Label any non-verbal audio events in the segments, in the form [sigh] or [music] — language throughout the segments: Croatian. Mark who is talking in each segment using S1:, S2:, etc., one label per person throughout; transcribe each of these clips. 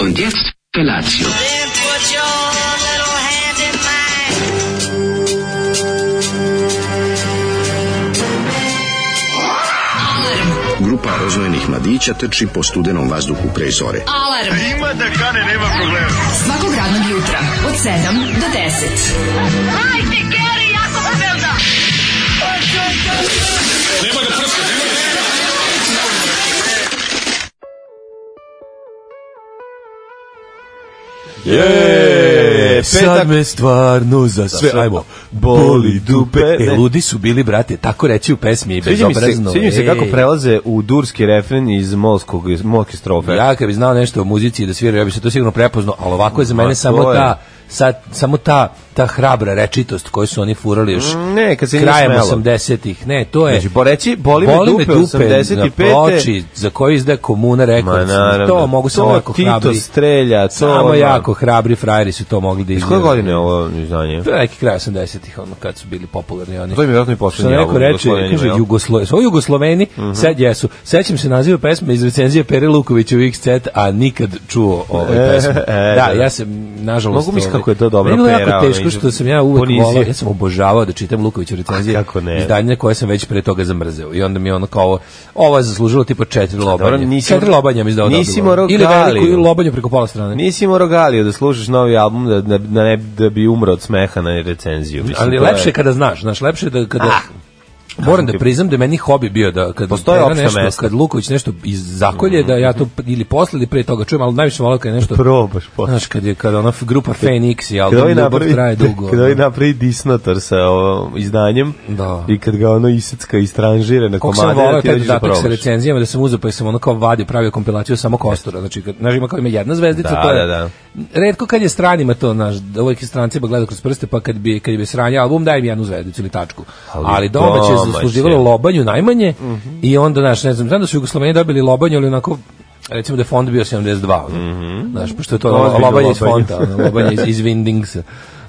S1: Und jetzt Felatio.
S2: Then put your little hand in mine.
S3: Grupa rozvojenih mladića trči po studenom vazduhu pre zore.
S4: Alarm. Ima da kane, nema problema. Svakog radnog jutra, od 7 do 10.
S5: Je,
S6: Sad me stvarno za sve,
S5: E, sve.
S6: ajmo, boli dupe.
S5: Ne.
S6: E, ludi su bili, brate, tako reći u pesmi i
S5: Sviđa mi se,
S6: bezobrazno.
S5: sviđa mi se kako
S6: ej.
S5: prelaze u durski refren iz molskog, iz molke strofe.
S6: Ja kad bi znao nešto o muzici i da svira, ja bi se to sigurno prepoznao, ali ovako je za
S5: Ma,
S6: mene samo
S5: to je.
S6: ta, sad, samo ta, ta hrabra rečitost koju su oni furali još
S5: Mm, Ne, kad se nije
S6: krajem
S5: smelo.
S6: 80-ih. Ne, to je...
S5: Znači, bo reći, boli me dupe, 85..
S6: Na ploči za koju izdaje komuna
S5: Ma
S6: rekord.
S5: naravno.
S6: To mogu samo
S5: To
S6: jako
S5: Tito
S6: hrabri.
S5: strelja, to ono.
S6: Samo jako hrabri frajeri su to mogli da
S5: Iz koje
S6: izgledaju.
S5: godine je ovo izdanje?
S6: To je neki kraj 80-ih, ono, kad su bili popularni oni.
S5: To im je vjerojatno i
S6: Što
S5: poslednji
S6: neko
S5: album.
S6: reče,
S5: Jugoslovenima,
S6: kaže
S5: jel? Mhm.
S6: Jugoslo... su ovo Jugosloveni, sad jesu. Sećam se naziva pesme iz recenzije Pere Lukovića u XZ, a nikad čuo ovaj
S5: E,
S6: pesmu.
S5: e,
S6: da,
S5: da.
S6: ja sam, nažalost...
S5: Mogu misliti
S6: ovaj,
S5: kako je to dobra
S6: meni je bilo
S5: pera,
S6: jako
S5: ono,
S6: teško
S5: iz-
S6: što sam ja uvek
S5: ponizio.
S6: volao, ja sam obožavao da čitam Lukovića recenzije
S5: A kako ne?
S6: izdanja koje sam već pre toga zamrzeo. I onda mi je ono kao, ovo, ovo je zaslužilo tipa četiri lobanje.
S5: Dobro, nisi-
S6: četiri lobanja mi izdao
S5: nisi
S6: dobilo.
S5: morao
S6: Ili veliku,
S5: Galiju.
S6: ili lobanju preko pola strane.
S5: Nisi morao Galio da slušaš novi album da, da, da, ne, da bi umro od smeha na recenziju. Mislim,
S6: Ali
S5: to je-
S6: lepše je kada znaš, znaš, lepše je da kada Moram da priznam da je meni hobi bio da kad
S5: Postoje
S6: Pera
S5: opšta
S6: nešto,
S5: mesta.
S6: kad Luković nešto iz zakolje da ja to ili posle ili pre toga čujem, ali najviše volim kad je nešto
S5: Probaš, posle.
S6: Znaš, kad je kad ona f- grupa Phoenix i
S5: Kada
S6: album
S5: ovaj
S6: Ljubav
S5: napravi,
S6: traje dugo.
S5: kada ovaj
S6: ono.
S5: napravi disnotor sa ovom izdanjem
S6: Da.
S5: i kad ga ono isecka i stranžire na
S6: Koliko sam
S5: komade,
S6: volao
S5: da ti
S6: taj
S5: dođeš da
S6: dodatak sa
S5: probaš.
S6: recenzijama da sam uzeo pa sam ono kao vadio, pravio kompilaciju samo kostura. Znači, kad, znaš, ima kao ima jedna zvezdica,
S5: Da,
S6: to je...
S5: da, da.
S6: Redko kad je stranima to, znaš, da uvek je strancima gleda kroz prste, pa kad bi, kad bi sranje album, daj mi jednu zvezdicu ili tačku.
S5: Ali
S6: Ali, domaće je
S5: domaće. Mhm.
S6: zasluživalo lobanju najmanje i onda, znaš, ne znam, znam da su Jugosloveni dobili lobanju, ali onako recimo da je fond bio 72. Mm Znaš, pošto je to
S5: Mhm. Ozbiljno
S6: lobanje iz
S5: lobanje.
S6: fonta, ono, lobanje iz, iz Windingsa.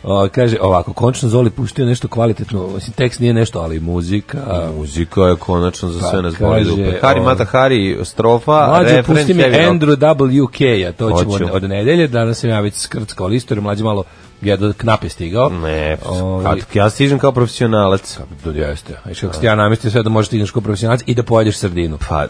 S6: O, kaže ovako, končno Zoli pustio nešto kvalitetno, mislim, tekst nije nešto, ali muzika,
S5: Muzika je konačno za sve
S6: Pa,
S5: nas boli
S6: kaže,
S5: dupe. Hari
S6: o-
S5: Mata Hari, strofa,
S6: Mlađe,
S5: refren,
S6: pusti mi
S5: heavy rock.
S6: Andrew WK-a, to ćemo
S5: Hoću.
S6: od, od nedelje, danas sam ja već skrckao listu, jer je mlađe malo je do knape stigao.
S5: Ne,
S6: Ovaj,
S5: kad ja stižem kao profesionalac.
S6: to jeste. Viš kako ste ja namestio sve da možeš stigneš kao profesionalac i da pojedeš sardinu.
S5: Pa,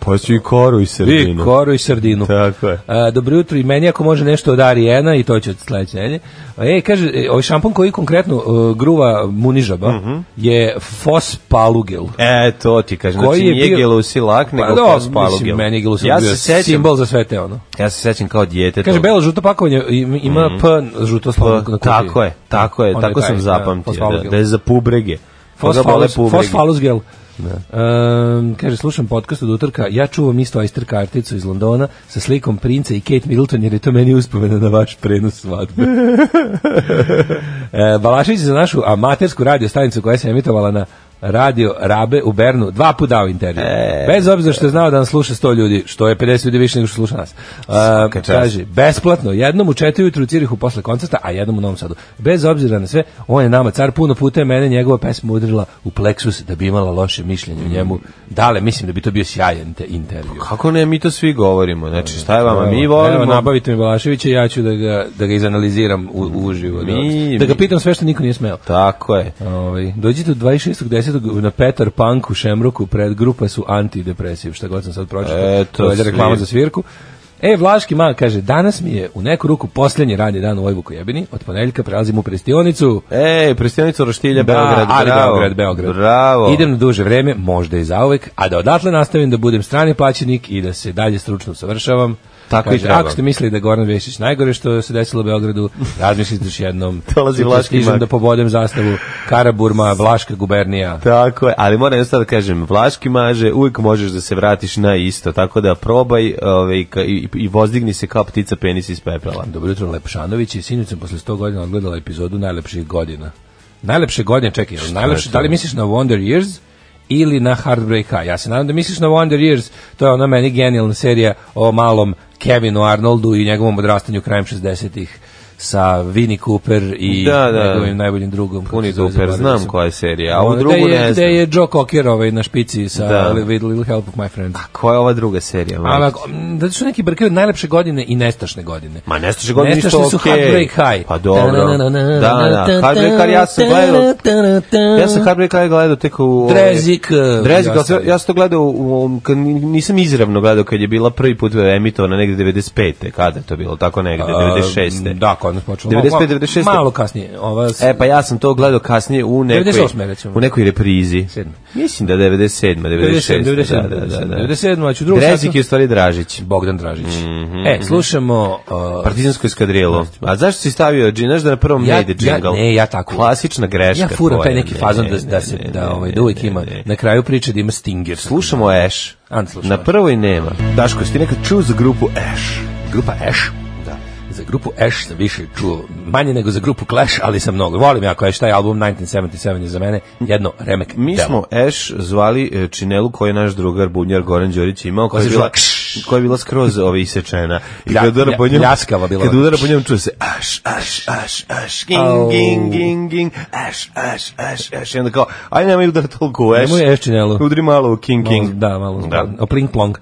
S5: pojeću i koru i
S6: I
S5: sredinu.
S6: koru i sardinu.
S5: Tako je.
S6: A, dobro jutro i meni ako može nešto od Arijena i to će od sledeće nedelje. A, E, kaže, e, ovaj šampon koji konkretno e, gruva munižaba
S5: Mhm.
S6: je fospalugel.
S5: E, to ti kažem,
S6: Koji
S5: znači
S6: je
S5: nije
S6: bio-
S5: gelusilak, nego
S6: da,
S5: pa,
S6: mislim, meni je gelusilak
S5: ja
S6: bio
S5: se sećam,
S6: simbol za sve te ono.
S5: Ja se sećam kao dijete.
S6: Kaže,
S5: toga.
S6: belo žuto pakovanje im- ima P žuto slovo na kutiji.
S5: Mhm. Pa, Tako je, tako je,
S6: Onda
S5: tako
S6: taj,
S5: sam
S6: da,
S5: zapamtio. Da,
S6: fosfalogel.
S5: da je za pubrege. Koga bole
S6: Fosfalus,
S5: pubrege.
S6: fosfalusgel. Ehm, kaže, slušam podcast od utorka, ja čuvam isto Oyster karticu iz Londona sa slikom princa i Kate Middleton, jer je to meni uspomena na vaš prenos
S5: [laughs]
S6: svadbe. e, Balašić je za našu amatersku radio stanicu koja se emitovala na radio Rabe u Bernu, dva puta dao intervju.
S5: E,
S6: E, Bez obzira što je znao da nas sluša 100 ljudi, što je 50 ljudi više nego što sluša nas. E,
S5: čast.
S6: kaže, besplatno, jednom u četiri jutru u Cirihu posle koncerta, a jednom u Novom Sadu. Bez obzira na sve, on je nama car, puno puta je mene njegova pesma udrila u pleksus da bi imala loše mišljenje
S5: Mm.
S6: o njemu. Dale, mislim da bi to bio sjajan te intervju.
S5: Kako ne, mi to svi govorimo. Znači, šta je vama? Pa Mi
S6: Evo, Evo,
S5: volimo...
S6: nabavite mi Balaševića, ja ću da ga, da ga izanaliziram u, uživo. da-
S5: Mi-
S6: da, ga
S5: mi-
S6: pitam sve što niko nije smeo.
S5: Tako je.
S6: Ovaj, dođite u 26.10. na Petar Punk u Šemroku, pred grupa su antidepresiv, šta god sam sad pročitao.
S5: Eto,
S6: To je
S5: svir-
S6: reklama za svirku. E, Vlaški ma kaže, danas mi je u neku ruku posljednji radni dan u Ojbuku jebini, od ponedeljka prelazim u prestionicu.
S5: Ej, prestionica Roštilja, Beograd,
S6: ali
S5: bravo.
S6: Beograd, Beograd.
S5: Bravo.
S6: Idem na duže vreme, možda i zauvek, a da odatle nastavim da budem strani plaćenik i da se dalje stručno usavršavam.
S5: Tako i
S6: Kaže,
S5: treba.
S6: Ako ste mislili da je Goran Vešić najgore što se desilo u Beogradu, razmislite još jednom.
S5: [laughs] Dolazi
S6: Sutra
S5: Vlaški
S6: stižem
S5: mak.
S6: da pobodem zastavu Karaburma, Vlaška gubernija.
S5: Tako je, ali moram jednostavno da kažem, vlaški maže, uvijek možeš da se vratiš na isto, tako da probaj ovaj, ka- i, i vozdigni se kao ptica penis iz pepela.
S6: Dobro jutro, Lepšanović i sinoć sam posle 100 godina odgledala epizodu najlepših godina. Najlepše godine, čekaj, jel najlepše,
S5: to?
S6: da li misliš na Wonder Years ili na Heartbreak High? Ja se nadam da misliš na Wonder Years, to je ona meni genijalna serija o malom Kevinu Arnoldu i njegovom odrastanju krajem 60-ih sa Vinnie Cooper i
S5: Da, da.
S6: njegovim najboljim drugom. kako
S5: Puni
S6: se zove,
S5: duper,
S6: zaboravio
S5: znam
S6: sam.
S5: koja je serija, a ovu
S6: Ono,
S5: drugu
S6: gde je,
S5: ne
S6: gde
S5: znam.
S6: je Joe Cocker ovaj, na špici sa
S5: Da.
S6: Little, Little Help of My Friend.
S5: Koja je ova druga serija?
S6: Ali
S5: majke?
S6: ako- m, zato su neki brkaju najlepše godine i nestašne godine.
S5: Ma nestaše godine ništa
S6: Nestašne
S5: okej.
S6: su Heartbreak High.
S5: Pa dobro. Da, da. Heartbreak High, ja sam gledao... Ja sam Heartbreak High gledao tek u...
S6: Drezik, eh,
S5: Drezik, ali sve-
S6: ostali.
S5: ja sam to gledao, u, ovom- kad ni- nisam izravno gledao kad je bila prvi put emitovana negde 95. Kada je to bilo? Tako negde, 96.
S6: Da, kod nas počelo.
S5: 95, 96.
S6: Malo kasnije. Ova, s-
S5: E, pa ja sam to gledao kasnije u nekoj,
S6: 98., recimo.
S5: u nekoj reprizi.
S6: Sedme.
S5: Mislim da 97. 96.
S6: 97,
S5: da, da, da, da.
S6: 97, a ću drugu
S5: Drezik
S6: satu-
S5: je u stvari Dražić.
S6: Bogdan Dražić. E, slušamo... Uh,
S5: Partizansko eskadrilo. A zašto si stavio, dži- znaš da na prvom
S6: pa. Ja-
S5: ne ide džingl?
S6: ja- ne, ja tako-
S5: Klasična greška.
S6: ja furam taj
S5: tvoja,
S6: neki
S5: ne,
S6: fazon da,
S5: ne,
S6: da, se,
S5: ne,
S6: da,
S5: ne,
S6: ovaj,
S5: ne,
S6: da uvijek
S5: ne,
S6: ima,
S5: ne.
S6: na kraju priče da ima Stinger.
S5: Slušamo Ash.
S6: Ant slušamo
S5: Na
S6: Ash.
S5: prvoj nema. Daško, si ti nekad čuo za grupu Ash?
S6: Grupa Ash. Da. Za grupu Ash sam više čuo manje nego za grupu Clash, ali sam mnogo. Volim jako Ash, taj album 1977 je za mene jedno remek
S5: Mi
S6: delo.
S5: smo Ash zvali e, Činelu koji je naš drugar Bunjar Goran Đorić imao, koja je
S6: se
S5: bila,
S6: zvala
S5: koja je bila skroz ove isečena. I
S6: Plja-
S5: kad udara po
S6: plja-
S5: njom,
S6: pljaskava bila
S5: kad
S6: ona.
S5: udara po njom čuje se Ash, Ash, Ash, Ash, ging,
S6: Au.
S5: ging, ging, ging, Ash, Ash, Ash, Ash. I onda kao, aj nemoj udar toliko u Ash.
S6: Nemoj Ash Činelu.
S5: Udri malo u King, King.
S6: Malo, da, malo.
S5: Da. Mhm.
S6: Da. O pling plong.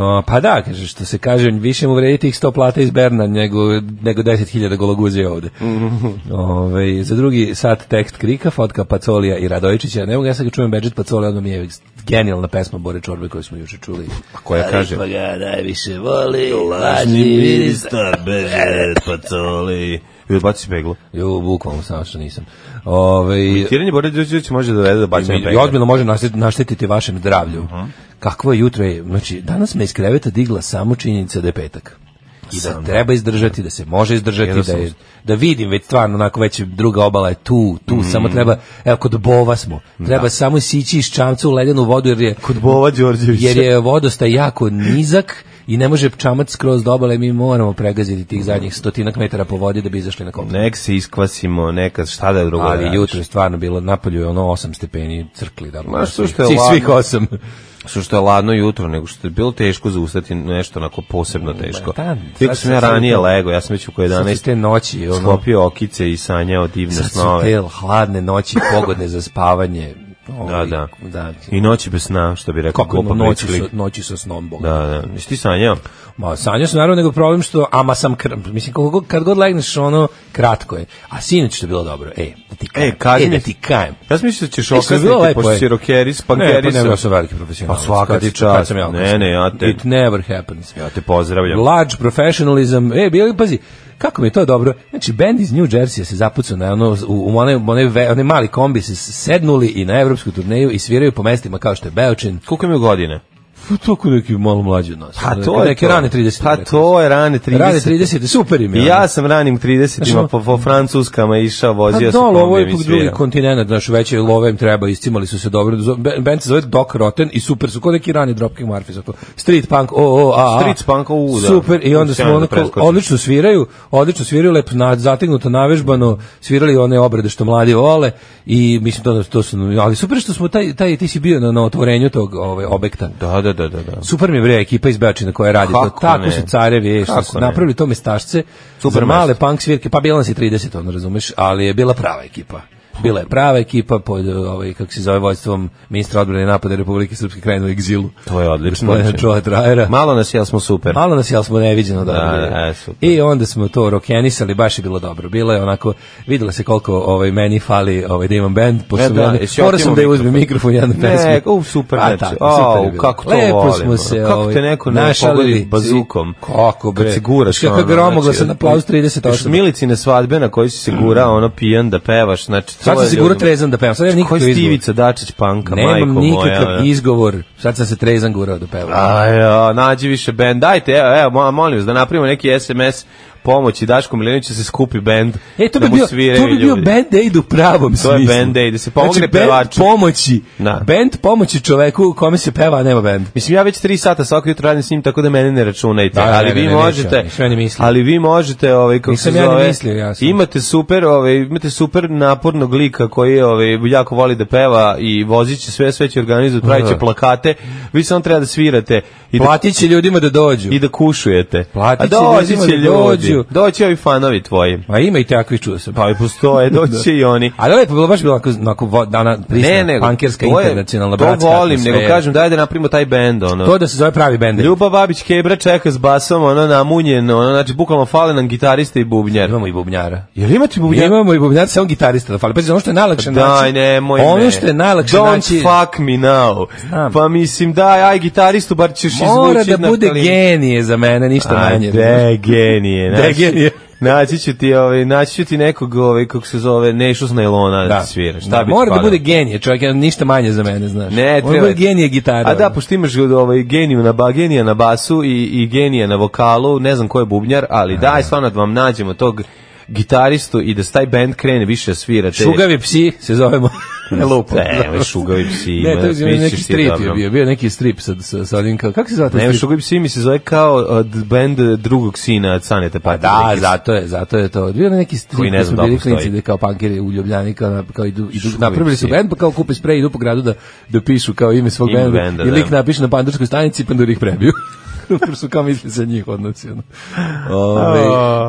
S6: O, pa da, kaže, što se kaže, više mu vredi tih 100 plata iz Berna nego, nego 10.000 gologuzije ovde.
S5: Mhm.
S6: Ove, za drugi sat tekst Krika, fotka Pacolija i Radojičića. Ne mogu, ja sad kad čujem Beđet Pacolija, odmah mi je genijalna pesma Bore Čorbe koju smo juče čuli.
S5: Koja kaže,
S6: Pa ga najviše voli,
S5: lažni
S6: lažni miris.
S5: ministar, bežet, pacoli. I odbaci peglu.
S6: Jo, bukvalno, samo što nisam. Ovaj, Ove,
S5: Tiranje Bore Đorđević može dovede do bacanja
S6: I
S5: pegla.
S6: odmjeno može naštet- naštetiti vašem zdravlju. Kakvo je jutro je, znači danas me iz kreveta digla samo činjenica da je petak. I da treba izdržati, da se može izdržati, da, je, da vidim već stvarno, onako već je druga obala je tu, tu,
S5: Mhm.
S6: samo treba, evo kod bova smo, treba samo sići iz čamca u ledenu vodu jer je,
S5: Kod Bova Đorđevića.
S6: jer je vodostaj jako nizak i ne može čamac skroz do obale, mi moramo pregaziti tih zadnjih stotinak metara po vodi da bi izašli na kopno.
S5: Nek se iskvasimo, neka šta da drugo
S6: Ali
S5: radiš.
S6: jutro je stvarno bilo napolju je ono 8 stepeni crkli da.
S5: Ma, što što je
S6: svih, Pa svih
S5: ladno.
S6: 8.
S5: Su što je ladno jutro, nego što je bilo teško zaustati nešto onako posebno teško.
S6: da,
S5: Iako
S6: sad
S5: sam ja
S6: sam-
S5: ranije lego, ja sam već u koje
S6: Sad
S5: 11
S6: su te noći, ono,
S5: sklopio okice i sanjao divne
S6: sad su te
S5: snove.
S6: hladne noći, pogodne za spavanje. Ovaj,
S5: da.
S6: da.
S5: I noći bez sna, što bi rekao
S6: Kako
S5: Gopa
S6: noći
S5: Peclik.
S6: sa, noći sa snom, Boga.
S5: Da, da. Jesi ti sanjao?
S6: Ma, sanjao sam naravno, nego problem što, ama sam, kr- mislim, koliko, god- kad god legneš, ono, kratko je. A sinoć što je bilo dobro, e, da ti kajem,
S5: kaži
S6: e, da
S5: mi.
S6: ti kajem.
S5: Ja sam mislio da ćeš
S6: E, što je bilo
S5: okasniti,
S6: lepo,
S5: pošto
S6: ej.
S5: si rokeris,
S6: Pa ne, pa
S5: pankeris.
S6: ne, ja sam veliki profesionalac.
S5: Pa svaka
S6: Kad
S5: ti
S6: si- kad
S5: čast.
S6: sam ja
S5: Ne, ne, ja te-
S6: It never happens.
S5: Ja te pozdravljam.
S6: Large professionalism. E, bili, pazi, kako mi je to dobro. Znači, band iz New Jersey se zapucao na ono, u, u one, one, ve- one mali kombi se sednuli i na evropsku turneju i sviraju po mestima kao što je Beočin.
S5: Koliko mi je godine?
S6: Pa Toko neki malo mlađi od nas.
S5: Pa
S6: Ono,
S5: to
S6: neke-
S5: je
S6: Neke
S5: to.
S6: rane 30.
S5: Pa to je rane 30.
S6: Rane 30, super im je.
S5: I
S6: ono.
S5: ja sam ranim 30-ima
S6: ono-
S5: po, po francuskama išao, vozio se
S6: Pa dole, ovo
S5: kombijem
S6: je
S5: i
S6: ipak drugi
S5: svirao.
S6: kontinent, znaš, veće love im treba, iscimali su se dobro. Zo- be- Band se zove Doc Rotten i super su, kod neki rani Dropkick Murphys, zato. Street Punk, o, o, a, a.
S5: Street punk, o, da.
S6: Super, i onda
S5: Sjajno
S6: smo
S5: da
S6: onako,
S5: preskočiš.
S6: odlično sviraju, odlično sviraju, lepo na, zategnuto, navežbano, svirali one obrade što mladi vole i mislim to, to su, ali super što smo, taj, taj, ti si bio na, na otvorenju tog ovaj, objekta.
S5: Da, da, da, da. da.
S6: Super mi je bre ekipa iz Bečina koja radi
S5: Kako
S6: to. Tako
S5: ne?
S6: su carevi, e, što
S5: Kako
S6: su
S5: ne?
S6: napravili to mestašce.
S5: Super
S6: za male
S5: mesto.
S6: punk svirke, pa bila nas je 30, ono razumeš, ali je bila prava ekipa. Bila je prava ekipa pod ovaj kako se zove vojstvom ministra odbrane i napada Republike Srpske krajine u egzilu.
S5: To je odlično. znači.
S6: Gospodina Čoja Trajera.
S5: Malo nas jel smo super.
S6: Malo nas je, ali smo neviđeno dobro.
S5: da, e, super.
S6: I onda smo to rokenisali, baš je bilo dobro. Bilo je onako, vidjela se koliko ovaj, meni fali ovaj, da imam band, pošto
S5: E,
S6: sam
S5: da,
S6: jedan-
S5: jesi
S6: morao
S5: otimo
S6: sam da je
S5: mikrofon?
S6: uzmem mikrofon jednu
S5: Ne,
S6: pesmu.
S5: u, super,
S6: A,
S5: znači.
S6: tako,
S5: Au,
S6: super je bilo.
S5: kako to
S6: Lepo
S5: volim, ono.
S6: smo se,
S5: Kako
S6: ovaj,
S5: te neko ne
S6: našalili.
S5: pogodi bazukom?
S6: Kako bre.
S5: Kad se guraš.
S6: Kako je
S5: ono,
S6: gromoglasan
S5: znači,
S6: aplauz 30
S5: još Milicine svadbe na koji si se gura, ono pijan da pevaš, znači... to
S6: Sad sam
S5: je
S6: se gurao
S5: ljudi-
S6: trezan da pevam. Sad nemam nikakav
S5: Koji
S6: izgovor.
S5: Stivica Dačić panka, majko
S6: Nemam
S5: moja.
S6: nikakav
S5: ono.
S6: izgovor. Sad sam se trezan gurao da pevam.
S5: A, ja, nađi više bend. Dajte, evo, evo, mo- molim vas da napravimo neki SMS pomoći Daško Milinoviću da se skupi bend.
S6: E, to bi
S5: da mu
S6: bio,
S5: sviraju
S6: to bi bio
S5: ljudi.
S6: band aid u pravom
S5: To je
S6: smislu.
S5: band aid, da se pomogne
S6: znači, band
S5: pevaču.
S6: pomoći.
S5: Da.
S6: Band pomoći čoveku u kome se peva, a nema band.
S5: Mislim, ja već tri sata svako jutro radim s njim, tako da mene ne računajte.
S6: Da, ne,
S5: ali
S6: ne,
S5: vi
S6: ne, neću,
S5: možete,
S6: nisam ja ni mislio.
S5: ali vi možete, ovaj, kako
S6: Nisam
S5: se
S6: ja ni
S5: zove,
S6: mislio, ja sam.
S5: imate super, ovaj, imate super napornog lika koji ovaj, jako voli da peva i vozit će sve, sve će organizovati, pravit će
S6: Da.
S5: plakate, vi samo treba da svirate i da,
S6: Platit će ljudima da dođu.
S5: i da kušujete.
S6: Platit će
S5: A doći
S6: ljudima da
S5: će ljudi,
S6: dođu, emisiju.
S5: Doći ovi fanovi tvoji.
S6: Ma ima i takvi, čuo sam.
S5: Pa i
S6: [laughs]
S5: postoje, doći će i oni.
S6: Ali ovo je bilo baš bilo onako, onako vo- dana prisna,
S5: ne, nego,
S6: pankerska,
S5: to je-
S6: internacionalna,
S5: to
S6: bratska
S5: volim,
S6: atmosfera.
S5: nego kažem, daj da napravimo taj bend, ono.
S6: To da se zove pravi bende.
S5: Ljuba Babić Kebra čeka s basom, ono, namunjen, ono, znači, bukvalno fale nam gitariste i bubnjar.
S6: Imamo i bubnjara.
S5: Jel imate bubnjar?
S6: Imamo i bubnjara, samo gitarista da fali. Pazi, ono što je najlakše naći.
S5: Pa Daj, nemoj me.
S6: Ono što je najlakše
S5: Don't
S6: naći.
S5: fuck me now.
S6: Znam.
S5: Pa mislim, daj, aj gitaristu, bar ćeš izvući.
S6: Mora da
S5: na
S6: bude
S5: klin-
S6: genije za mene, ništa manje.
S5: Ajde, genije.
S6: De
S5: naći-
S6: genije.
S5: Naći ću ti, ovaj, naći ću ti nekog, ovaj, kako se zove, Nešu Snajlona da, ti svira. Šta bi ti
S6: Mora da
S5: falilo?
S6: bude genije, čovjek, ja, ništa manje za mene, znaš.
S5: Ne,
S6: Mora da
S5: treba.
S6: bude genije ono. gitara.
S5: A da, pošto imaš ovaj, geniju na, ba, genija na basu i, i genija na vokalu, ne znam ko je bubnjar,
S6: E.
S5: ali daj, stvarno da vam nađemo tog gitaristu i da s taj band krene više da svira. te-
S6: Šugavi psi se zovemo. ne [laughs] lupo.
S5: Ne, ovaj šugavi psi.
S6: Ne, to je bio
S5: misliš
S6: neki
S5: ti
S6: strip je
S5: dobro.
S6: bio, bio neki strip sa, sa, sa onim, kao- kako se zove taj
S5: Ne,
S6: strip?
S5: Sugar Psi mi se zove kao od band drugog sina od Sanete
S6: Pa
S5: Patrike.
S6: da, zato je, zato je to. Bio je neki strip
S5: Koji ne
S6: gde
S5: znam
S6: smo
S5: da li
S6: bili
S5: postoji.
S6: klinci da kao pankeri u Ljubljani kao, na- kao idu, idu
S5: Šugavi
S6: napravili su
S5: psi.
S6: bend pa kao kupe sprej idu po gradu da, da pišu kao ime svog
S5: Ime
S6: benda,
S5: benda,
S6: i lik
S5: da.
S6: napiše na pandurskoj stanici i panduri ih prebiju. [laughs] Zato su kao misli se njih odnosi. Ono. Ove,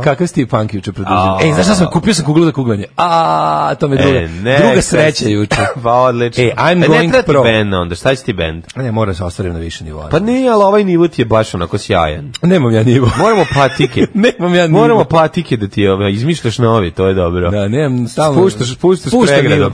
S6: kakav si ti punk juče
S5: A.
S6: produžio? Ej, znaš šta sam kupio sam kuglu za kuglanje. A, to me druga,
S5: E, ne,
S6: druga
S5: sad-
S6: sreća juče.
S5: [laughs] pa odlično.
S6: Ej, I'm
S5: Pa ne
S6: going
S5: treba ti
S6: pro.
S5: band onda, šta će ti band?
S6: Ne, moram se ostaviti na više nivoa.
S5: Pa nije, ali ovaj nivo ti je baš onako sjajan.
S6: nemam ja nivo.
S5: Moramo patike.
S6: [laughs] nemam ja nivo.
S5: Moramo patike da ti ove, izmišljaš novi, to je dobro.
S6: Pa Da, nemam stalno.
S5: Spuštaš- spuštaš
S6: Spuštam
S5: pregradom.
S6: nivo.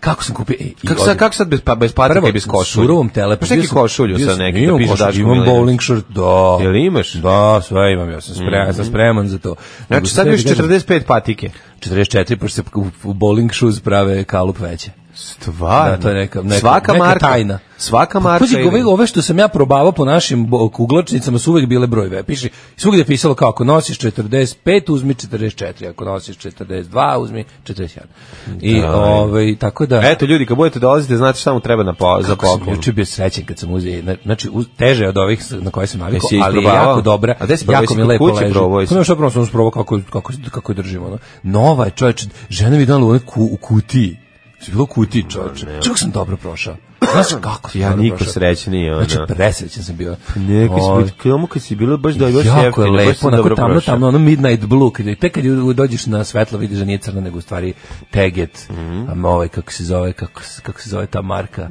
S6: Kako sam kupio? Ej, i
S5: Kako
S6: odem.
S5: sad, kako sad bez, pa, bez patike i bez košulje?
S6: surovom telepu.
S5: Imaš neki košulju sa nekim da piše Daško
S6: Imam
S5: Milinović?
S6: bowling shirt, da.
S5: Jel imaš? Mhm.
S6: Da, sve imam, ja sam spreman, sam spreman za to. Nego
S5: Znači
S6: sam
S5: sad
S6: tebi
S5: još
S6: kažem,
S5: 45 patike.
S6: 44, pošto se u- u bowling shoes prave kalup veće.
S5: Stvarno. Pa
S6: Da, to je neka- neka-
S5: svaka
S6: neka
S5: marka,
S6: tajna.
S5: Svaka
S6: Pa,
S5: marka.
S6: Pazi,
S5: ide.
S6: ove, ove što sam ja probavao po našim bo- kuglačnicama su uvek bile brojeve. Piši, svugdje je pisalo kao ako nosiš 45, uzmi 44, ako nosiš 42, uzmi 41. I, ovaj, tako da...
S5: Eto ljudi, kad budete dolazite, znate šta mu treba na po, za
S6: Kako sam
S5: poklon.
S6: juče bio srećen kad sam uzeo, na- znači uz, teže je od ovih s- na koje sam navikao,
S5: Jesi je
S6: ali je
S5: isprobavao?
S6: jako dobra,
S5: A gde si probao?
S6: jako
S5: Jesi
S6: mi
S5: kod
S6: lepo
S5: kuće
S6: leži.
S5: probao
S6: Pa
S5: jesi?
S6: nema šta prvo sam sprobao kako, kako, kako je držimo. Ono. Nova je čovječ, žena mi je donala u, onoj ku, u kutiji. Znači, bilo u kutiji čovječe. Čak sam dobro prošao. Znaš kako sam
S5: Ja
S6: dobro
S5: niko
S6: prošao?
S5: srećniji, ono. Pa
S6: Znači, presrećen sam bio.
S5: Neki si
S6: Ovaj,
S5: bit klemu kad si bilo baš da još
S6: jako je
S5: jeftino, baš
S6: lepo,
S5: si
S6: onako
S5: dobro
S6: tamno,
S5: prošao.
S6: tamno, ono midnight blue, kad je, tek kad ju dođeš na svetlo vidiš da nije crno, nego u stvari teget,
S5: Mhm.
S6: a ovaj, kako se zove, kako, se- kako se zove ta marka,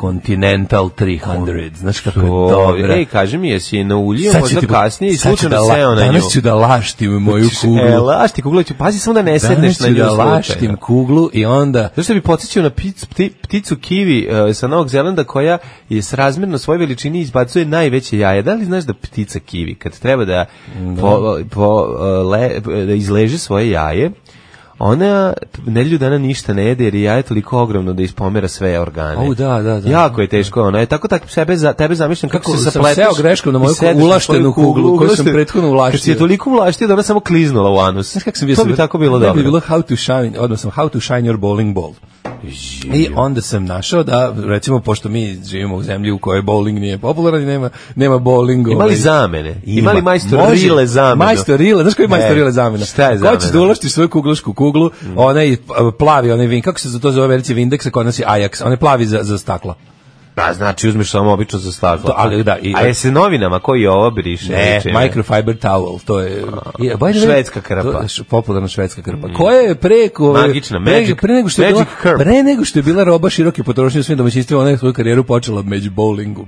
S6: Continental 300, znaš kako je
S5: O,
S6: dobra.
S5: Ej, kaži mi, jesi na ulju,
S6: Sad ću
S5: možda
S6: ti-
S5: kasnije i
S6: sad ću
S5: slučajno
S6: da la-
S5: seo na nju.
S6: Danas ću da laštim moju kuglu.
S5: E, lašti kugla ću, pazi samo da ne sedneš
S6: danas
S5: na
S6: ću
S5: nju
S6: da
S5: slučajno.
S6: laštim kuglu i onda...
S5: Zašto bi podsjećao na pic, pti- pticu kiwi e, sa Novog Zelanda koja je srazmjerno svojoj veličini izbacuje najveće jaje. Da li znaš da ptica kiwi kad treba da, po, po, e, le- da izleže svoje jaje, ona nedelju dana ništa ne jede jer je jaje toliko ogromno da ispomera sve organe.
S6: Au, da, da, da.
S5: Jako je teško ona. je Tako tako sebe za tebe zamišljam kako,
S6: Kako
S5: se
S6: sam
S5: zapleteš.
S6: seo greškom na moju
S5: i sedneš svoju
S6: ulaštenu kuglu koju sam
S5: ulaštenu-
S6: prethodno
S5: Kad si je
S6: ulaštio.
S5: toliko ulaštio da ona samo kliznula u anus.
S6: Znaš kako sam bio
S5: to bi
S6: srećan?
S5: tako bilo
S6: Ne
S5: dobro.
S6: Bi bilo how to shine, odnosno how to shine your bowling ball. I onda sam našao da, recimo, pošto mi živimo u zemlji u kojoj bowling nije popularan i nema, nema bowling.
S5: Imali
S6: ovaj,
S5: zamene.
S6: ima.
S5: Imali majstor
S6: Može.
S5: Rile zamenu.
S6: Majstor Rile, znaš koji je majstor
S5: Ne.
S6: Rile zamena?
S5: Šta je
S6: Ko
S5: zamena? Mm.
S6: će da ulošti svoju kuglašku kuglu, onaj uh, plavi, onaj vin, kako se za to zove verici Vindeksa, kod nas je Ajax, onaj plavi za, za stakla.
S5: Da, znači uzmeš samo obično za staklo.
S6: To, ali da, i-
S5: A je se novinama koji je ovo briše?
S6: Ne,
S5: Čime?
S6: E, microfiber towel, to je, je by the way,
S5: Švedska krpa. Mm.
S6: to je š- popularna švedska krpa. Koja je preko ove-
S5: Magična,
S6: pre,
S5: magic-
S6: pre nego što je
S5: magic
S6: bila,
S5: krp.
S6: pre nego što je bila roba široke potrošnje u svim domaćinstvima, ona je svoju karijeru počela među bowlingom.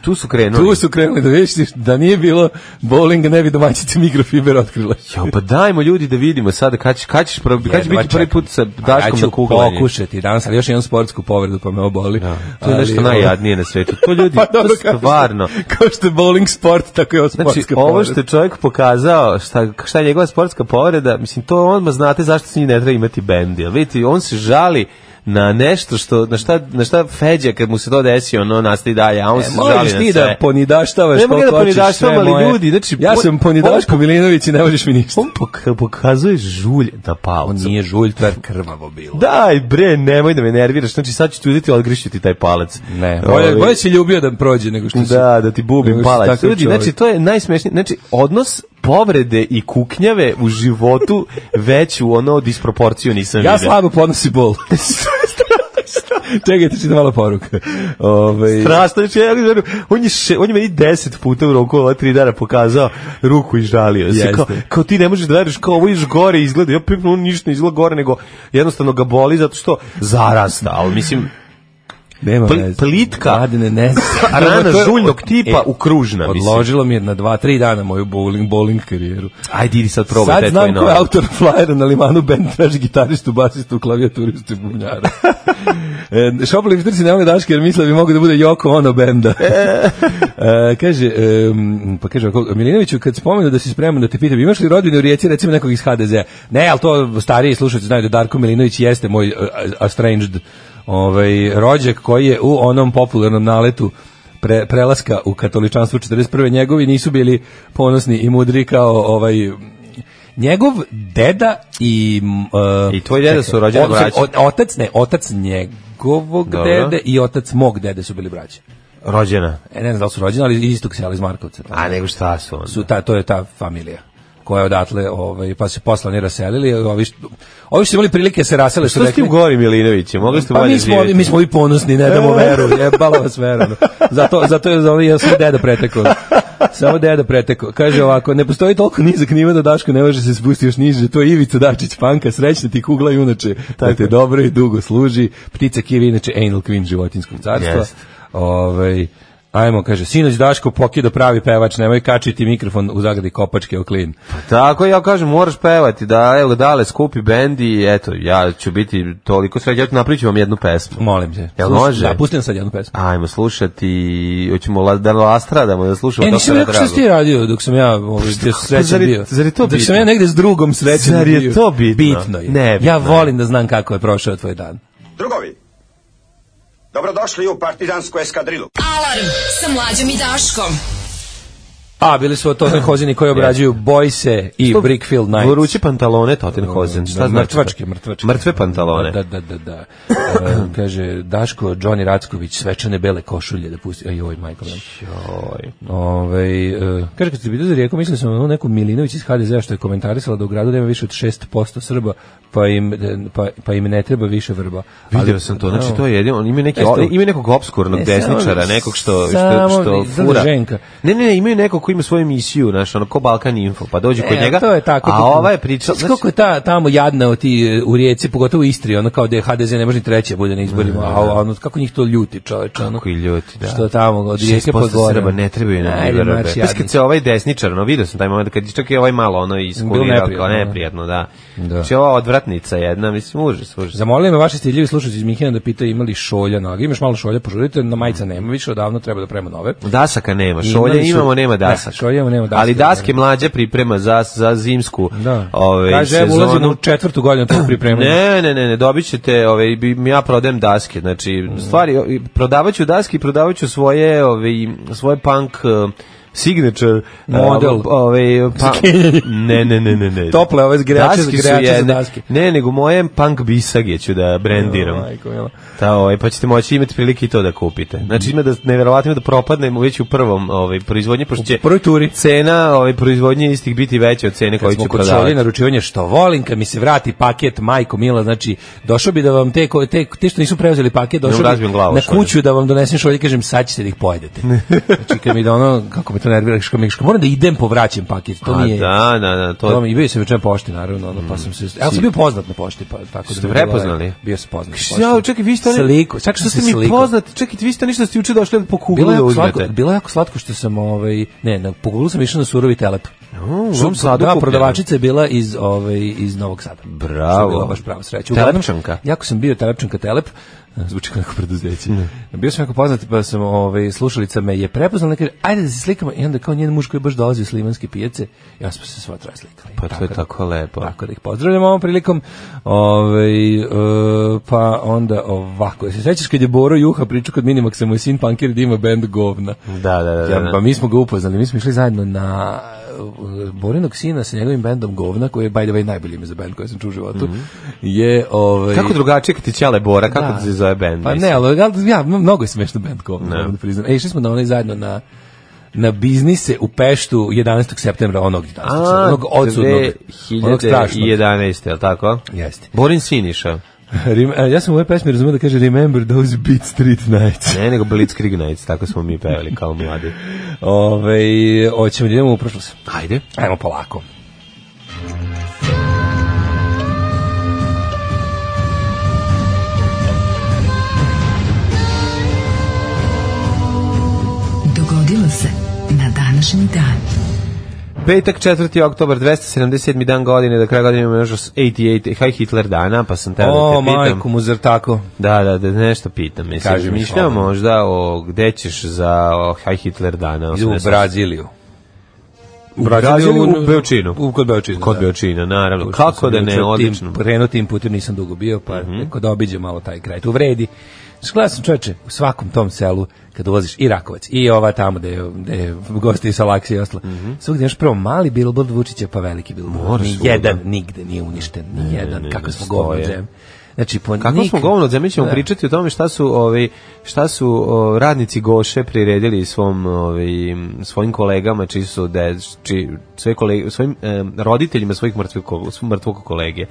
S5: Tu su krenuli.
S6: Tu su krenuli da vidiš da nije bilo bowlinga, ne bi domaćice mikrofiber otkrile.
S5: Jo, pa dajmo ljudi da vidimo sada kad ćeš, kad ćeš, prob- kad će
S6: Jedva
S5: biti prvi
S6: čekam.
S5: put sa
S6: A
S5: Daškom na
S6: Ja
S5: kuglanju.
S6: ću pokušati danas, ali još imam sportsku povredu, pa me oboli.
S5: To je nešto
S6: Ali,
S5: najjadnije na svetu. To ljudi,
S6: [laughs] Pa dobro,
S5: to stvarno.
S6: Kao što, kao što je bowling sport, tako je ovo sportska
S5: Znači, ovo što
S6: povreda.
S5: je čovjek pokazao, šta, šta je njegova sportska povreda, mislim, to odmah znate zašto se njih ne treba imati bend. Jel vidite, on se žali na nešto što, na šta, na šta feđa kad mu se to desi, ono nastavi dalje, a on
S6: E,
S5: se žali na
S6: možeš
S5: sve.
S6: ti da ponidaštavaš
S5: Ne mogu ja da
S6: koliko hoćeš
S5: ponidaštavam,
S6: sve
S5: ali
S6: moje.
S5: ljudi, znači,
S6: ja
S5: on-
S6: sam ponidaško Milinović i ne možeš mi ništa.
S5: On poka- pokazuje žulj na palcu.
S6: žulj, to je krvavo bilo.
S5: Daj bre, nemoj da me nerviraš. Znači sad ću ti uzeti i odgrišću ti taj palac.
S6: Ne,
S5: Ovaj,
S6: bolje, bolje si ljubio E, da prođe nego što si.
S5: Da, da ti bubim
S6: Nego što si
S5: palac.
S6: takav
S5: Ljudi,
S6: čovjek.
S5: znači to je najsmešnije. Znači odnos povrede i kuknjave u životu veću ono disproporciju nisam
S6: Ja
S5: vidio.
S6: slabo podnosi bol. Čekajte, čitam malo [laughs] poruka. Ove,
S5: Strašno, znači, ja ne znam, on je, še, on je meni deset puta u roku ova tri dana pokazao ruku i žalio se. Kao,
S6: Jeste.
S5: kao ti ne možeš da veriš, kao ovo još gore izgleda. Ja pipnu, on ništa ne izgleda gore, nego jednostavno ga boli zato što zarasta. Ali mislim,
S6: nema
S5: Pl-
S6: veze.
S5: plitka.
S6: Mladine, ne znam.
S5: [laughs] rana
S6: To je-
S5: žuljnog tipa
S6: E,
S5: ukružna, mislim.
S6: Odložilo mi je na dva, tri dana moju bowling, bowling karijeru.
S5: Ajde, idi sad probaj.
S6: Sad
S5: taj tvoj
S6: znam ko je
S5: novi.
S6: autor flyera na limanu, band traži gitaristu, basistu, klavijaturistu i
S5: [laughs]
S6: bubnjara. e, Šopolifter si ne one daške jer misle bi mogu da bude Joko ono benda. [laughs] e, kaže, em, pa kaže ovako, Milinoviću, kad spomenu da si spreman da te pitam, imaš li rodbine u rijeci, recimo nekog iz HDZ-a? Ne, ali to stariji slušalci znaju da Darko Milinović jeste moj e, estranged ovaj, rođak koji je u onom popularnom naletu pre, prelaska u katoličanstvo 41. njegovi nisu bili ponosni i mudri kao ovaj njegov deda i uh,
S5: I tvoj deda su rođeni braća.
S6: otac ne otac njegovog
S5: Dobro.
S6: dede i otac mog dede su bili braća
S5: Rođena.
S6: e, ne znam da li su rođeni ali iz istog sela iz Markovca
S5: A nego šta su onda?
S6: su ta to je ta familija koja je odatle ovaj pa se posle oni raselili ovi što, ovi što su imali prilike se rasele su
S5: Što ste
S6: rekli
S5: u gori Milinoviće? Mogli ste
S6: pa
S5: bolje
S6: mi smo,
S5: živjeti?
S6: mi smo i ponosni, ne damo veru, jebala vas vera. no. Zato, zato je za ovaj, ja sam deda pretekao. Samo deda pretekao. Kaže ovako, ne postoji toliko nizak nivo da Daško ne može se spustiti još niže, to je Ivica Dačić Panka, srećna ti kugla junače, da te dobro i dugo služi. Ptica kivi, inače anal queen životinskog carstva.
S5: Jest.
S6: Ovaj, Ajmo, kaže, sinoć Daško pokido pravi pevač, nemoj kačiti mikrofon u zagradi kopačke o klin.
S5: Tako ja kažem, moraš pevati, da, evo, dale, skupi bend i eto, ja ću biti toliko sređen, ja ću napravit ću vam jednu pesmu.
S6: Molim te.
S5: Jel
S6: Slušaj,
S5: može?
S6: Da, pustim sad jednu pesmu.
S5: Ajmo slušati, hoćemo la, da lastradamo, da slušamo
S6: E, nisam
S5: doktora
S6: rekao šta si
S5: Dragu.
S6: ti radio dok sam ja ovaj, gdje sam srećan
S5: zar je-
S6: bio.
S5: zar je to
S6: dok
S5: bitno?
S6: sam ja negde s drugom srećan
S5: Zar je
S6: bio.
S5: to bitno?
S6: Bitno je.
S5: Ne, bitno
S6: ja
S5: je.
S6: volim da znam kako je prošao tvoj dan.
S1: Drugovi, dobrodošli u partizansku eskadrilu.
S4: Alarm sa mlađom i Daškom.
S6: A, bili
S5: [clears throat]
S6: su to hozini koji obrađuju Boyse i Brickfield Nights.
S5: Vruće pantalone Tottenhosen, šta znači?
S6: Mrtvačke, mrtvačke.
S5: Mrtve pantalone.
S6: Da, da, da, da. [clears throat] E, kaže, Daško, Johnny Racković, svečane bele košulje da pusti. Aj, oj, Michael.
S5: Joj. Ovaj,
S6: Ove, e, kaže, kad ste bili za rijeku, mislio sam na onu neku Milinović iz HDZ-a što je komentarisala da u gradu nema više od 6% Srba, pa im, e, pa, pa im ne treba više vrba.
S5: Vidio sam to, znači to je jedino, on ima neki
S6: Jeste
S5: o-
S6: li?
S5: ima nekog obskurnog
S6: Ne,
S5: desničara,
S6: E, samo-
S5: nekog što što
S6: samo
S5: što
S6: Zrna
S5: fura.
S6: Ženka.
S5: Ne, ne, ne, imaju nekog ko ima svoju emisiju, znaš, ono ko Balkan Info, pa dođe kod
S6: E,
S5: njega.
S6: To je tako.
S5: A
S6: kako-
S5: ova je priča,
S6: Znaš koliko je ta, tamo jadna od ti e, u rijeci, pogotovo u Istri, ono kao da je HDZ ne može ni treće bude na izborima, a a ono, kako njih to ljuti čoveč, ono.
S5: Kako i ljuti, da.
S6: Što tamo, od rijeke pa gore.
S5: Srba ne trebaju nam
S6: Ajde,
S5: Iverbe.
S6: marš,
S5: Paš kad se ovaj desničar, no vidio sam taj moment, kad je čak i ovaj malo ono iskulirao, kao
S6: neprijatno, da.
S5: neprijatno, da.
S6: Da.
S5: Znači ova odvratnica jedna, mislim, užas, užas.
S6: Zamolili me vaši stiljivi slušalci iz Minhena da pitaju imali šolja noge. Imaš malo šolja, požurite, na majica
S5: Mhm.
S6: nema više, odavno treba da pravimo nove.
S5: Dasaka nema,
S6: Imali
S5: šolje
S6: su-
S5: imamo, nema dasaka.
S6: Ne, šolje imamo, nema dasaka.
S5: Ali daske mlađe priprema za, za zimsku
S6: Da.
S5: ovaj,
S6: Kaže, evo,
S5: sezonu.
S6: ulazimo u četvrtu godinu tog pripremanja.
S5: Ne, ne, ne, ne, dobit ćete, ovaj, bi- ja prodajem daske, znači, stvari, o, i prodavat ću daske i prodavat ću svoje, ovaj, svoje punk eh, signature eh,
S6: Model. [laughs]
S5: ovaj, pa, ne, ne, ne, ne, ne.
S6: Tople ove zgrejače,
S5: Daske su
S6: zgrejače za
S5: jedne-
S6: daske.
S5: Ne, nego moje punk bisage ću da brendiram.
S6: Majko mila.
S5: Ta, ovaj, pa ćete moći imati prilike i to da kupite. Znači ima da nevjerovatno ima da propadnemo već u prvom ovaj proizvodnji pošto će
S6: U prvoj turi.
S5: cena ovaj proizvodnje istih biti veća od cene koju
S6: Kad
S5: će
S6: smo kod šolje
S5: prodavati.
S6: naručivanje što volim, kad mi se vrati paket, majko mila, znači, došao bi da vam te, ko- te, te što nisu preuzeli paket,
S5: Da mu
S6: došao bi
S5: razbijem glavu
S6: na
S5: šoljem.
S6: kuću da vam donesem šolje i kažem, sad ćete da ih pojedete.
S5: [laughs]
S6: znači, kad mi da ono, kako me to nervira, kako mi moram da idem po vraćem paket, to
S5: A,
S6: nije...
S5: Pa da, da, da, to,
S6: To mi i bio sam juče na pošti naravno, ono, pa sam se. Ja sam bio poznat na pošti, pa tako da.
S5: Mm. Ste
S6: mi je bilo
S5: prepoznali?
S6: lepo. Bio sam poznat. na
S5: Ja,
S6: pošti.
S5: čekaj, vi ste oni-
S6: sliku. Čak
S5: što
S6: što
S5: ste
S6: se
S5: mi
S6: sliku.
S5: poznati, čekaj, vi ste ništa ste juče došli po kuglu
S6: Bilo je
S5: da
S6: jako
S5: uzmete.
S6: slatko, bilo je jako slatko što sam ovaj ne, na pogulu sam išao na surovi telep.
S5: u
S6: Što
S5: Novom Sadu
S6: da,
S5: kupljeno.
S6: prodavačica je bila iz ovaj iz Novog Sada.
S5: Bravo.
S6: Što je bila baš prava sreća. Uglavnom,
S5: Telepčanka?
S6: Jako sam bio telepčanka telep. [laughs] Zvuči kao neko preduzeće. Bio sam jako poznat, pa sam ovaj, slušalica me je prepoznala, kaže, ajde da se slikamo. I onda kao njen muž koji baš dolazi iz Limanske pijace, ja smo se sva troje slikali.
S5: Pa to je tako lepo.
S6: Tako da ih pozdravljam ovom prilikom. Ovaj, e, pa onda ovako. Se sećaš kad je Boro Juha pričao kod Minimaxa, moj sin Pankir da ima band govna.
S5: Da, da, da, da,
S6: Ja,
S5: da.
S6: pa mi smo ga upoznali, mi smo išli zajedno na e, Borinog sina sa njegovim bendom Govna, koji je by the way najbolji ime za bend koji sam čuo u životu. Je ovaj
S5: Mhm. Kako drugačije kad ti ćale Bora, kako
S6: Da.
S5: se zove bend?
S6: Pa
S5: mislim?
S6: ne, ali ali ja mnogo je smešno bend Govna, moram da priznam. E, išli smo na onaj zajedno na na biznise u Peštu 11. septembra onog 11. septembra,
S5: A,
S6: onog odsudnog, onog strašnog.
S5: 2011. je li tako?
S6: Jeste.
S5: Borin Siniša.
S6: Rem- a, ja sam u ovoj pesmi razumio da kaže Remember those Beat Street nights.
S5: Ne, nego Blitzkrieg Nights, tako smo mi pevali kao mladi.
S6: Ove, hoćemo da idemo u prošlost.
S5: Ajde.
S6: Ajmo polako.
S4: Dogodilo se na današnji dan.
S5: Petak, 4. oktobar, 277. dan godine, da kraj godine imamo još 88, haj Hitler dana, pa sam teo da
S6: O,
S5: te pitam.
S6: majku mu, zar tako?
S5: Da, da, da nešto pitam. Mislim,
S6: Kaži mi
S5: mišljamo
S6: slobodno.
S5: možda o gde ćeš za o, haj Hitler dana.
S6: Idemo u
S5: 88.
S6: Braziliju.
S5: U Braziliju, u Beočinu.
S6: U, kod Beočina.
S5: Kod Beočina, naravno. Kako da ne, odlično.
S6: Krenuo tim putem nisam dugo bio, pa mm
S5: Mhm.
S6: da obiđem malo taj kraj. Tu vredi. Znaš, Gledao sam čoveče, u svakom tom selu, kad ulaziš i Rakovac, i ova tamo gde je, gde je gosti iz Alaksije i ostalo, svugdje imaš prvo mali billboard Vučića, pa veliki billboard.
S5: Mhm. Moraš
S6: ni
S5: svuda.
S6: jedan nigde nije uništen, ni jedan,
S5: ne,
S6: kako
S5: ne
S6: smo
S5: stoje.
S6: govno džem. Znači, po
S5: Kako smo
S6: nikad-
S5: govno, zemlji ćemo
S6: Da.
S5: pričati o tome šta su, ovaj, šta su o, radnici Goše priredili svom, ovaj, svojim kolegama, čiji su de, či, sve kolege, svojim em, roditeljima svojih mrtvih, ko- svog mrtvog kolege.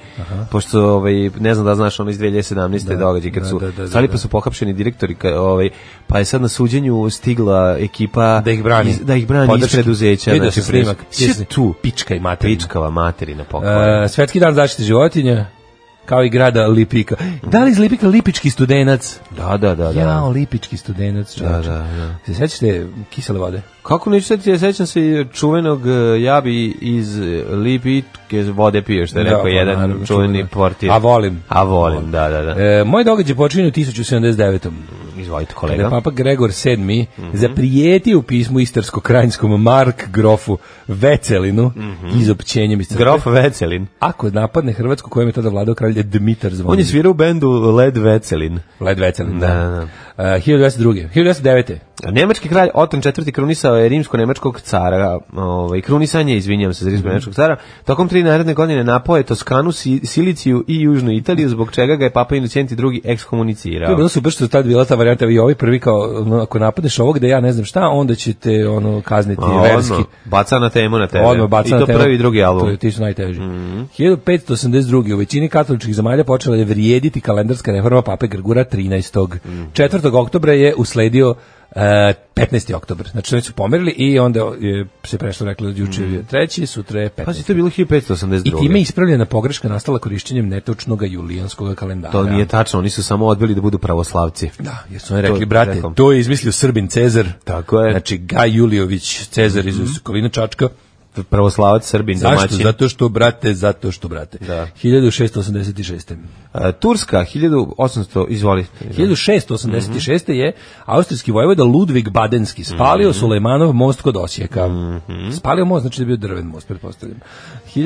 S5: Pošto, ovaj, ne znam da znaš, ono iz 2017. događaj, kad
S6: da,
S5: su
S6: da, da, da,
S5: stali
S6: da.
S5: pa su pohapšeni direktori, ka- ovaj, pa je sad na suđenju stigla ekipa
S6: da ih brani.
S5: iz, da ih brani iz
S6: Podrške.
S5: preduzeća.
S6: Vidio
S5: znači,
S6: sam snimak.
S5: Sve tu,
S6: Pička i materina.
S5: pičkava materina pokojena.
S6: E, svetski dan zaštite životinja, kao i grada Lipika. Da li iz Lipika Lipički studenac?
S5: da, da, da, da.
S6: Jao, lipički studenac, čovječe.
S5: Da, da, da.
S6: Se sjećate kisele vode?
S5: Kako neću sjetiti, ja sećam se čuvenog eh, jabi iz eh, Lipitke vode pio, što je
S6: Da,
S5: rekao
S6: pa
S5: jedan
S6: naravno,
S5: čuveni
S6: čuveno.
S5: portir.
S6: A volim.
S5: A volim, da, da, da.
S6: E, moj događaj počinje u 1079.
S5: Izvolite
S6: Kada je
S5: kolega. Mhm.
S6: papa Gregor VII zaprijetio u pismu istarsko-krajinjskom Mark Grofu Vecelinu izopćenjem iz crkve.
S5: Mhm. Grof Vecelin.
S6: Ako napadne Hrvatsku kojem je tada vladao kralj Dmitar Zvonimir.
S5: On je svirao u bendu Led Vecelin.
S6: Led Vecelin, da.
S5: Da, da, da.
S6: E, 1202. 1209.
S5: A Nemački kralj Oton IV krunisao je rimsko-nemačkog cara, ovaj, krunisanje, izvinjam se za rimsko-nemačkog cara, tokom tri naredne godine napao je Toskanu, Si- Siliciju i Južnu Italiju, zbog čega ga je Papa Inocenti II ekskomunicirao.
S6: To je bilo super što je tad bila ta varijanta i ovi prvi kao ono, ako napadneš ovog da ja ne znam šta, onda će te ono kazniti
S5: A, odmah,
S6: verski.
S5: baca na temu na tebe.
S6: Odmah baca
S5: I
S6: na
S5: to
S6: tebe.
S5: prvi i drugi album. Mhm.
S6: To je, ti su najteži. 1582. U većini katoličkih zemalja počela je vrijediti kalendarska reforma pape Grgura 13.
S5: Mhm.
S6: 4. oktobra je usledio e, 15. oktobar. Znači, već su pomerili i onda je se prešlo, rekli, juče
S5: Mhm.
S6: je 3. sutra je 15.
S5: Pazi, to je bilo 1582.
S6: I time je ispravljena pogreška nastala korišćenjem netočnog julijanskog kalendara.
S5: To nije tačno, oni su samo odbili da budu pravoslavci.
S6: Da, jer su oni
S5: To-
S6: rekli, brate,
S5: rekao.
S6: to je izmislio Srbin Cezar.
S5: Tako je. Mhm.
S6: Znači, Gaj Juliović, Cezar iz Sokolina Čačka.
S5: Pravoslavac, srbin,
S6: Zašto?
S5: domaćin.
S6: Zato što, brate, zato što, brate.
S5: Da.
S6: 1686.
S5: E, Turska, 1800, izvoli.
S6: 1686. je austrijski vojvoda Ludvig Badenski spalio
S5: Mhm.
S6: Sulejmanov most kod Osijeka. Spalio most, znači da je bio drven most, pretpostavljam.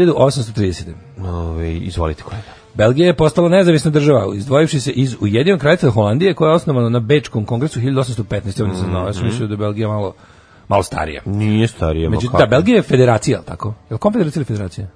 S6: 1830.
S5: Ove, Ovaj, izvolite kolega.
S6: Belgija je postala nezavisna država, izdvojivši se iz Ujedinjenog kraljevstva Holandije, koja je osnovana na Bečkom kongresu 1815. Oni se znao, ja sam mislio da je Belgija malo, malo starija.
S5: Nije starije, ma
S6: Međutim,
S5: kako?
S6: da, Belgija je federacija, jel tako? Je li konfederacija ili federacija?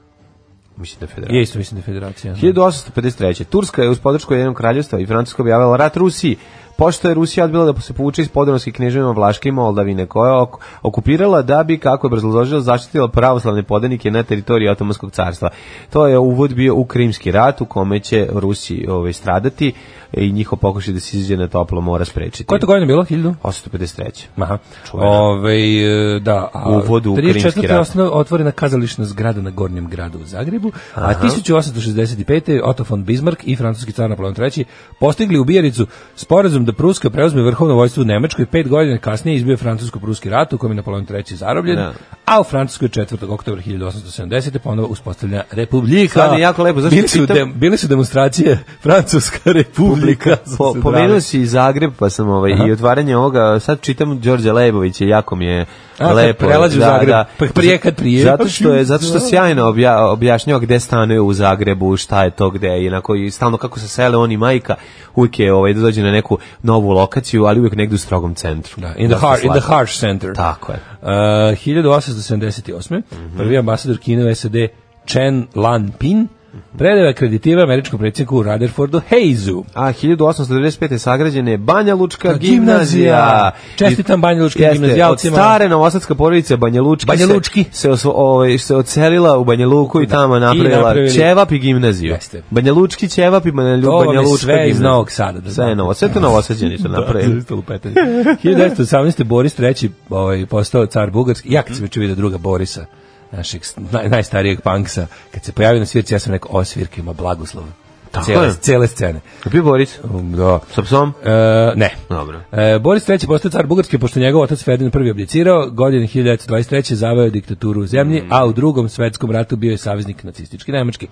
S5: Mislim da je federal.
S6: Je isto, mislim da je federacija.
S5: 1853. Turska je uz podršku jednog kraljevstva i Francuska objavila rat Rusiji. Pošto je Rusija odbila da se povuče iz podronskih knježevima Vlaške i Moldavine, koja je ok- okupirala da bi, kako je obrazložila, zaštitila pravoslavne podanike na teritoriji Otomanskog carstva. To je uvod bio u Krimski rat, u kome će Rusi ovaj, stradati i njihov pokušaj da se izađe na toplo mora sprečiti.
S6: Koja je to godina bilo? 1000?
S5: 853.
S6: Aha.
S5: Čuvena.
S6: Ove, da, a
S5: Uvod u Krimski
S6: 34.
S5: rat.
S6: osnov otvorena kazališna zgrada na Gornjem gradu u Zagrebu, a 1865. Otto von Bismarck i francuski car Napoleon III postigli u Bijericu sporazum da Pruska preuzme vrhovno vojstvo u Nemačkoj. Pet godina kasnije izbio je francusko-pruski rat u kojem je Napoleon III zarobljen,
S5: Da.
S6: a u Francuskoj 4. oktober 1870. ponovo uspostavljena republika.
S5: Stvarno je jako lepo, zašto
S6: Bili su,
S5: pitam-
S6: dem- bili su demonstracije Francuska republika.
S5: Po, pomenuo si i Zagreb, pa sam ovaj, i otvaranje ovoga, sad čitam Đorđe Lebovića, jako mi je
S6: A, kad
S5: lepo.
S6: prelazi u Zagreb, pa prije kad prije.
S5: Zato što je, zato što sjajno obja, objašnjava gde stanuje u Zagrebu, šta je to gde, i onako, i stalno kako se sele on i majka, uvijek je ovaj, da dođe na neku novu lokaciju, ali uvijek negdje u strogom centru.
S6: Da, in the,
S5: Jako
S6: har, in the
S5: slatko.
S6: harsh center.
S5: Tako je. Mhm.
S6: Uh, 1878. Prvi ambasador Kine u SAD Chen Lan Pin Predava kreditiva američkom predsjedniku Rutherfordu Hayesu.
S5: A 1895. sagrađena je Banja Lučka
S6: Ta
S5: gimnazija.
S6: gimnazija. Čestitam Banja Lučkim
S5: Jeste,
S6: gimnazijalcima.
S5: Od stare novosadska porodica Banja Lučki,
S6: Banja
S5: se-
S6: Lučki.
S5: Se, osvo- ovaj, se ocelila u Banja Luku i tamo napravila
S6: napravili-
S5: Ćevap i gimnaziju.
S6: Jeste.
S5: Banja Lučki Ćevap i Banja,
S6: To
S5: Lu,
S6: vam
S5: Banja
S6: je
S5: Lučka
S6: sve iz
S5: gimnazija.
S6: Novog Sada,
S5: sve
S6: da
S5: je
S6: znate.
S5: novo, sve to novosadđeni
S6: [laughs]
S5: su napravili.
S6: zaista lupetanje. 1918. Boris III. Ovaj, postao car Bugarski. Ja kad sam već vidio druga Borisa, našeg s- naj, najstarijeg punksa, kad se pojavio na svirci, ja sam rekao, o svirka ima blagoslov.
S5: Tako
S6: Cijele,
S5: je.
S6: cijele scene.
S5: Je bio Boris?
S6: Um, Da.
S5: Sa psom?
S6: E, ne.
S5: Dobro.
S6: E, Boris III. postao car Bugarske, pošto njegov otac Ferdinand prvi abdicirao, godine 1923. zaveo je diktaturu u
S5: Mm.
S6: zemlji, a u drugom svetskom ratu bio je saveznik nacistički Nemački.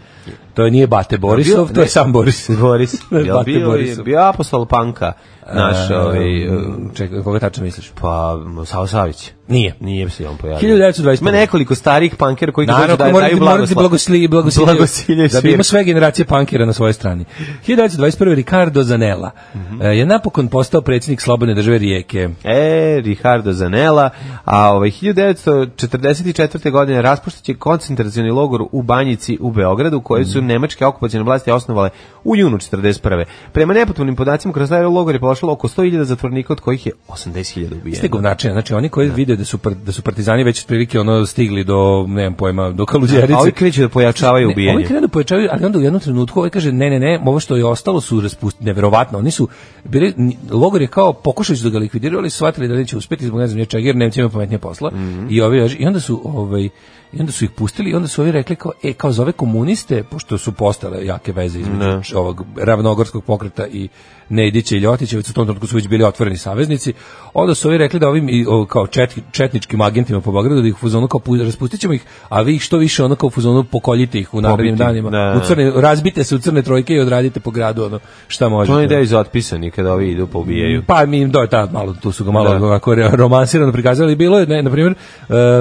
S6: To je nije Bate Borisov,
S5: Bio-
S6: to je
S5: ne.
S6: sam Boris. [laughs]
S5: Boris. [laughs] Jel
S6: Bate
S5: bio, je-
S6: Borisov.
S5: bio apostol panka naš, ovaj,
S6: E, čekaj, koga tačno misliš?
S5: pa Sao Savić.
S6: Nije.
S5: Nije se on pojavio.
S6: 1925.
S5: Pa, Ima nekoliko starih pankera koji kad dođu
S6: Naravno,
S5: daju,
S6: morate,
S5: daju
S6: morate
S5: blagoslov.
S6: blagosli, blagosilje,
S5: Blagosilje
S6: da bi
S5: svira.
S6: imao sve generacije pankera na svojoj strani. 1921. Ricardo Zanella
S5: Mhm.
S6: e, je napokon postao predsjednik slobodne države Rijeke.
S5: E, Ricardo Zanella, a ovaj 1944. godine raspuštat je koncentracioni logor u Banjici u Beogradu, koje
S6: Mhm.
S5: su nemačke okupacijne vlasti osnovale u junu 41. Prema nepotpunim podacima, kroz taj logor je pološalo oko 100.000 zatvornika, od kojih je 80.000
S6: Ste
S5: ubijeno.
S6: govnačine, znači oni koji vide da su, par- da su partizani već otprilike ono stigli do, nemam pojma, do Kaluđerice.
S5: A ovi kreću da pojačavaju
S6: Ne, Ovi
S5: ubijenje.
S6: krenu da pojačavaju, ali onda u jednom trenutku ovaj kaže ne, ne, ne, ovo što je ostalo su raspustili, neverovatno, oni su, bili, ni- logor je kao pokušali su da ga likvidirali, ali su shvatili da neće uspjeti zbog ne znam nije čega, jer Nemci imaju pametnije posla.
S5: Mhm.
S6: I, ovi, I onda su ovaj, i onda su ih pustili i onda su ovi rekli kao, e, kao za ove komuniste, pošto su postale jake veze između č- ovog ravnogorskog pokreta i Nedića i Ljotića, već su u tom trenutku su već bili otvoreni saveznici, onda su ovi rekli da ovim i, o, kao čet- četničkim agentima po Beogradu da ih u fuzonu kao pu- raspustit ćemo ih, a vi ih što više ono kao u fuzonu pokoljite ih u narednim
S5: Pobiti.
S6: danima.
S5: Da, da,
S6: U crne, razbite se u crne trojke i odradite po gradu ono šta možete.
S5: To je ideja iz otpisani, kada ovi idu pa ubijaju.
S6: Pa mi im do ta malo tu su ga malo
S5: Da.
S6: onako re- romansirano prikazali bilo je ne, na primjer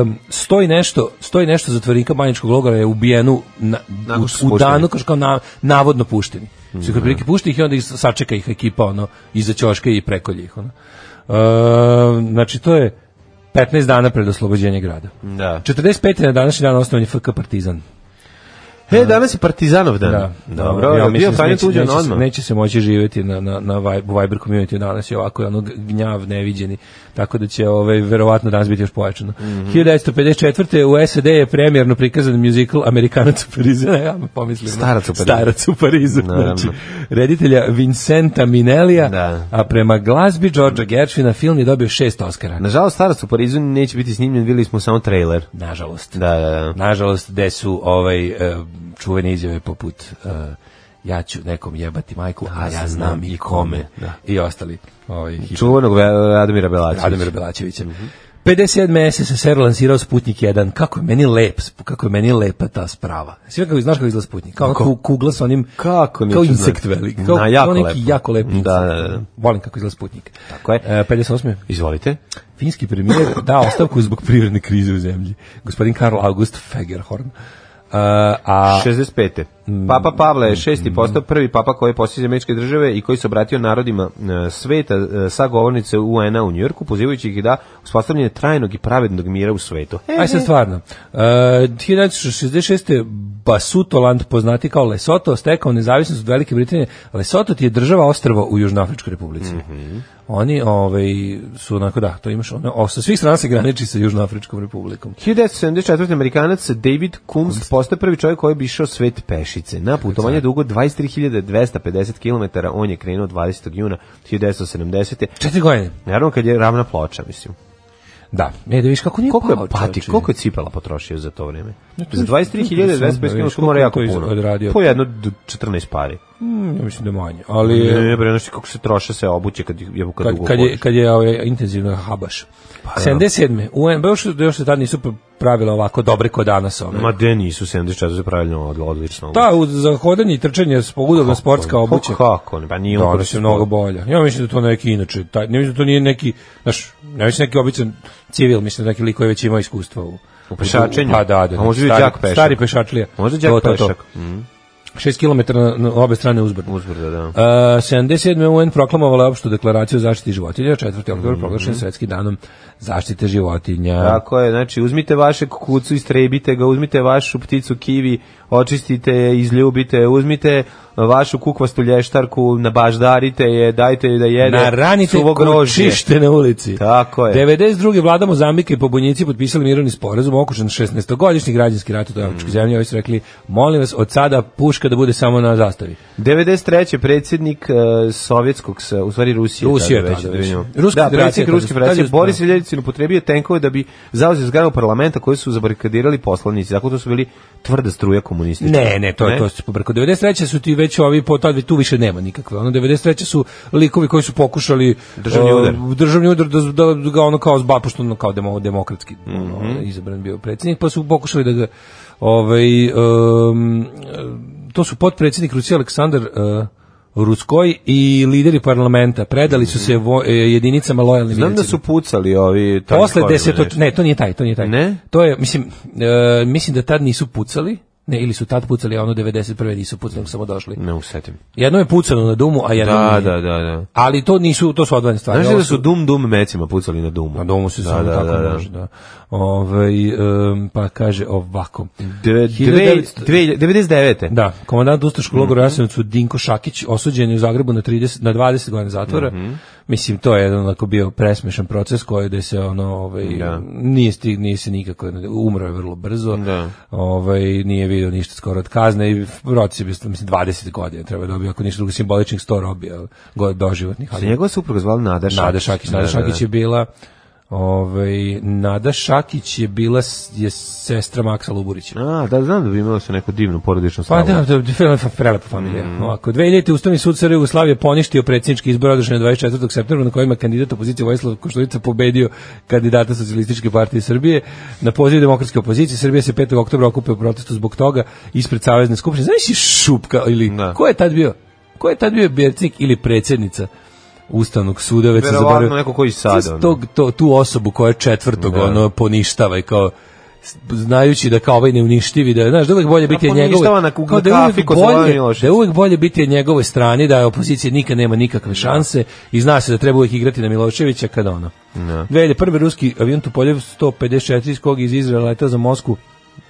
S6: um, stoji nešto stoji nešto zatvorenika Banjačkog logora je ubijenu na,
S5: Nakon što su
S6: u, u
S5: pušteni.
S6: danu kao, kao na, navodno pušteni. Mm -hmm. prilike pušti ih i onda ih sačeka ih ekipa ono iza ćoška i prekolje ih ono. Um, znači to je 15 dana pred oslobođenje grada.
S5: Mm, Da.
S6: 45. na današnji dan osnovan je FK Partizan.
S5: E, danas je Partizanov dan.
S6: Da,
S5: Dobro,
S6: ja
S5: ja,
S6: mislim
S5: bio
S6: da
S5: Franjo
S6: neće-
S5: Tuđman
S6: neće se-
S5: odmah.
S6: Neće se moći živjeti na, na, na Vibe- Viber community danas je ovako ono gnjav neviđeni, tako da će ovaj, verovatno danas biti još pojačano.
S5: Mhm.
S6: 1954. u SED je premijerno prikazan musical Amerikanac u Parizu, [laughs] Ne, ja me pomislim.
S5: Starac u Parizu.
S6: Starac u Parizu,
S5: Naravno.
S6: znači, reditelja Vincenta Minelija,
S5: Da.
S6: a prema glazbi Georgea Gershvina film je dobio šest Oscara.
S5: Nažalost, starac u Parizu neće biti snimljen, videli smo samo trailer.
S6: Nažalost.
S5: Da, da, da.
S6: Nažalost, gde su ovaj, e, čuvene izjave poput e, ja ću nekom jebati majku, a ja znam i kome.
S5: Da.
S6: I ostali. Ovaj, hit-
S5: Čuvanog Ve- Radomira Belačića.
S6: Radomira Belačevića.
S5: Mhm.
S6: 57. SSSR lansirao Sputnik 1. Kako je meni lep, sp- kako je meni lepa ta sprava. Sve kako znaš kako izgleda Sputnik. Kao ku- kugla sa onim
S5: Kako neću
S6: kao
S5: znati.
S6: insekt velik. Kao,
S5: Na, jako
S6: kao neki
S5: lepo.
S6: jako lep.
S5: Da, da, da.
S6: Volim kako izgleda Sputnik.
S5: Tako je.
S6: E, 58.
S5: Izvolite.
S6: Finski premijer dao ostavku zbog privredne krize u zemlji. Gospodin Karl August Fegerhorn. Uh, a Mm.
S5: 65. Papa Pavle je šesti postao prvi papa koji je posjetio američke države i koji se obratio narodima e, sveta e, sa govornice UN-a u Njujorku, pozivajući ih da uspostavljanje trajnog i pravednog mira u svetu. E,
S6: Aj sad stvarno. Uh, 1966. Basutoland, poznati kao Lesoto, stekao nezavisnost od Velike Britanije. Lesoto ti je država ostrava u Južnoafričkoj republici. Oni ovaj, su onako, da, to imaš, ono, o, sa svih strana se graniči sa Južnoafričkom republikom.
S5: 1974. Amerikanac David Kumst postao prvi čovjek koji bi išao svet pešice. Na putovanje dugo 23.250 km, on je krenuo 20. juna 1970.
S6: Četiri godine.
S5: Naravno kad je ravna ploča, mislim.
S6: Da. E, da viš kako nije
S5: Koliko
S6: pao,
S5: je pati,
S6: čovječe.
S5: koliko je cipela potrošio za to vrijeme? Za
S6: interesantno,
S5: 23.250
S6: vidiš,
S5: km mora
S6: koliko je
S5: jako
S6: to iz-
S5: puno.
S6: odradio.
S5: Po jedno d- 14 pari.
S6: Mm, ja mislim da je manje. Ali,
S5: Ne, ne, bre, znaš ti kako se troše se obuće kad je kad,
S6: kad,
S5: dugo
S6: kad je,
S5: hodaš.
S6: kad je ovaj, intenzivno habaš.
S5: da.
S6: 77. UN, još, još se tad nisu pravila ovako dobre ko danas ove.
S5: Ma de nisu 74 pravilno od- odlično.
S6: Ta u- za hodanje i trčanje s- udobna sportska obuća.
S5: Kako? ne, Pa nije
S6: Da,
S5: on
S6: da se mnogo bolja. Ja mislim da to neki inače, taj, ne mislim da to nije neki, znaš, ne mislim neki običan civil, mislim da neki lik koji već ima iskustva u
S5: U pešačenju?
S6: Pa da, da.
S5: A može biti
S6: stari-
S5: đak pešak.
S6: Stari pešačlija.
S5: Možda đak
S6: To, to, to.
S5: pešak.
S6: 6 km na, na obe strane uzbrdo.
S5: Uzbrdo, da.
S6: Uh, 77. UN proklamovala opštu deklaraciju o zaštiti životinja, 4. oktober proglašen svetskim danom zaštite životinja.
S5: Mhm. Tako je, znači uzmite vaše kukucu, istrebite ga, uzmite vašu pticu kivi, očistite je, izljubite je, uzmite vašu kukvastu lještarku, nabaždarite je, dajte je da jede
S6: Naranite
S5: suvo grožđe.
S6: kočište na ulici.
S5: Tako je.
S6: 92. vlada Mozambike i pobunjici potpisali mirovni sporazum okušen 16-godišnji građanski rat u
S5: Mhm.
S6: toj afričkoj zemlji. Ovi su rekli, molim vas, od sada puška da bude samo na zastavi.
S5: 93. predsjednik e, sovjetskog, sa- u stvari Rusije.
S6: Rusije,
S5: tada već,
S6: tada
S5: da
S6: već.
S5: vidimo.
S6: Ruska
S5: da, predsjednik
S6: federacija,
S5: Ruske
S6: tada su-
S5: federacije
S6: tada su-
S5: Boris
S6: da.
S5: Viljevicin upotrebio tenkove da bi zauzeo zgranu parlamenta koji su zabarikadirali poslanici. Dakle, to su bili tvrda struja komunistička.
S6: Ne, ne, to je to se pobrko. 93. su ti već ovi po tad tu više nema nikakve. Ono 93. su likovi koji su pokušali
S5: Državni
S6: uh,
S5: udar.
S6: državni udar da, da, da ga ono kao zba pošto ono kao demo, demokratski
S5: Mhm.
S6: ono, izabran bio predsjednik, pa su pokušali da ga ovaj um, to su potpredsjednik Rusije Aleksandar uh, Ruskoj i lideri parlamenta predali su se vo, eh, jedinicama lojalnim
S5: Mhm. Znam da
S6: milicima.
S5: su pucali ovi... tankovi
S6: Posle
S5: ili
S6: deseto...
S5: nešto.
S6: Ne, to nije taj, to nije taj.
S5: Ne?
S6: To je, mislim, e, mislim da tad nisu pucali, ne, ili su tad pucali, a ono 91. nisu pucali, nego samo došli.
S5: Ne usetim.
S6: Jedno je pucano na Dumu, a jedno
S5: Da,
S6: nije.
S5: da, da, da.
S6: Ali to nisu, to su odvojene stvari.
S5: Znaš
S6: Ovo
S5: da su dum dum mecima pucali na dumu?
S6: Na Dumu se
S5: Da,
S6: samo
S5: da,
S6: tako
S5: da, da.
S6: može, da. Ovaj, em, pa kaže ovako.
S5: Dve- dve- dve-
S6: 1900
S5: 99.
S6: Da, komandant ustaškog
S5: Mhm.
S6: logora u Jasenovcu Dinko Šakić osuđen je u Zagrebu na 30 na 20 godina zatvora.
S5: Mhm.
S6: Mislim to je jedan onako bio presmešan proces koji da se ono ovaj
S5: Da.
S6: nije stig nije se nikako umro je vrlo brzo.
S5: Da.
S6: Ovaj nije video ništa skoro od kazne i proces je bio mislim 20 godina treba da dobije ako ništa drugo simboličnih 100 robija god doživotnih
S5: Se njegova supruga zvala Nada Šakić.
S6: Nada Šakić, Nada
S5: Da, da, da.
S6: Šakić je bila ovaj Nada Šakić je bila s- je sestra Maksa Luburića.
S5: A, da, znam da bi imala se neko divno porodično
S6: Pa
S5: stavo.
S6: da, da, da, film je prelepa familija.
S5: Mhm.
S6: Ovako, 2000. Ustavni sud Srbije Jugoslavije poništio predsjednički izbor održan 24. septembra na kojima je kandidat opozicije Vojislav Košturica pobedio kandidata Socijalističke partije Srbije na poziv demokratske opozicije. Srbija se 5. oktobra okupio u protestu zbog toga ispred Savezne skupštine. Znaš li Šupka ili
S5: Da.
S6: ko je tad bio? Ko je tad bio Bercik ili predsjednica? Ustavnog suda već sam
S5: Verovatno
S6: zaboravio.
S5: neko ko i sada,
S6: Znaš
S5: ono.
S6: Tog, to, tu osobu koja je četvrtog ono poništava i kao s- znajući da kao ovaj neuništivi da je, znaš da uvek bolje biti je
S5: poništava
S6: njegovo
S5: na kuglu
S6: kao da je
S5: kafi
S6: uvek
S5: kod Slobodana
S6: bolje
S5: Miloševića.
S6: da je uvek bolje biti je njegovoj strani da je opozicija nikad nema nikakve šanse i zna se da treba uvek igrati na Miloševića kada ono 2001. ruski avion Tupolev 154 iz kog je iz Izraela letao za Mosku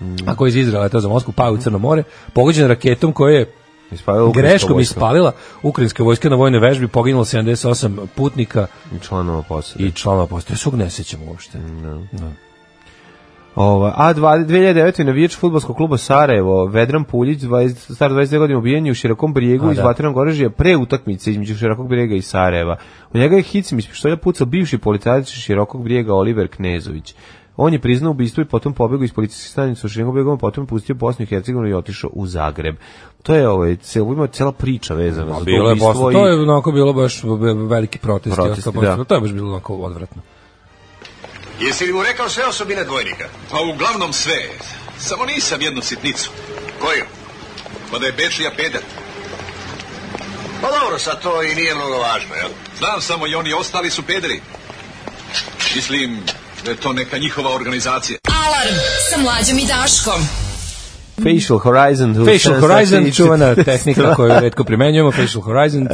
S5: Mm.
S6: a koji je iz Izraela letao za Mosku pao je u Crno more pogođen raketom koja je
S5: Ispavila ukrajinska
S6: greškom
S5: vojska
S6: ispalila ukrajinska vojska na vojnoj vežbi poginulo 78 putnika
S5: i članova posade.
S6: i članova postoje svog ne sećam uopšte
S5: Mm, Ova, Ovaj, a dva- 2009. navijač futbolskog kluba Sarajevo, Vedran Puljić, 20, star 22 godine ubijen je u širokom brijegu
S6: A,
S5: iz
S6: da.
S5: vatrenog oružja pre utakmice između širokog brijega i Sarajeva. U njega je hicim iz pištolja pucao bivši policajac iz širokog brijega Oliver Knezović. On je priznao ubistvo i potom pobegao iz policijske stanice u Širokog brijegu, a potom je pustio Bosnu i Hercegovinu i otišao u Zagreb. To je ovaj, cel, ima cela priča vezana za to
S6: Bilo je
S5: ubistvo
S6: Bosna.
S5: i-
S6: To je onako bilo baš ve- veliki protest.
S5: Protesti,
S6: i ostalo.
S5: da.
S6: To je baš bilo onako odvratno.
S7: Jesi li mu rekao sve osobine dvojnika?
S8: Pa uglavnom sve. Samo nisam jednu sitnicu.
S7: Koju?
S8: Pa da je Bečija pedat.
S7: Pa dobro, sad to i nije mnogo važno, jel?
S8: Znam samo i oni ostali su pederi. Mislim da je to neka njihova organizacija.
S4: Alarm sa mlađom i Daškom.
S5: Facial Horizon. who
S6: Facial
S5: sends
S6: Horizon,
S5: us- [laughs]
S6: čuvena tehnika koju redko primenjujemo, Facial Horizon,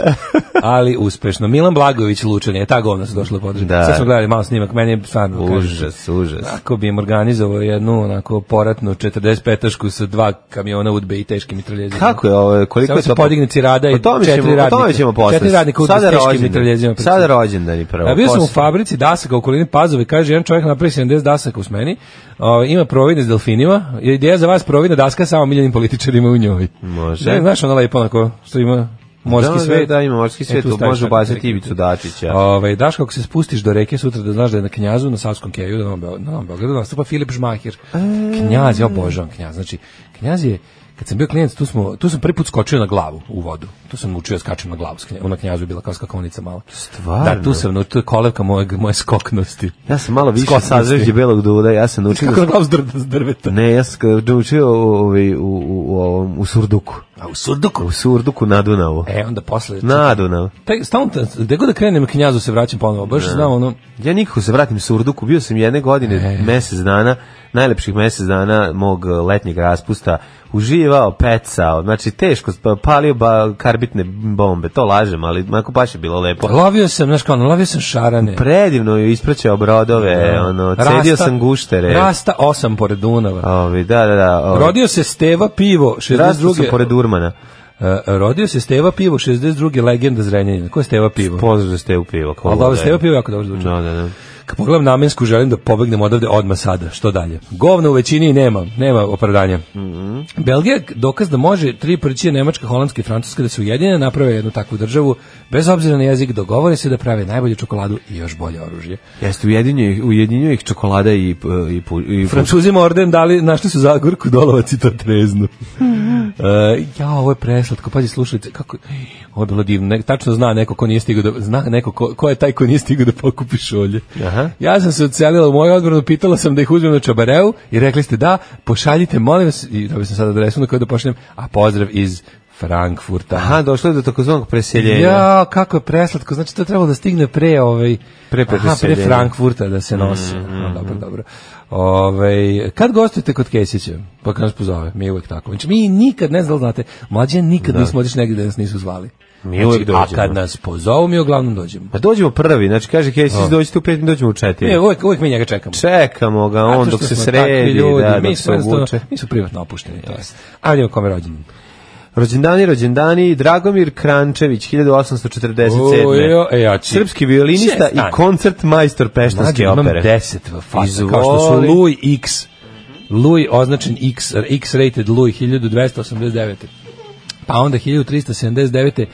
S6: ali uspešno. Milan Blagović Lučan je, ta govna su došla podržati.
S5: Da.
S6: Sad smo gledali malo snimak, meni je stvarno... kažem,
S5: Užas, užas.
S6: Ako bi im organizovao jednu onako poratnu 45-ašku sa dva kamiona udbe i teškim mitraljezima.
S5: Kako je ovo, koliko
S6: Samo
S5: je
S6: se
S5: to?
S6: podigne cirada i
S5: O tome
S6: četiri
S5: ćemo, o tome
S6: radnika.
S5: ćemo posle.
S6: Četiri radnika udbe s
S5: Sada
S6: teškim
S5: rođendan.
S6: mitraljezima.
S5: Sada rođendan i prvo.
S6: A bio sam u
S5: posle.
S6: fabrici dasaka u okolini Pazove, kaže jedan čovjek napravi 70 dasaka u smeni, ovaj, ima providne s delfinima, je ideja za vas providna daska samo miljenim političarima u njoj.
S5: Može.
S6: Ne, znaš ono lepo onako što ima morski
S5: da,
S6: svet.
S5: Da, da, ima morski
S6: E,
S5: svet,
S6: tu
S5: tu
S6: staviš
S5: može
S6: tako
S5: ubaciti
S6: neki-
S5: Ivicu Dačića.
S6: Ovaj daš kako se spustiš do reke sutra da znaš da je na Knjazu na Savskom keju na Novom Beogradu, na Novom Beogradu nastupa Filip Žmahir.
S5: E.
S6: Knjaz, ja obožavam Knjaz. Znači Knjaz je kad sam bio klijent, tu smo tu sam prvi put skočio na glavu u vodu. Tu sam naučio da skačem na glavu. s Knja- Ona Knjazu je bila kao skakaonica mala.
S5: Stvarno?
S6: Da, tu sam naučio to je kolevka moje moje
S5: [laughs]
S6: skoknosti.
S5: Ja sam malo više
S6: Skotnosti.
S5: sazveđe belog duda, ja sam naučio...
S6: Kako na glavu s drv- s drveta.
S5: Ne, ja sam ga naučio ovaj, u, u, u, ovom, u Surduku.
S6: A u surduku.
S5: U Surduku na Dunavu.
S6: E, onda posle...
S5: Na Dunavu.
S6: Taj, stalno, gde god da krenem knjazu se vraćam ponovo. Baš znam ono...
S5: Ja nikako se vratim Surduku, bio sam jedne godine,
S6: E.
S5: mjesec dana, najlepših mjesec dana mog e, letnjeg raspusta uživao, pecao, znači teško, pa- palio ba, karbitne bombe, to lažem, ali onako baš je bilo lepo.
S6: Lovio sam, znaš kao, ono, lovio sam šarane.
S5: Predivno je ispraćao brodove, ono,
S6: Rasta-
S5: cedio sam guštere.
S6: Rasta osam pored Dunava.
S5: Ovi, da, da, da. ovi.
S6: Rodio se Steva Pivo,
S5: ovaj. Rastao sam
S6: 62.
S5: pored Urmana.
S6: E, rodio se Steva Pivo, 62. legenda Zrenjanina. Ko je Steva Pivo?
S5: Pozdrav za Stevu Pivo.
S6: Ali dobro, Stevo Pivo jako dobro zvuči.
S5: Da, da, da.
S6: Kad pogledam namensku, želim da pobegnem odavde odmah sada. Što dalje? Govna u većini nema, nema opravdanja. Belgija je dokaz da može tri prčije Nemačka, Holandska i Francuska da se ujedine, naprave jednu takvu državu, bez obzira na jezik, dogovore se da prave najbolju čokoladu i još bolje oružje.
S5: Jeste, ujedinjuje ih, ujedinjuje ih čokolada i, i, i, pu- i
S6: Francuzima orden dali, našli su Zagorku, Dolovac i to treznu. E, ja, ovo je preslatko, pazi, slušajte, kako, ovo je bilo divno, ne, tačno zna neko ko nije stigao da, zna neko ko, ko je taj ko nije stigao da pokupi šolje.
S5: Aha.
S6: Ja sam se odselila u moju odbranu, pitala sam da ih uzmem na čabareu i rekli ste da, pošaljite, molim vas, i dobio sam sad adresu na koju da pošaljem, a pozdrav iz Frankfurta.
S5: Aha, došlo je do takozvanog preseljenja.
S6: Ja, kako je preslatko, znači to je trebalo da stigne pre ovaj
S5: Pre Mm,
S6: aha, pre
S5: preseljenja.
S6: Frankfurta da se nosi. A, dobro, dobro. Ovaj kad gostujete kod Kesića, pa kad nas pozove, mi je uvek tako. Znači mi nikad ne znam, znate, mlađe nikad nismo otišli negdje da nas nisu zvali. Znači,
S5: Mi uvek
S6: a
S5: dođemo.
S6: kad nas pozovu, mi uglavnom dođemo.
S5: Pa dođemo prvi, znači kaže Kesić, dođite u pet, mi dođemo u četiri.
S6: Mi uvek, uvek mi njega čekamo.
S5: Čekamo ga, on
S6: E, Zato
S5: dok
S6: što
S5: se
S6: smo takvi
S5: sredi,
S6: ljudi,
S5: da,
S6: mi
S5: dok
S6: smo
S5: se
S6: jednostavno-
S5: obuče.
S6: Mi smo privatno opušteni, to jest. A vidimo kome je rođen.
S5: Rođendani, rođendani, Dragomir Krančević, 1847.
S6: O, jo, e, ja ću-
S5: Srpski violinista
S6: Šest,
S5: i
S6: aj.
S5: koncert majstor Peštanske
S6: Mlađe, imam
S5: opere.
S6: 10 faza, kao što
S5: Izvoli.
S6: su Louis X. Louis označen X, X-rated Louis 1289. Pa onda 1379.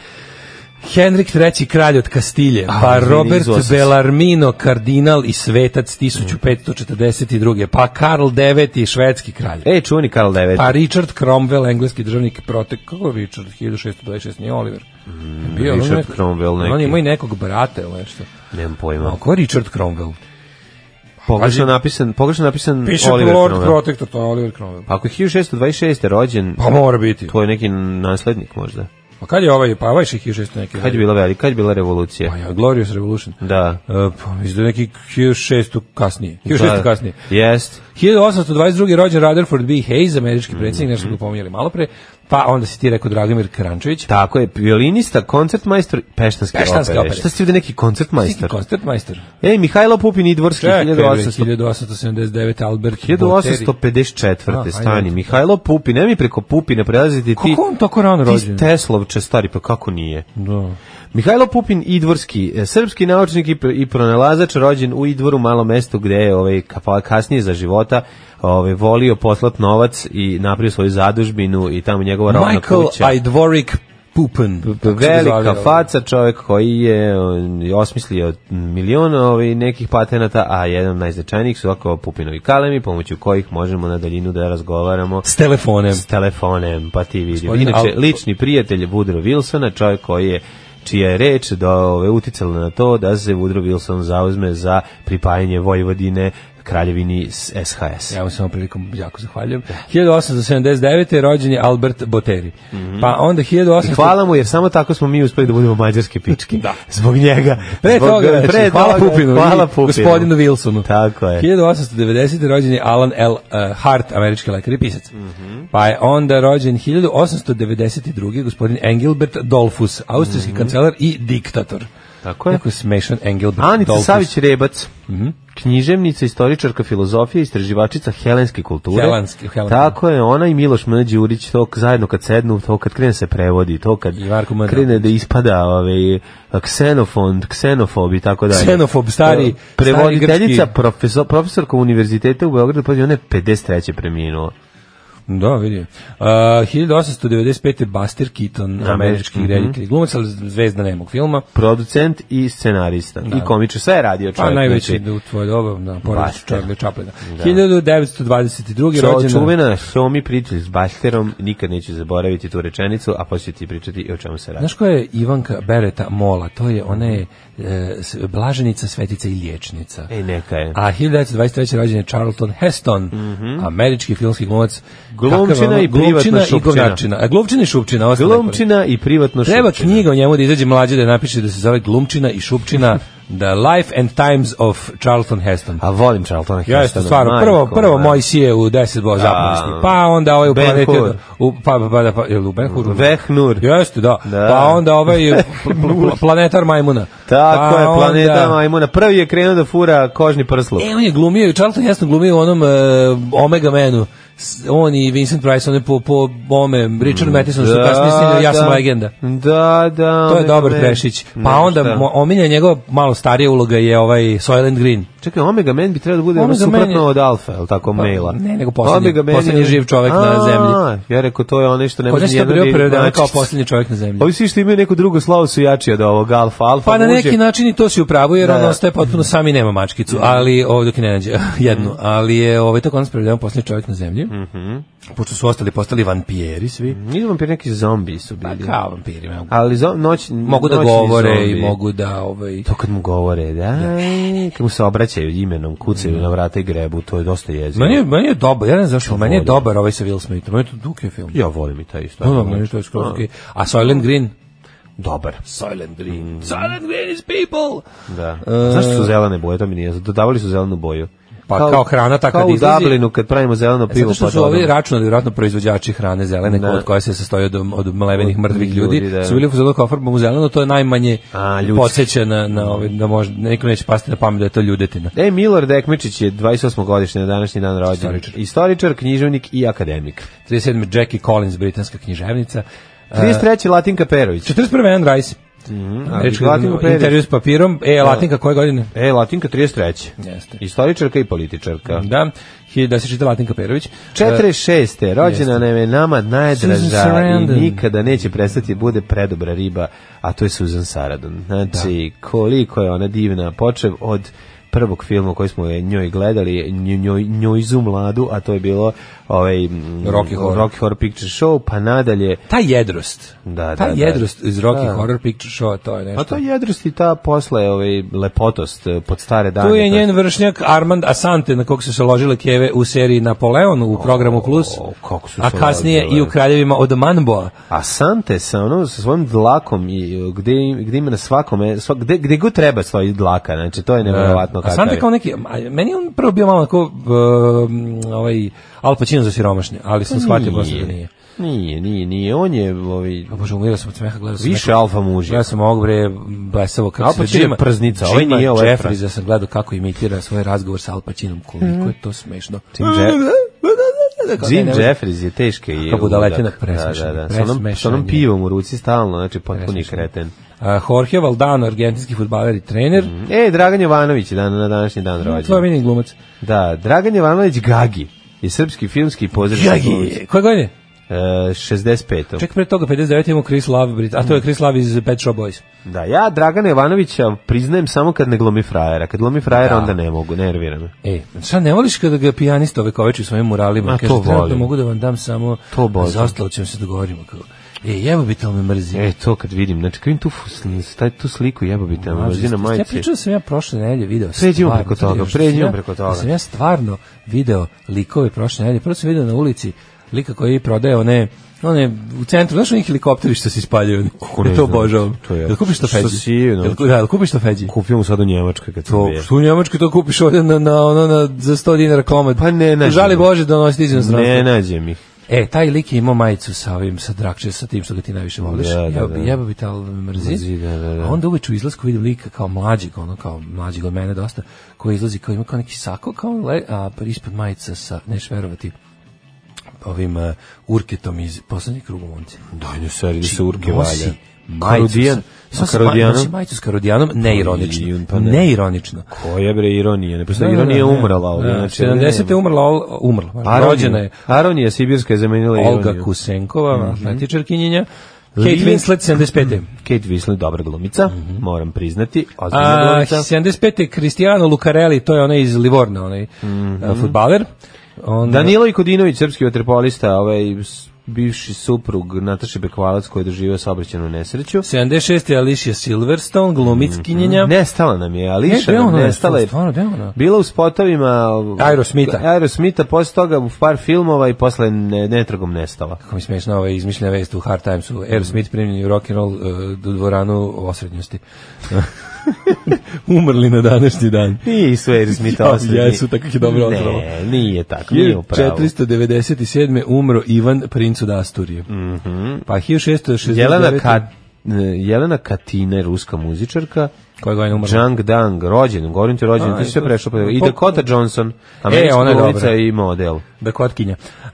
S6: Henrik III. kralj od Kastilje,
S5: A,
S6: pa
S5: izvini,
S6: Robert
S5: izvozao sam.
S6: Bellarmino kardinal i svetac 1542. Pa Karl IX. švedski kralj.
S5: E, čuveni Karl IX.
S6: Pa Richard Cromwell, engleski državnik protek, kako je Richard, 1626, nije Oliver. Mm,
S5: Richard Cromwell neki.
S6: On ima i nekog brata ili nešto.
S5: Nemam pojma.
S6: A ko je Richard Cromwell?
S5: Pogrešno
S6: pazi.
S5: napisan, pogrešno napisan
S6: Piše
S5: Oliver
S6: Lord
S5: Cromwell.
S6: Protector, to je Oliver Cromwell.
S5: Pa ako je 1626. rođen,
S6: Pa mora biti.
S5: to je neki naslednik možda.
S6: Pa kad je ovaj, pa ovaj je 1600 neki.
S5: Kad je bila velika, kad je bila revolucija?
S6: Pa ja, Glorious Revolution.
S5: Da.
S6: E, pa izda neki 1600 kasnije. 1600
S5: Da.
S6: kasnije.
S5: Jest.
S6: 1822. rođen Rutherford B. Hayes, američki predsjednik, nešto smo ga pominjali malo pre. Pa onda si ti rekao Dragomir Karančević.
S5: Tako je, violinista, koncert majstor Peštanske,
S6: Peštanske
S5: opere.
S6: opere.
S5: Šta ste ovde neki koncert majstor?
S6: Koncert majster.
S5: Ej, Mihajlo Pupin i Dvorski,
S6: Čekaj,
S5: 1800
S6: 1879. Albert Boteri.
S5: 1854.
S6: Aha,
S5: stani,
S6: ajde.
S5: Mihajlo Pupin, ne mi preko Pupina prelaziti ti...
S6: Kako on tako rano
S5: Ti
S6: rođen?
S5: Teslovče, stari, pa kako nije?
S6: Da.
S5: Mihajlo Pupin Idvorski, e, srpski naučnik i, pr- i pronalazač rođen u Idvoru, malo mesto gde je ovaj, ka- pa kasnije za života ovaj, volio poslat novac i napravio svoju zadužbinu i tamo njegova rovna
S6: Michael
S5: kuća.
S6: Idvorik Pupen. Kako se
S5: Velika
S6: zove? ono.
S5: faca, čovjek koji je on, je osmislio milion ovaj, nekih patenata, a jedan od najznačajnijih su ovako Pupinovi kalemi, pomoću kojih možemo na daljinu da razgovaramo
S6: S telefonem.
S5: s telefonem, pa ti vidi.
S6: Gospodine,
S5: Inače,
S6: al-
S5: lični prijatelj Woodrow Wilsona, čovjek koji je čija je reč da ove uticala na to da se Woodrow Wilson zauzme za pripajanje Vojvodine kraljevini s SHS.
S6: Ja vam se ovom prilikom jako zahvaljujem. 1879. rođen je Albert Boteri. Pa onda 1800...
S5: Mhm. I Hvala mu, jer samo tako smo mi uspeli da budemo mađarske pičke. da. Zbog njega.
S6: Pre
S5: Zbog-
S6: toga, znači,
S5: pre
S6: hvala
S5: toga,
S6: Pupinu
S5: Hvala
S6: i
S5: Pupinu.
S6: gospodinu Wilsonu.
S5: Tako je.
S6: 1890. rođen je Alan L. eh, Hart, američki lekar i pisac.
S5: Mhm.
S6: Pa je onda rođen 1892. gospodin Engelbert Dolfus, austrijski kancelar i diktator.
S5: Mhm. Tako je.
S6: Jako smešan Engelbert
S5: Anica
S6: Dolfus.
S5: Savić Rebac.
S6: Mhm.
S5: Književnica, istoričarka filozofije, istraživačica helenske kulture.
S6: Helenske, helenske.
S5: Tako je, ona i Miloš M. Đurić, to k- zajedno kad sednu, to kad krene se prevodi, to kad
S6: I Marko M.
S5: krene da ispada ovaj, ksenofond, ksenofob i tako dalje.
S6: Ksenofob, stari-
S5: Prevoditeljica,
S6: stari grčki.
S5: profesor, profesorka univerziteta u Beogradu, pa ona je 53. preminula.
S6: Da, vidim. Uh, 1895. Buster Keaton,
S5: Mhm.
S6: američki reditelj i glumac, ali zvezda nemog filma.
S5: Producent i scenarista. I komičar, sve je radio
S6: Pa
S5: čovjek.
S6: najveći
S5: znači,
S6: da u tvoj doba, da, pored
S5: Buster.
S6: Charlie Chaplina. 1922.
S5: Čo-
S6: rođena.
S5: Čuvena Somi pričali s Basterom, nikad neću zaboraviti tu rečenicu, a poslije ti pričati i o čemu se radi.
S6: Znaš ko je Ivanka Bereta Mola? To je, ona je e, s- blaženica, svetica i liječnica.
S5: Ej, E, neka je.
S6: A 1923. rođen je Charlton Heston, američki filmski glumac.
S5: Mhm. Glumčina
S6: Kakav je ono-
S5: i privatna
S6: glumčina i
S5: šupčina.
S6: govnačina. A glumčina i šupčina. ostalo je-
S5: Glumčina i privatno
S6: Treba
S5: šupčina.
S6: knjiga o njemu da izađe mlađe da je napiše da se zove Glumčina i Šupčina The Life and Times of Charlton Heston.
S5: [laughs] A volim Charltona Hestona.
S6: Ja jeste stvarno prvo prvo Mojsije u 10 bo zapovesti. Pa onda ovaj u
S5: Ben
S6: planeti
S5: Hur.
S6: u pa pa pa, pa jel u Benhuru.
S5: Vehnur.
S6: Jeste, da.
S5: Da.
S6: Pa onda
S5: [laughs]
S6: ovaj pl- pl- planetar majmuna.
S5: Tako
S6: Pa
S5: je, planeta
S6: onda-
S5: majmuna. Prvi je krenuo da fura kožni prsluk.
S6: E, on je glumio, Charlton Heston glumio u onom e, Omega Manu. S- On i Vincent Price, on je po, po ome,
S5: Mm,
S6: Richard Matheson, ono što kasnije snimio, ja sam legenda.
S5: Da, da.
S6: To je
S5: Omega
S6: dobar
S5: Man.
S6: trešić. Pa
S5: Nema
S6: onda
S5: šta.
S6: mo- omilja njegova malo starija uloga je ovaj Soylent Green.
S5: Čekaj, Omega Man bi trebalo da bude ono
S6: Omega Man je-
S5: suprotno od alfa, je li tako,
S6: Pa,
S5: maila?
S6: ne, nego poslednji-
S5: Omega Man
S6: poslednji
S5: je-
S6: živ čovek na
S5: A,
S6: zemlji.
S5: Ja rekao, to je onaj što ne
S6: Kod
S5: može
S6: nas je to
S5: nijedna
S6: bio
S5: riječ
S6: prevedeno kao
S5: naći.
S6: posljednji čovjek na zemlji.
S5: Ovi svi što imaju neku drugu slavu su jači od ovog alfa. Alfa
S6: Pa na
S5: muže-
S6: neki način i to si u pravu, jer
S5: Da,
S6: on
S5: da.
S6: ostaje potpuno sam i nema mačkicu, ali ovo dok i ne nađe [laughs] jednu, ali je ovaj to nas prevedeno posljednji čovjek na zemlji, pošto su ostali postali vampijeri svi,
S5: Nisu vampiri, neki zombi su
S6: pa
S5: bili.
S6: kao vampiri, mogu-
S5: Ali zo, noć,
S6: mogu da
S5: noćni
S6: govore i
S5: zombi.
S6: mogu da ovaj,
S5: To kad mu govore, da, kad mu se obraćaju imenom, kucaju na vrata i grebu, to je dosta jezivo.
S6: Meni je, meni je dobar, ja ne znam zašto, meni je
S5: volim.
S6: dobar ovaj sa Will Smithom, meni je to Duke film.
S5: Ja volim i taj isto.
S6: No, no, meni je to je skroz okej. A Soylent Green?
S5: Dobar.
S6: Soylent Green. Soylent Green is people!
S5: Da. Zašto su zelene boje, to mi nije jasno. Dodavali su zelenu boju.
S6: E- Pa kao hrana ta
S5: kao
S6: kad
S5: u
S6: izlazi-
S5: Dublinu kad pravimo zeleno
S6: E,
S5: pivo.
S6: Zato što
S5: pa
S6: su ovi
S5: dodamo.
S6: računali vjerojatno proizvođači hrane zelene,
S5: Da.
S6: od koja se sastoji od, od mlevenih
S5: Od
S6: mrtvih ljudi,
S5: ljudi, da.
S6: su bili u fazonu kao farbom u zeleno, to je najmanje
S5: A, ljudski.
S6: podsjeća na, na ovaj, da možda, neko neće pasti na pamet da je to ljudetina.
S5: E, Milor Dekmičić je 28. godišnje na današnji dan rođen.
S6: Istoričar.
S5: Istoričar, književnik i akademik.
S6: 37. Jackie Collins, britanska književnica. E,
S5: 33. Latinka Perović.
S6: 41. Anne Rice.
S5: Mhm,
S6: Američka-
S5: Latinka Perović.
S6: intervju s papirom. E, Latinka koje godine?
S5: E, Latinka 33.
S6: Jeste.
S5: Istoričarka i političarka.
S6: Da, hi- da se čita Latinka Perović. E,
S5: 46. rođena nam je nama
S6: Susan
S5: najdraža i
S6: Sarandon.
S5: nikada neće prestati da bude predobra riba, a to je Susan Sarandon. Znači, koliko je ona divna, počev od prvog filma koji smo je njoj gledali, nj- njoj, njojzu mladu, a to je bilo ovaj, mm,
S6: Rocky Horror.
S5: Rocky Horror Picture Show, pa nadalje
S6: E, Ta jedrost.
S5: Da,
S6: ta
S5: da, da.
S6: jedrost iz Rocky
S5: Da.
S6: Horror Picture Show, to je nešto.
S5: Pa to je jedrost i ta posle ovaj, lepotost eh, pod stare dane.
S6: Tu je
S5: To
S6: njen vršnjak Armand Asante na kog su se ložile keve u seriji Napoleon u programu Plus,
S5: o, kako su
S6: a
S5: se
S6: kasnije
S5: ložile.
S6: i u Kraljevima od Manboa.
S5: A Sante sa ono sa svojim dlakom i e, gde im- gde ima na svakome svak gde gde god treba svoj dlaka znači to je neverovatno
S6: E, A
S5: kakav
S6: Asante
S5: je.
S6: kao neki, a, meni je on prvo bio malo tako um, ovaj, Al Pacino za siromašne, ali sam shvatio posle da nije.
S5: Nije, nije, nije. On je ovaj
S6: O Bože, umirao sam od smeha, gledao sam
S5: više
S6: nekog-
S5: alfa muž.
S6: Gledao sam ovog bre, blesavo kako
S5: Al Pacino je prznica, ovaj nije, ovaj je
S6: Jeffries, ja sam gledao kako imitira svoj razgovor sa Al Pacinom, koliko je to smešno.
S5: Tim Jeff-
S6: Kako ne,
S5: Jim
S6: ne može-
S5: Jeffries je teški i
S6: Kako budaletina,
S5: ludak.
S6: presmešan
S5: Da, da, da.
S6: je,
S5: Sa onom, sa
S6: presmešan
S5: onom
S6: je.
S5: pivom u ruci stalno, znači potpuni
S6: Presmešan je.
S5: kreten.
S6: A, Jorge Valdano, argentinski futbaler i trener,
S5: E, Dragan Jovanović je dan, na današnji dan
S6: To je
S5: rođen.
S6: meni glumac.
S5: Da, Dragan Jovanović Gagi je srpski filmski pozdrav. E,
S6: Koje godine?
S5: 65.
S6: Ček, pre toga 59 imamo Chris Love, Brit, a to je Chris Love iz Pet Shop Boys.
S5: Da, ja Dragana Jovanovića priznajem samo kad ne glumi frajera. Kad glumi frajera,
S6: Da.
S5: onda ne mogu, nervira me.
S6: E, sad ne voliš kada ga pijanista ove koveči u svojim muralima?
S5: Ma,
S6: Kaže,
S5: to
S6: trenutno
S5: volim.
S6: mogu da vam dam samo,
S5: To volim.
S6: za ostalo ćemo se dogovorimo. Kao, e, jebo bi me mrzi.
S5: E, to kad vidim, znači kad vidim tu, fus- taj, tu sliku jebobite, mrzina
S6: Ja
S5: majice.
S6: pričao da sam ja prošle nedelje video.
S5: Pređimo
S6: stvarno,
S5: preko
S6: sad
S5: toga,
S6: još, da
S5: pređimo
S6: sam ja-
S5: preko toga.
S6: da Sam ja stvarno video likove prošle nedelje. Prvo sam video na ulici lika koji prodaje one one u centru, znaš onih helikopteri što se ispaljuju?
S5: Kako ne
S6: Ja to
S5: znam.
S6: obožavam.
S5: To je-
S6: Jel kupiš to
S5: što
S6: feđi?
S5: si, no.
S6: Jel ku- da, jel kupiš to feđi?
S5: Kupio mu sad u Njemačkoj kad sam
S6: To,
S5: bio.
S6: što u Njemačkoj to kupiš ovdje na, na, ono, na, za 100 dinara komad.
S5: Pa ne nađem.
S6: Žali Bože da ono stiđe na
S5: Ne nađem ih.
S6: E, taj lik je imao majicu sa ovim, sa drakče, sa tim što ga ti najviše voliš.
S5: Da, da,
S6: Jebo bi-
S5: da.
S6: jebo bi te, ali me mrzi.
S5: Mrzi, da, da, da.
S6: A onda uveč u izlasku vidim lika kao mlađeg, ono kao mlađeg od mene dosta, koji izlazi kao ima kao neki sako, kao le, a ispod majica sa, neš verovati, ovim uh, urketom iz poslednjeg kruga momci.
S5: Daj, ne seri, da se urke
S6: Znači,
S5: valja.
S6: Nosi majicu
S5: Karudijan,
S6: sa,
S5: sa
S6: sa znači karodijanom. Nosi
S5: Karudijanom.
S6: majicu s karodijanom, neironično.
S5: Jun, pa ne.
S6: Neironično.
S5: Koja je bre ironija, ne postoji
S6: Da, da,
S5: ironija
S6: da, ne.
S5: umrla ovdje.
S6: Da,
S5: znači,
S6: 70. je
S5: ne. Pa,
S6: umrla, ol- umrla.
S5: Aronija.
S6: Rođena je
S5: Aronija Sibirska je zamenila
S6: Olga
S5: ironiju.
S6: Kusenkova, atletičarkinjenja.
S5: Mhm.
S6: Kate
S5: Lili-
S6: Winslet, 75.
S5: Kate Winslet, dobra glumica, moram priznati. Ozbiljna
S6: Mhm. A,
S5: glumica.
S6: 75. Cristiano Lucarelli, to je onaj iz Livorna, onaj a,
S5: Mhm.
S6: futbaler. Onda,
S5: Danilo Ikodinović, srpski vaterpolista, ovaj s- bivši suprug Nataše Bekvalac koji je doživio saobraćajnu nesreću.
S6: 76. Alicia Silverstone, glumickinjenja.
S5: Nestala nam je, Ališa
S6: E, gde
S5: nam
S6: ona je?
S5: Mhm. nestala je.
S6: Stvarno, gde je ona?
S5: Bila u spotovima
S6: Aerosmitha.
S5: Aerosmitha, posle toga u par filmova i posle ne, netragom
S6: [laughs]
S5: nestala.
S6: Kako mi smiješna ova
S5: Mhm.
S6: e, izmišljena vest u Hard Timesu. Aerosmith primljeni u rock'n'roll uh, do dvoranu osrednjosti. [laughs] Umrli na današnji dan.
S5: Nisu Aerosmith
S6: Ja,
S5: osrednji.
S6: Pa, jesu, tako ih je dobro otralo.
S5: Ne, nije tako, nije upravo.
S6: 1497. umro Ivan, princ od Asturije. Pa 1669.
S5: Mhm. Jelena, Ka, Jelena Katina, ruska muzičarka,
S6: Koja godine umrla?
S5: Jang Dang, rođen, govorim ti rođen,
S6: A,
S5: ti si sve
S6: isto.
S5: prešao. Pa, I
S6: Pa-
S5: Dakota Johnson, američka
S6: ona
S5: e,
S6: je
S5: glumica
S6: dobra.
S5: i model.
S6: da kotkinja. Uh,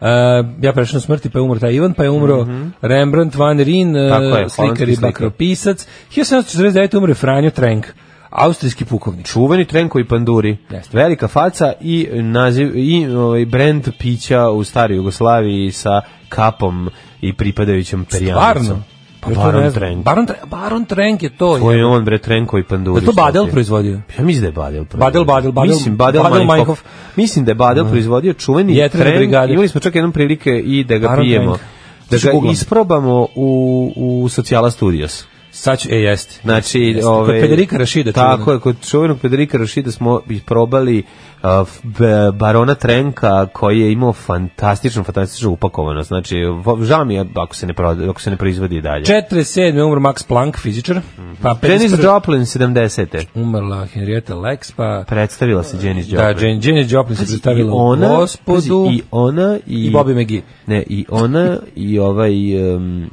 S6: ja prešao na smrti, pa je umro taj Ivan, pa je umro Rembrandt van Rijn, e,
S5: Mhm. Tako je, holandski
S6: slikar i
S5: slikar.
S6: bakropisac. 1749. umre Franjo Trenk, austrijski pukovnik.
S5: Čuveni trenko i panduri.
S6: Jeste.
S5: Velika faca i naziv i ovaj brend pića u staroj Jugoslaviji sa kapom i pripadajućom perjanicom.
S6: Stvarno?
S5: Pa
S6: Ja to
S5: Baron
S6: ne znam.
S5: Trenk.
S6: Baron, Tre- Baron Trenk je to.
S5: Ko
S6: je.
S5: je on bre Trenko i Panduri?
S6: Je to Badel
S5: stopio?
S6: proizvodio?
S5: Ja mislim da je Badel proizvodio.
S6: Badel, Badel, Badel-
S5: Mislim, Badel,
S6: Badel
S5: Meinhof.
S6: Meinhof.
S5: Mislim da je Badel proizvodio čuveni
S6: Jetrene
S5: Trenk.
S6: brigade.
S5: Imali smo čak jednom prilike i da ga
S6: Baron
S5: pijemo.
S6: Trenk.
S5: Da
S6: Sad ću
S5: ga
S6: googlam.
S5: isprobamo u, u Sociala Studios.
S6: Sad ću, e, jeste.
S5: Znači,
S6: Jeste, kod
S5: ove,
S6: Federika Rašida
S5: Tako
S6: čuvenog.
S5: je, kod čuvenog Federika Rašida smo i probali a, f- b- barona Trenka koji je imao fantastičnu, fantastičnu upakovanost. Znači, v- žao mi je ako se ne, proda- ako se ne proizvodi i dalje.
S6: 47. umro Max Planck, fizičar.
S5: Mhm.
S6: Pa
S5: Janis
S6: 51.
S5: Joplin, 70.
S6: umrla Henrietta Lex, pa...
S5: Predstavila se Janis Joplin.
S6: Da, Jane, Jane Joplin se
S5: Pazi,
S6: predstavila
S5: i ona,
S6: u gospodu
S5: pazi, i ona i,
S6: i Bobby McGee.
S5: Ne, i ona i ovaj um,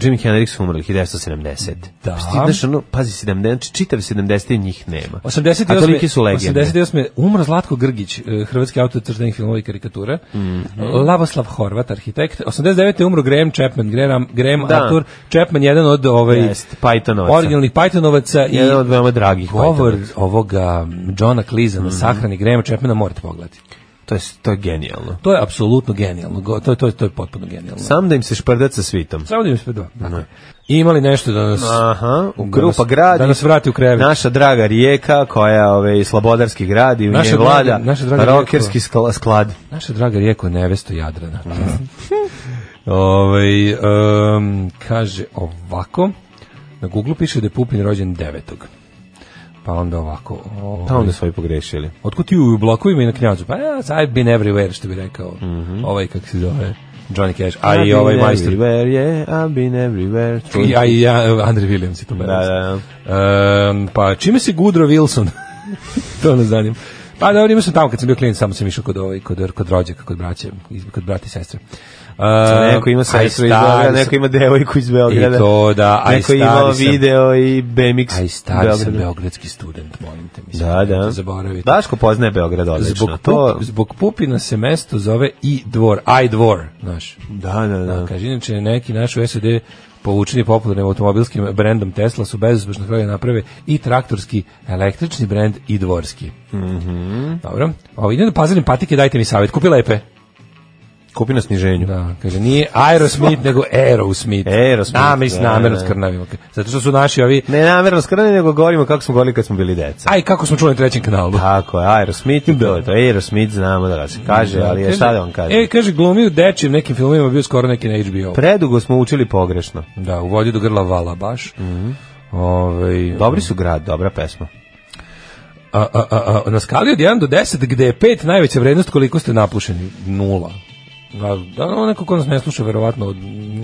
S5: Jimi Hendrix su umrli 1970.
S6: Da.
S5: Pa ti znaš, ono, pazi 70, znači čitav 70 njih nema. A toliki
S6: 88.
S5: su legende.
S6: 88. umro Zlatko Grgić, eh, hrvatski autor crtenih filmova i karikatura.
S5: Mhm.
S6: Lavoslav Horvat, arhitekt. 89. umro Graham Chapman, Graham, Graham
S5: Da.
S6: Arthur Chapman, jedan od ovaj,
S5: Jest, Pythonovaca.
S6: originalnih Pythonovaca. i
S5: Jedan od veoma Mhm. dragih
S6: Govor
S5: Pythonovaca.
S6: ovoga Johna Cleesa na sahrani Grahama Chapmana morate pogledati.
S5: To je, to je genijalno.
S6: To je apsolutno genijalno. Go- To je, to je, to je potpuno genijalno.
S5: Sam da im se šprdat sa svitom.
S6: Samo da im sve dva. Dakle. Imali nešto da nas...
S5: Aha, u
S6: da
S5: grupa
S6: nas-
S5: grad.
S6: Da nas vrati u krevet.
S5: Naša draga rijeka koja ove, slobodarski grad i u
S6: Naša
S5: njej
S6: draga-
S5: vlada
S6: naša draga
S5: rokerski skla- sklad.
S6: Naša draga rijeko nevesto Jadrana. [laughs] Ovaj em, kaže ovako, na Google piše da je Pupin rođen 9. Pa onda ovako. ovaj,
S5: Pa onda su ovi pogrešili.
S6: Otkud ti u blokovima i na knjazu? Pa ja, I've been everywhere, što bi rekao. Ovaj, kako se zove, Johnny Cash. A i
S5: Mhm. I've
S6: ovaj
S5: been
S6: majstor.
S5: everywhere, yeah, I've been everywhere.
S6: I, a i ja, Andre Williams je to
S5: Da, da.
S6: Em, pa čime se Gudro Wilson? [laughs] to ne zanima. Pa dobro, imao sam tamo kad sam bio klijent, samo sam išao kod, ovaj, kod, kod rođaka, kod braće, iz- kod brata i sestre. Uh,
S5: Neko ima sestru iz Beograda, neko ima devojku iz Beograda.
S6: I to da, a i
S5: Neko ima
S6: stari sam-
S5: video i BMX.
S6: A i stari sam
S5: Beograda.
S6: beogradski student, molim te, mislim,
S5: Da,
S6: nemojte
S5: da.
S6: zaboraviti. Znači,
S5: Daško poznaje Beograd odlično.
S6: Zbog,
S5: to,
S6: pup, zbog Pupina se mesto zove i dvor, aj dvor, znaš.
S5: da, da, da.
S6: Kaže, inače, neki naš u SAD povučeni popularnim automobilskim brendom Tesla su bezuspešno hrali naprave i traktorski, električni brend i dvorski.
S5: Mhm.
S6: Dobro. Ovo, idem da pazarim patike, dajte mi savjet. Kupi lepe.
S5: Kupi na sniženju.
S6: Da, kaže, nije Aerosmith, nego Aerosmith.
S5: Aerosmith,
S6: Da, mi s
S5: da,
S6: namerno
S5: da.
S6: skrnavimo. Zato što su naši ovi...
S5: Ne namjerno skrani, nego govorimo kako smo govorili kad smo bili deca.
S6: Aj, kako smo čuli na trećem kanalu.
S5: Tako je, Aerosmith, to je to. Aerosmith znamo da ga se kaže, ali je šta da vam kaže.
S6: E, kaže, glumi u dečim nekim filmima, bio skoro neki na HBO.
S5: Predugo smo učili pogrešno.
S6: Da, u vodi do grla vala baš.
S5: Mhm.
S6: Ovaj,
S5: Dobri su grad, dobra pesma.
S6: A, a, a, a, na skali od 1 do 10, gde je 5 najveća vrednost, koliko ste napušeni? Nula. Da, da ono neko ko nas ne sluša, verovatno, od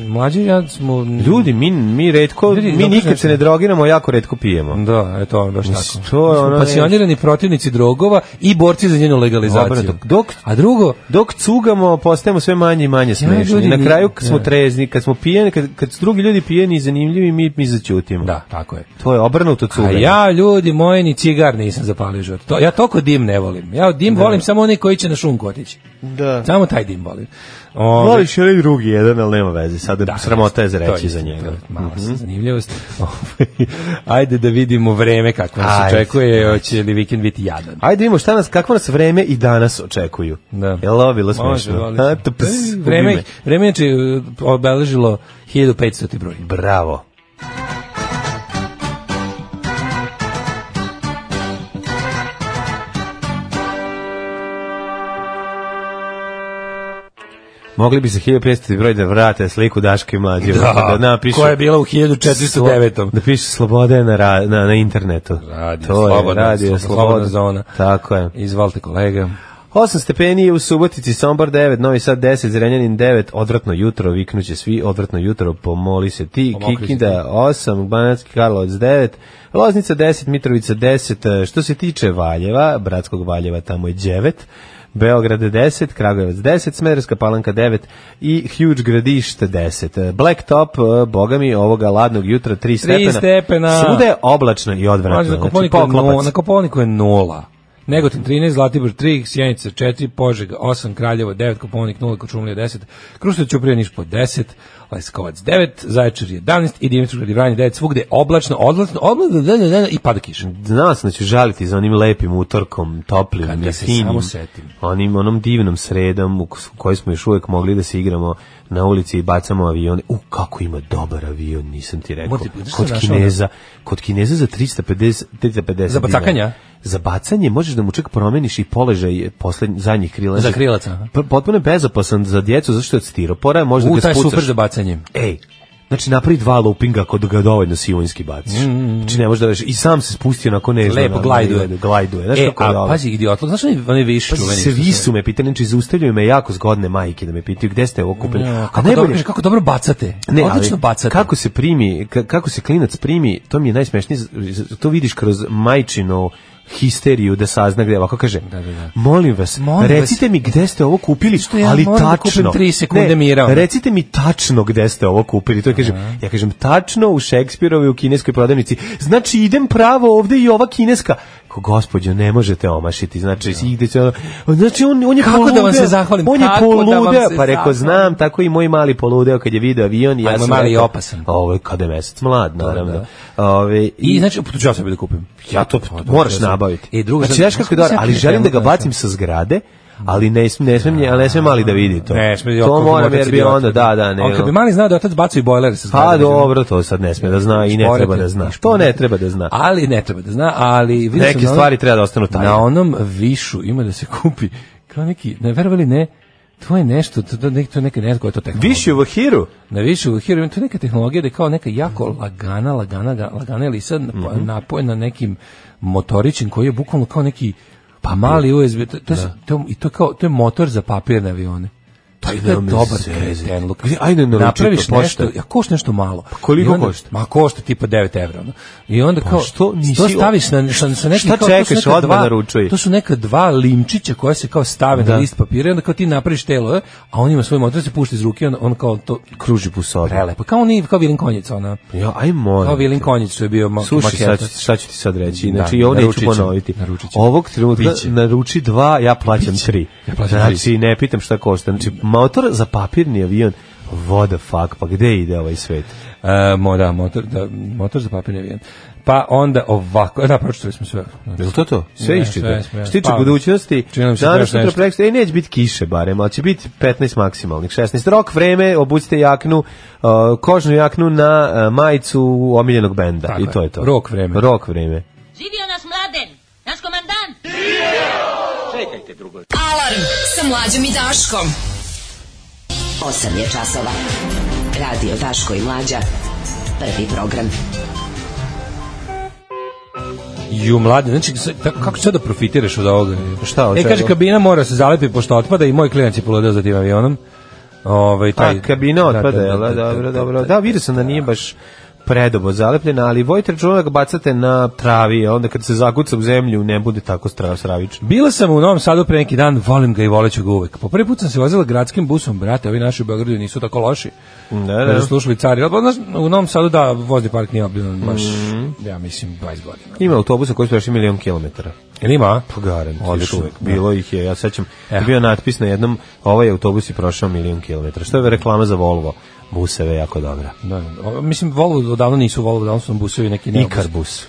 S6: mlađe ja smo...
S5: Ljudi, mi, mi redko,
S6: Ljudi,
S5: mi
S6: dobro
S5: nikad
S6: znači.
S5: se ne drogiramo, jako redko pijemo.
S6: Da, eto, ono baš
S5: Mislim,
S6: tako.
S5: to je
S6: Mi smo
S5: ono
S6: Pasionirani protivnici drogova i borci za njenu legalizaciju.
S5: Obrnuto. Dok-
S6: A drugo,
S5: Dok cugamo, postajemo sve manje i manje smešni.
S6: ljudi,
S5: Na
S6: mi-
S5: kraju kad smo
S6: ja.
S5: trezni, kad smo pijeni, kad, kad su drugi ljudi pijeni i zanimljivi, mi, mi začutimo.
S6: da, tako je.
S5: To je obrnuto
S6: A
S5: cuganje.
S6: ja, ljudi moji, ni cigar nisam zapalio život. To, ja toliko dim ne volim. Ja dim volim samo oni koji će na šunku otići.
S5: Da.
S6: Samo taj dim volim. Ove-
S5: Voliš i onaj drugi jedan, ali nema veze. Sad
S6: Da,
S5: sramota je za
S6: jeste, to
S5: reći
S6: jeste,
S5: za
S6: to
S5: njega. Mhm.
S6: je Mala mm zanimljivost. Ovaj, [laughs] Ajde da vidimo vreme kako nas
S5: Ajde.
S6: očekuje, hoće li vikend biti jadan.
S5: Ajde vidimo šta nas, kakvo nas vreme i danas očekuju.
S6: Da.
S5: Jel ovo bilo
S6: Može,
S5: smešno? pa
S6: voli
S5: [laughs] A,
S6: se.
S5: to ps, ubi
S6: Vreme,
S5: me.
S6: vreme je če- obeležilo 1500. broj.
S5: Bravo. Mogli bi se 1500 broj da vrate sliku Daške i mlađe. Da, napišu.
S6: koja je bila u 1409.
S5: Da piše Sloboda je na, ra- na, na internetu.
S6: Radio
S5: to je
S6: Slobodna,
S5: radio
S6: Slobodna
S5: Sloboda.
S6: zona.
S5: Tako je.
S6: Izvalite kolega.
S5: 8 stepeni je u Subotici, Sombor 9, Novi Sad 10, Zrenjanin 9, odvratno jutro, viknuće svi, odvratno jutro, pomoli se ti,
S6: Pomokri se
S5: Kikinda 8, Banatski Karlovac 9, Loznica 10, Mitrovica 10, e, što se tiče Valjeva, Bratskog Valjeva tamo je 9, Beograd 10, Kragujevac 10, Smederska Palanka 9 i Huge Gradište 10. E, Blacktop, e, boga mi, ovoga ladnog jutra 3 stepena.
S6: stepena.
S5: Svuda je oblačno i
S6: Pazi,
S5: odvratno.
S6: na
S5: Znači,
S6: Koponiku, je no,
S5: poklopac.
S6: na Koponiku je nola. Negotin 13, Zlatibor 3, Sjenica 4, Požega 8, Kraljevo 9, Koponik 0, Kočumlija 10, Kruštović Ćuprija Niš po 10, Leskovac 9, Zaječar 11 i Dimitrovgrad i Vranje 9, svugde je oblačno, odlačno, odlačno, odlačno i pada kiša.
S5: Znao sam da ću žaliti za onim lepim utorkom, toplim,
S6: Kad
S5: Kad
S6: ga se samo
S5: finim,
S6: setim.
S5: onim, onom divnom sredom u k- u kojoj smo još uvijek mogli da se igramo na ulici i bacamo avione. U, kako ima dobar avion, nisam ti rekao.
S6: Morate, pa znaš šta
S5: Kod
S6: sam našao? ono?
S5: Kineza, kod Kineza za 350, 350
S6: Za bacakanja?
S5: dinara. Za bacanje možeš da mu čak promeniš i položaj poslednj, zadnjih krilaca.
S6: Za krilac, aha.
S5: P- Potpuno je bezopasan za djecu, zašto je od stiropora, možda
S6: U,
S5: ga
S6: taj je
S5: spucaš.
S6: super za bacanje.
S5: Ej, znači napravi dva loopinga kod ga dovoljno sivonski baciš. Znači ne možeš da reši. I sam se spustio onako nežno.
S6: Mm, Lepo
S5: na-
S6: glajduje.
S5: na- ono, glajduje. Znaš
S6: e,
S5: kako je
S6: a
S5: dobro?
S6: pazi, idiotlo, znaš oni, oni višu
S5: Pazi, svi su me pitali, znači zaustavljaju me jako zgodne majke da me pitaju gde ste ovo kupili.
S6: Ja,
S5: A
S6: kako, dobro,
S5: najbolje-
S6: kaže, kako dobro bacate.
S5: ne, ali
S6: Odlično bacate.
S5: kako se primi, ka- kako se klinac primi, to mi je najsmešnije, z- z- to vidiš kroz majčinu histeriju da sazna gde je ovako kaže molim vas,
S6: Molim
S5: recite
S6: vas.
S5: mi gde ste ovo kupili,
S6: Što ja
S5: ali
S6: moram da
S5: tačno
S6: kupim tri sekunde mira, ono.
S5: recite mi tačno gde ste ovo kupili to ja kažem, ja kažem tačno u Šekspirovoj u kineskoj prodavnici, znači idem pravo ovde i ova kineska Ko, gospođo, ne možete omašiti, znači ide se ono, znači on, on je
S6: Kako da vam
S5: poludeo,
S6: se zahvalim?
S5: on je
S6: Kako da vam
S5: poludeo,
S6: se
S5: pa rekao,
S6: zahvalim?
S5: znam znam, tako i moj mali poludeo kad je video avion. i
S6: A
S5: Ja
S6: moj
S5: sam
S6: mali je
S5: rekao,
S6: opasan.
S5: Ovo je kada je mesec mlad, naravno.
S6: da.
S5: Ove,
S6: I znači, tu ću ja sebi da kupim.
S5: ja to
S6: Pa, dobro,
S5: moraš
S6: ja sam-
S5: nabaviti.
S6: E, druga,
S5: znači, znaš kako je dobro, ali želim da ga bacim sa zgrade, ali ne smem, ne smem, nje- ali ne smem mali da vidi to.
S6: Ne, smije
S5: to moram jer bi onda, da, da, ne. ono.
S6: On kad bi mali znao da je otac bacio i bojler sa
S5: Pa
S6: zgrade,
S5: dobro, to sad ne sme da zna i ne
S6: Šporete,
S5: treba da zna.
S6: šporete.
S5: To Znači, ne treba da zna.
S6: Ali ne treba da zna, ali vidio sam
S5: Neke
S6: na onom-
S5: stvari treba da ostanu tajne.
S6: Na onom višu ima da se kupi kao neki, ne verovali ne, to je nešto, to, to, nek- to je neka ne znam koja je to tehnologija.
S5: Više u Hiru.
S6: Na više u Hero, to je neka tehnologija da je kao neka jako lagana, lagana, ga- lagana lisa
S5: Mhm.
S6: nap- napojena nekim motorićem koji je bukvalno kao neki pa mali USB, to, to, je- to, i to, je kao, to je motor za papirne avione. To je
S5: nema
S6: dobar
S5: veze.
S6: kreten, Luka.
S5: Gdje- ajde, naruči
S6: Napraviš
S5: to, pošta.
S6: nešto, ja košta nešto malo. Pa
S5: koliko košta? Pa
S6: Ma košta tipa 9 evra. ono. I onda kao,
S5: što nisi
S6: to staviš na, sa, sa nekim,
S5: Šta
S6: kao, to su
S5: čekaš,
S6: neka
S5: odmah
S6: dva-
S5: naručuj.
S6: To su neka dva limčića koja se kao stave
S5: Da.
S6: na list papira i onda kao ti napraviš telo, e, a on ima svoj motor, se pušta iz ruke, on, on kao to
S5: Kruži po sobi.
S6: Prelepo. pa Kao oni, kao Vilin Konjic, ona.
S5: Ja, aj moram.
S6: Kao
S5: te.
S6: Vilin Konjic što je bio ma-
S5: Slušaj,
S6: maketa.
S5: sad, ću- šta ću ti sad reći? Znači,
S6: Da,
S5: i ovo neću
S6: naručit ću,
S5: ponoviti.
S6: naručit ću.
S5: Ovog trenutka
S6: Biće.
S5: naruči dva, ja plaćam tri.
S6: Ja plaćam
S5: znači,
S6: tri.
S5: ne pitam šta košta. Znači, motor za papirni avion, what the fuck, pa gde ide ovaj svet?
S6: E, mo, da, motor, da, motor za papirni avion. Pa onda ovako, da, pročitali smo sve.
S5: Je li to to? Sve
S6: Ne,
S5: iščito.
S6: sve smo, ja.
S5: Što se tiče
S6: Pa,
S5: budućnosti,
S6: čini mi se da
S5: danas,
S6: još
S5: sutra,
S6: nešto.
S5: preksutra, ej, neće biti kiše barem, ali će biti 15 maksimalnih, 16. Rok, vreme, obucite jaknu, uh, kožnu jaknu na uh, majicu omiljenog benda.
S6: Tako
S5: I
S6: je.
S5: to je to.
S6: Rok, vreme.
S5: Rok, vreme.
S4: Živio nas mladen, naš komandant.
S9: Alarm sa mlađom i Daškom. 8 je časova. Radio Daško i mlađa. Prvi program.
S6: Ju, mladi, znači, sad, tako, kako sad da profitiraš od ovoga?
S5: Šta, od
S6: E, kaže,
S5: čega?
S6: kabina mora se zalepi pošto otpada i moj klinac je poludeo za tim avionom. Ovaj, taj,
S5: A, kabina otpada,
S6: Da, da,
S5: jel?
S6: da,
S5: da,
S6: da,
S5: Dobro,
S6: da, da,
S5: dobro.
S6: da.
S5: Da, vidio sam da nije baš predobo zalepljena, ali vojte računa da ga bacate na travi, a onda kad se zakuca u zemlju ne bude tako stra- stravično.
S6: Bila sam u Novom Sadu pre neki dan, volim ga i voleću ga uvek. Po prvi put sam se vozila gradskim busom, brate, ovi naši u Beogradu nisu tako loši.
S5: Da,
S6: Mm, da
S5: da.
S6: su slušali cari. Ali, znaš, u Novom Sadu da, vozni park nije obiljen baš,
S5: Mhm.
S6: ja mislim, 20 godina.
S5: Ima autobusa koji su prešli milion kilometara.
S6: Jel ima?
S5: Pa garanti, još
S6: Odlično.
S5: uvek. Bilo ih je, ja sećam,
S6: Eh.
S5: je bio natpis na jednom, ovaj autobus je prošao milion kilometara. Što je reklama za Volvo? Buseve jako dobra.
S6: Da, da. O, mislim, Volvo odavno nisu Volvo, odavno su nam busovi neki neobus. Mm.
S5: Ikarbus.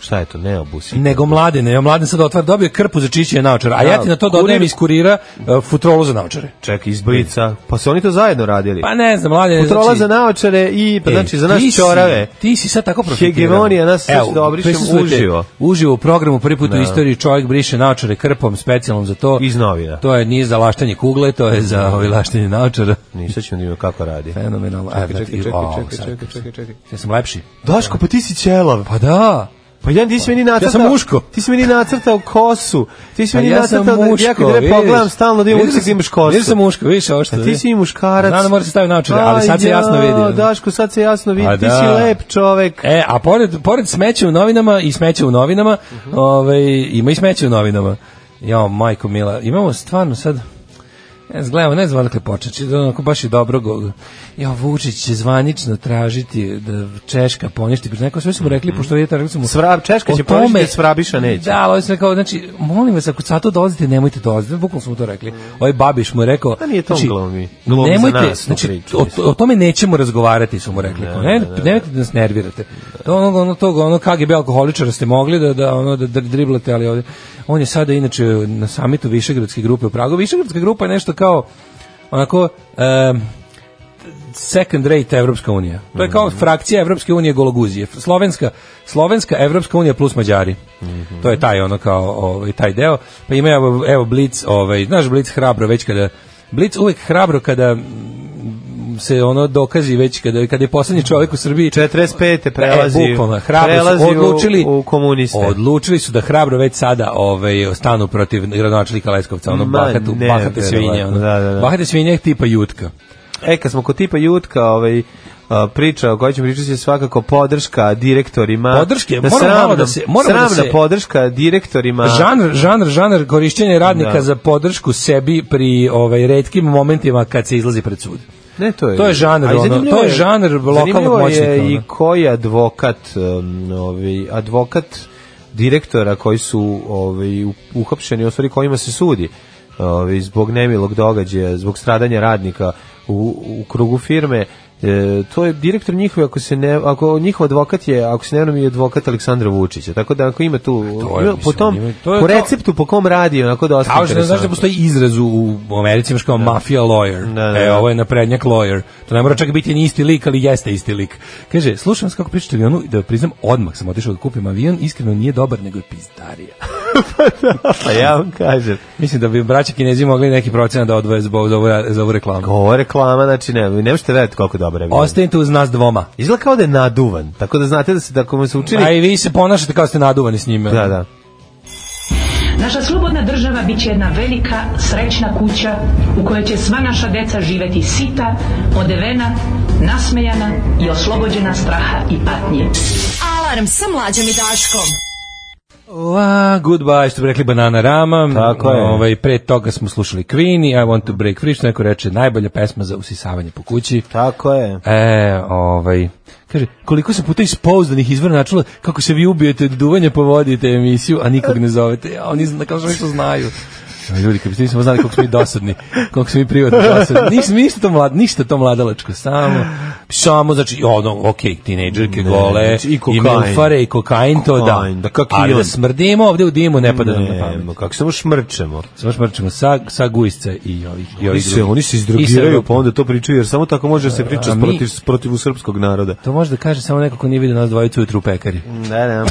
S5: Šta je to? Neobus.
S6: Nego mlade, ne, mladen sad otvara, dobio je krpu za čišćenje naočara, a ja ti na to
S5: Kurir-
S6: dodajem iz kurira e, futrolu za naočare.
S5: Ček, izbrica. Pa su oni to zajedno radili.
S6: Pa ne znam, mladen,
S5: Futrola za naočare i, pa
S6: E,
S5: znači, za nas
S6: ti si-
S5: čorave.
S6: Ti si sad tako profitirao.
S5: Hegemonija, nas sad da obrišem
S6: prisustvujte
S5: uživo.
S6: Uživo u programu, prvi put u istoriji čovjek briše naočare krpom specijalnom za to.
S5: Iz novina.
S6: To je nije za laštanje kugle, to je za ovaj laštanje naočara. znači,
S5: Nisam ćemo da vidimo kako radi.
S6: Fenomenalno. Čekaj, čekaj, čekaj, čekaj, čekaj, čekaj, Ja sam lepši.
S5: Daško, pa ti si ćelav.
S6: Pa da.
S5: Pa ja, ti si meni nacrtao.
S6: sam muško.
S5: Ti si meni nacrtao kosu. Ti si
S6: Pa
S5: meni
S6: ja sam
S5: nacrtao da
S6: muško,
S5: ja kad re
S6: vidiš.
S5: pogledam stalno da imam
S6: Vidiš
S5: utisak da
S6: sam-
S5: imaš kosu.
S6: vidiš sam muško, vidiš ovo što
S5: A ti
S6: je.
S5: si i muškarac.
S6: Znam da moraš da stavim naočare, ali
S5: Aj,
S6: sad se jasno
S5: ja,
S6: vidi. ono.
S5: Daško, sad se jasno vidi.
S6: A
S5: Ti
S6: da.
S5: si lep čovek.
S6: E, a pored, pored smeća u novinama i smeća u novinama, ovaj, ima i smeća u novinama. Jao, majko mila, imamo stvarno sad... Ne znam, gledamo, ne znam odakle početi, da onako baš i dobro go... Jao, Vučić će zvanično tražiti da Češka poništi, neko sve su mu rekli, pošto vidite, rekli su mu...
S5: Svrab, Češka
S6: o
S5: će poništiti,
S6: tome-
S5: Svrabiša neće.
S6: Da, ali ovi su rekao, znači, molim vas, ako sad to dolazite, nemojte dolaziti, bukvalno smo to rekli. Ovaj Babiš mu je rekao...
S5: Da Pa nije to on
S6: znači,
S5: glumi. Glumi za
S6: nemojte,
S5: nas tu
S6: znači,
S5: priču,
S6: o,
S5: mislim.
S6: o tome nećemo razgovarati, su mu rekli. Ne, nemojte da nas nervirate. To ono, ono, tog, ono KGB alkoholičara ste mogli da, da, ono, da dr- driblate, ali ovdje... On je sada, inače, na samitu Višegradske grupe u Pragu. Višegradska grupa je nešto kao, onako... em, second rate Evropska unija. To je
S5: Mhm.
S6: kao frakcija Evropske unije Gologuzije. Slovenska, Slovenska Evropska unija plus Mađari.
S5: Mhm.
S6: To je taj ono kao ovaj, taj deo. Pa ima evo, evo Blitz, ovaj, znaš Blitz hrabro već kada Blitz uvek hrabro kada mm, se ono dokazi već kada kada je poslednji čovjek u Srbiji
S5: 45. prelazi.
S6: E, bukvalno, hrabro
S5: prelazi
S6: su
S5: u-
S6: odlučili
S5: u komuniste.
S6: Odlučili su da hrabro već sada ovaj stanu protiv gradonačelnika Leskovca, ono
S5: Ma,
S6: bahatu,
S5: ne,
S6: bahate svinje, ono.
S5: verovatno, da, da, da.
S6: Bahate svinje tipa jutka.
S5: E, kad smo kod tipa Jutka, ovaj, a, priča o kojoj ćemo pričati je svakako podrška direktorima.
S6: Podrške, moramo malo da se- moramo da
S5: sramna
S6: se-
S5: podrška direktorima.
S6: Žanr, žanr, žanr korišćenja radnika
S5: Da.
S6: za podršku sebi pri ovaj retkim momentima kad se izlazi pred sud.
S5: Ne, to je.
S6: To je žanr,
S5: A i
S6: ono,
S5: zanimljivo
S6: to je žanr
S5: zanimljivo
S6: lokalnog moćnika,
S5: je i
S6: ono.
S5: koji advokat, um, ovaj, advokat direktora koji su ovaj, u- uhapšeni, u stvari kojima se sudi ovaj, zbog nemilog događaja, zbog stradanja radnika u, u krugu firme, E, to je direktor njihove ako se ne ako njihov advokat je ako se ne varam i advokat Aleksandra Vučića tako da ako ima tu
S6: Pa to je,
S5: ima po
S6: mislim,
S5: tom
S6: ima- to je
S5: po
S6: to-
S5: receptu po kom radi onako dosta
S6: Kao što ne znaš da
S5: interesantno.
S6: postoji izraz u u Americi, imaš kao mafia lawyer.
S5: Da, da,
S6: E,
S5: da.
S6: ovo je naprednjak lawyer. To ne mora čak biti ni isti lik, ali jeste isti lik. Kaže, slušam vas kako pričate o avionu i da priznam, odmah sam otišao da kupim avion, iskreno nije dobar, nego je pizdarija. [laughs]
S5: pa [laughs] ja vam kažem
S6: Mislim da bi braća kinezi mogli neki procenat da odvoje zbog za ovu, za ovu reklamu.
S5: Ovo je reklama, znači ne, ne možete vedeti koliko je dobar avion.
S6: Ostanite uz nas dvoma.
S5: Izgleda kao da je naduvan, tako da znate da se da komu se učini...
S6: A i vi se ponašate kao ste naduvani s njime.
S5: Da, da.
S10: Naša slobodna država bit će jedna velika, srećna kuća u kojoj će sva naša deca živeti sita, odevena, nasmejana i oslobođena straha i patnje.
S9: Alarm sa mlađom i Daškom.
S6: La, goodbye, što bi rekli Banana Rama.
S5: Tako je.
S6: Ovaj, pre toga smo slušali Queen i I Want to Break Free, što neko reče, najbolja pesma za usisavanje po kući.
S5: Tako je.
S6: E, ovaj, kaže, koliko sam puta iz pouzdanih izvora načula kako se vi ubijete od duvanja, povodite emisiju, a nikog ne zovete. Ja, oni zna, kao što što znaju. Aj, Ljudi, kad biste nismo znali koliko smo mi dosadni, koliko smo mi privatno dosadni. Ništa, ništa to, mlad, ništa to mladalačko, samo, samo, znači, ono, okej, tinejdžerke gole,
S5: znači, i
S6: i,
S5: kokain.
S6: milfare, i kokain, to
S5: Kokain,
S6: da.
S5: da, kak i
S6: Ali da
S5: on.
S6: smrdimo ovde u dimu, ne pada nam na pamet.
S5: Nemo, kako samo šmrčemo.
S6: Samo šmrčemo sa, sa gujsca i ovih, i ovih
S5: Oni se,
S6: drugih.
S5: oni se
S6: I sa
S5: izdrogiraju,
S6: Evrope.
S5: pa onda to pričaju, jer samo tako može da se priča
S6: A mi-
S5: protiv, protiv srpskog naroda.
S6: To može da kaže samo neko ko nije vidio nas dvojicu ujutru u pekari.
S5: Ne, ne.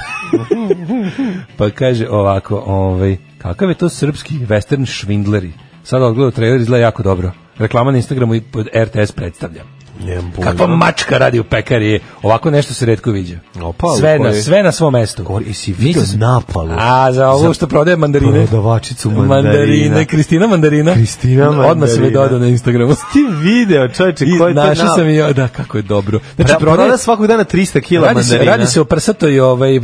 S6: Pa kaže ovako, ovaj, kakav je to srpski western švindleri? Sada odgledao trailer, izgleda jako dobro. Reklama na Instagramu i pod RTS predstavlja.
S5: Nemam pojma.
S6: Kakva mačka radi u pekari, ovako nešto se redko viđa.
S5: Opa,
S6: sve,
S5: ali
S6: na,
S5: koji-
S6: sve na svom mestu.
S5: Govori, jesi vidio
S6: Nisam-
S5: napalu?
S6: A, za ovo što prodaje mandarine.
S5: Prodavačicu mandarina.
S6: Mandarine, Kristina mandarina.
S5: Kristina
S6: Odmah se mi
S5: mandarina.
S6: dodao na Instagramu.
S5: Ti video, čovječe, ko je
S6: I
S5: to
S6: našao
S5: na-
S6: sam i ja, da, kako je dobro. Znači,
S5: Pra,
S6: prodaje-
S5: proda svakog dana 300 kila
S6: radi se,
S5: mandarina.
S6: radi se o prsatoj ovaj, e,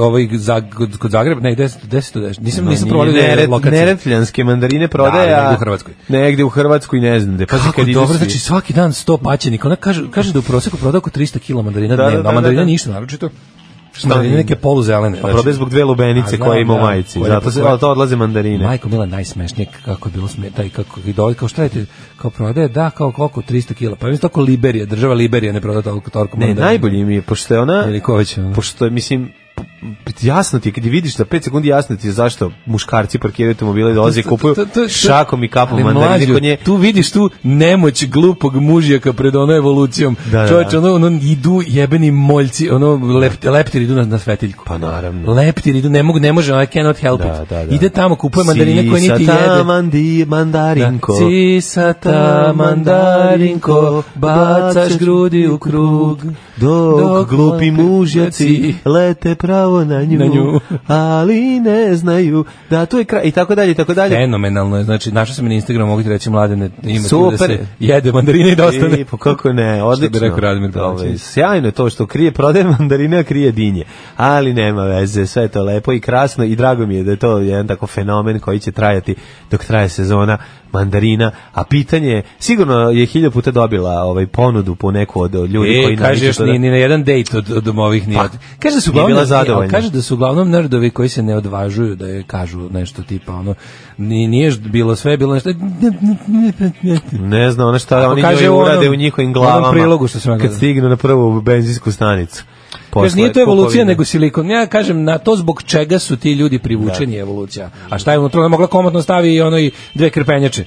S6: ovaj Zag- kod- kod Zagreba, ne, gde se- gde se to deš? Nisam,
S5: Ma,
S6: nisam
S5: nije,
S6: provalio
S5: Neret-
S6: lokaciju.
S5: Neretljanske mandarine prodaje,
S6: ali
S5: a-
S6: negde u Hrvatskoj.
S5: Negde u Hrvatskoj, ne znam gde. Pazi
S6: Kako
S5: kad idu
S6: dobro,
S5: svi.
S6: znači svaki dan 100 paćenika. Ona kaže, kaže da u proseku proda oko 300 kg mandarina
S5: Da, da,
S6: dnevno,
S5: da,
S6: a
S5: da,
S6: mandarina
S5: da.
S6: ništa naročito. Mandarine neke poluzelene.
S5: Pa
S6: znači.
S5: prodaje zbog dve
S6: A,
S5: lubenice
S6: znam,
S5: koje ima u
S6: da,
S5: majici.
S6: koje-
S5: Zato se
S6: koje-
S5: a to odlaze mandarine.
S6: Majko Mila najsmešnije k- kako je bilo smije taj kako i dole kao šta je te kao prodaje da kao koliko 300 kg. Pa mislim tako Liberija, država Liberija ne prodaje toliko toliko
S5: ne,
S6: mandarina.
S5: najbolje mi je pošto je ona
S6: Ili ko već, ono.
S5: pošto je mislim p- jasno ti je, kad je vidiš za 5 sekundi jasno ti je zašto muškarci parkiraju automobile i dolaze i kupuju
S6: To- to- to- to-
S5: šakom i kapom
S6: Ali
S5: mandarine
S6: mlađo,
S5: kod nje.
S6: Tu vidiš tu nemoć glupog mužjaka pred ono evolucijom.
S5: Da, da,
S6: Čovječe,
S5: da.
S6: ono, ono idu jebeni moljci, ono lep, leptiri idu na, na svetiljku.
S5: Pa naravno.
S6: Leptiri idu, ne mogu, ne može, I cannot help
S5: Da,
S6: it.
S5: da, da.
S6: Ide tamo, kupuje mandarine koje niti
S5: Sisata
S6: jede.
S5: mandi, mandarinko.
S6: Da. Sisata mandarinko, bacaš grudi u krug,
S5: Dok, glupi
S6: mlati-
S5: mužjaci lete pravo pravo na nju,
S6: Na nju.
S5: ali ne znaju da tu je kraj, i tako dalje, i tako dalje.
S6: Fenomenalno je, znači našao sam je na Instagramu, mogu ti reći mladene, ima tu da
S5: Super.
S6: se jede [laughs] mandarine i da ostane.
S5: I, pa kako ne, odlično. Ovaj,
S6: Što bi rekao Radimir
S5: Dobro,
S6: Kovačević.
S5: Sjajno je to što krije, prodaje mandarine, a krije dinje. Ali nema veze, sve je to lepo i krasno i drago mi je da je to jedan tako fenomen koji će trajati dok traje sezona mandarina, a pitanje je, sigurno je hilja puta dobila ovaj ponudu po neku od od ljudi koji
S6: E, kaže
S5: naviču
S6: još
S5: to da-
S6: ni, ni na jedan dejt od, od ovih nije.
S5: Pa,
S6: od- kaže da su
S5: nije
S6: uglavnom,
S5: bila
S6: ne, ali
S5: zadovoljna.
S6: Kaže da su uglavnom nerdovi koji se ne odvažuju da je kažu nešto tipa ono, ni, nije ž- bilo sve, bilo nešto.
S5: Ne znam, ono šta
S6: Ako
S5: oni
S6: kaže
S5: njoj
S6: u onom-
S5: urade u njihovim
S6: u onom
S5: glavama.
S6: prilogu što sam ja
S5: Kad
S6: gledao.
S5: stignu na prvu benzinsku stanicu.
S6: Kaže,
S5: Posle
S6: nije to evolucija,
S5: kupovine.
S6: nego silikon. Ja kažem, na to zbog čega su ti ljudi privučeni je evolucija. A šta je unutra? Ona je mogla komotno stavi i ono i dve krpenjače.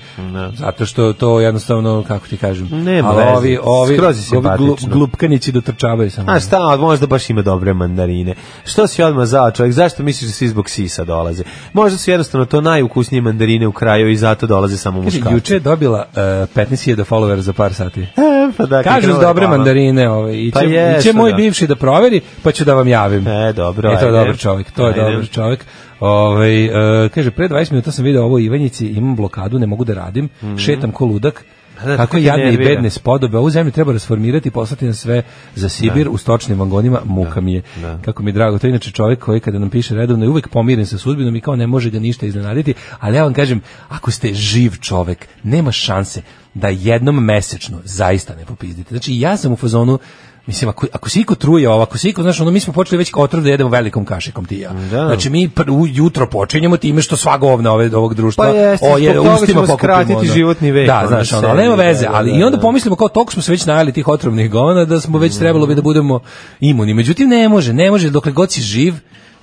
S6: Zato što to jednostavno, kako ti kažem,
S5: Nema
S6: ali
S5: veze,
S6: ovi, ovi,
S5: skroz je
S6: ovi glu-
S5: simpatično.
S6: glupkanići dotrčavaju samo.
S5: A šta, ali možda baš ima dobre mandarine. Što si odmah zao čovjek? Zašto misliš da svi zbog sisa dolaze? Možda su jednostavno to najukusnije mandarine u kraju i zato dolaze samo
S6: Kaže,
S5: muškarci.
S6: juče je dobila uh, 15.000 follower za par sati.
S5: E, [laughs] pa da,
S6: Kažu
S5: krenula
S6: dobre
S5: reklama.
S6: mandarine, ovaj, i će,
S5: Pa jesu,
S6: moj
S5: da.
S6: bivši da proveri, pa ću da vam javim.
S5: E, dobro,
S6: E, to je
S5: ajde.
S6: dobar čovjek, to je
S5: Ajde.
S6: dobar čovjek. Ovaj, e, kaže, pre 20 minuta sam video ovo u Ivanjici, imam blokadu, ne mogu da radim, šetam ko ludak,
S5: Pa Mhm. da,
S6: Kako
S5: to te
S6: jadne i
S5: nervira.
S6: bedne spodobe, ovu zemlju treba rasformirati i poslati na sve za Sibir u stočnim vagonima, muka mi je. Kako mi je drago, to je inače čovjek koji kada nam piše redovno je uvek pomiren sa sudbinom i kao ne može ga ništa iznenaditi, ali ja vam kažem, ako ste živ čovjek, nema šanse da jednom mesečno zaista ne popizdite. Znači ja sam u fazonu Mislim, ako, ako se iko truje ovo, ako se iko, znaš, ono, mi smo počeli već kao otrov da jedemo velikom kašikom ti i ja.
S5: Da.
S6: Znači, mi pr- u- jutro počinjemo time što sva govna ove, ovog društva
S5: Pa jeste,
S6: je-
S5: zbog toga
S6: ustima
S5: ćemo
S6: pokupimo,
S5: skratiti
S6: ono.
S5: životni vek,
S6: Da,
S5: ono,
S6: znaš, ono, ali
S5: sebi,
S6: nema veze,
S5: da, da,
S6: ali
S5: da,
S6: i onda
S5: da.
S6: pomislimo kao toliko smo se već najeli tih otrovnih govna da smo
S5: Mm.
S6: već trebalo bi da budemo imuni. Međutim, ne može, ne može, dokle god si živ,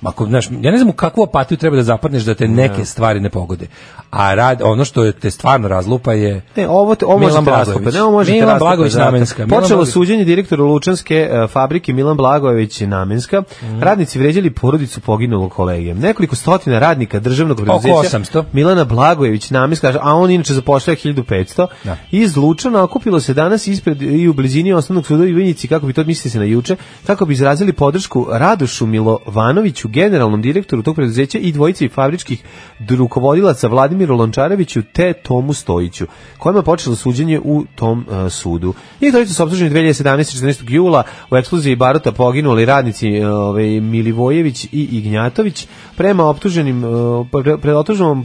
S6: Ako, znaš, ja ne znam u kakvu apatiju treba da zapadneš da te neke stvari ne pogode. A rad, ono što te stvarno razlupa je...
S5: Ne, ovo te, ovo
S6: Milan
S5: možete
S6: Blagojević.
S5: raskopati. Ne, ovo možete
S6: Milan
S5: raskopati,
S6: Blagojević
S5: znate.
S6: Namenska. Milan
S5: Počelo
S6: Blagojević-
S5: suđenje direktoru Lučanske e, fabrike Milan Blagojević Namenska.
S6: Mhm.
S5: Radnici vrijeđali porodicu poginulog kolege. Nekoliko stotina radnika državnog preduzeća
S6: 800.
S5: Milana Blagojević Namenska, a on inače zapošljava 1500.
S6: Da.
S5: Iz Lučana okupilo se danas ispred i u blizini osnovnog suda u Ivanjici, kako bi to mislili se na juče, kako bi izrazili podršku Radošu Milovanoviću, generalnom direktoru tog preduzeća i dvojici fabričkih rukovodilaca Vladimiru Lončareviću te Tomu Stojiću, kojima je počelo suđenje u tom e, sudu. I to su optuženi 2017. 14. jula u eksploziji Baruta poginuli radnici e, ovaj, Milivojević i Ignjatović. Prema optuženim, e, pre- pred optužnom, e,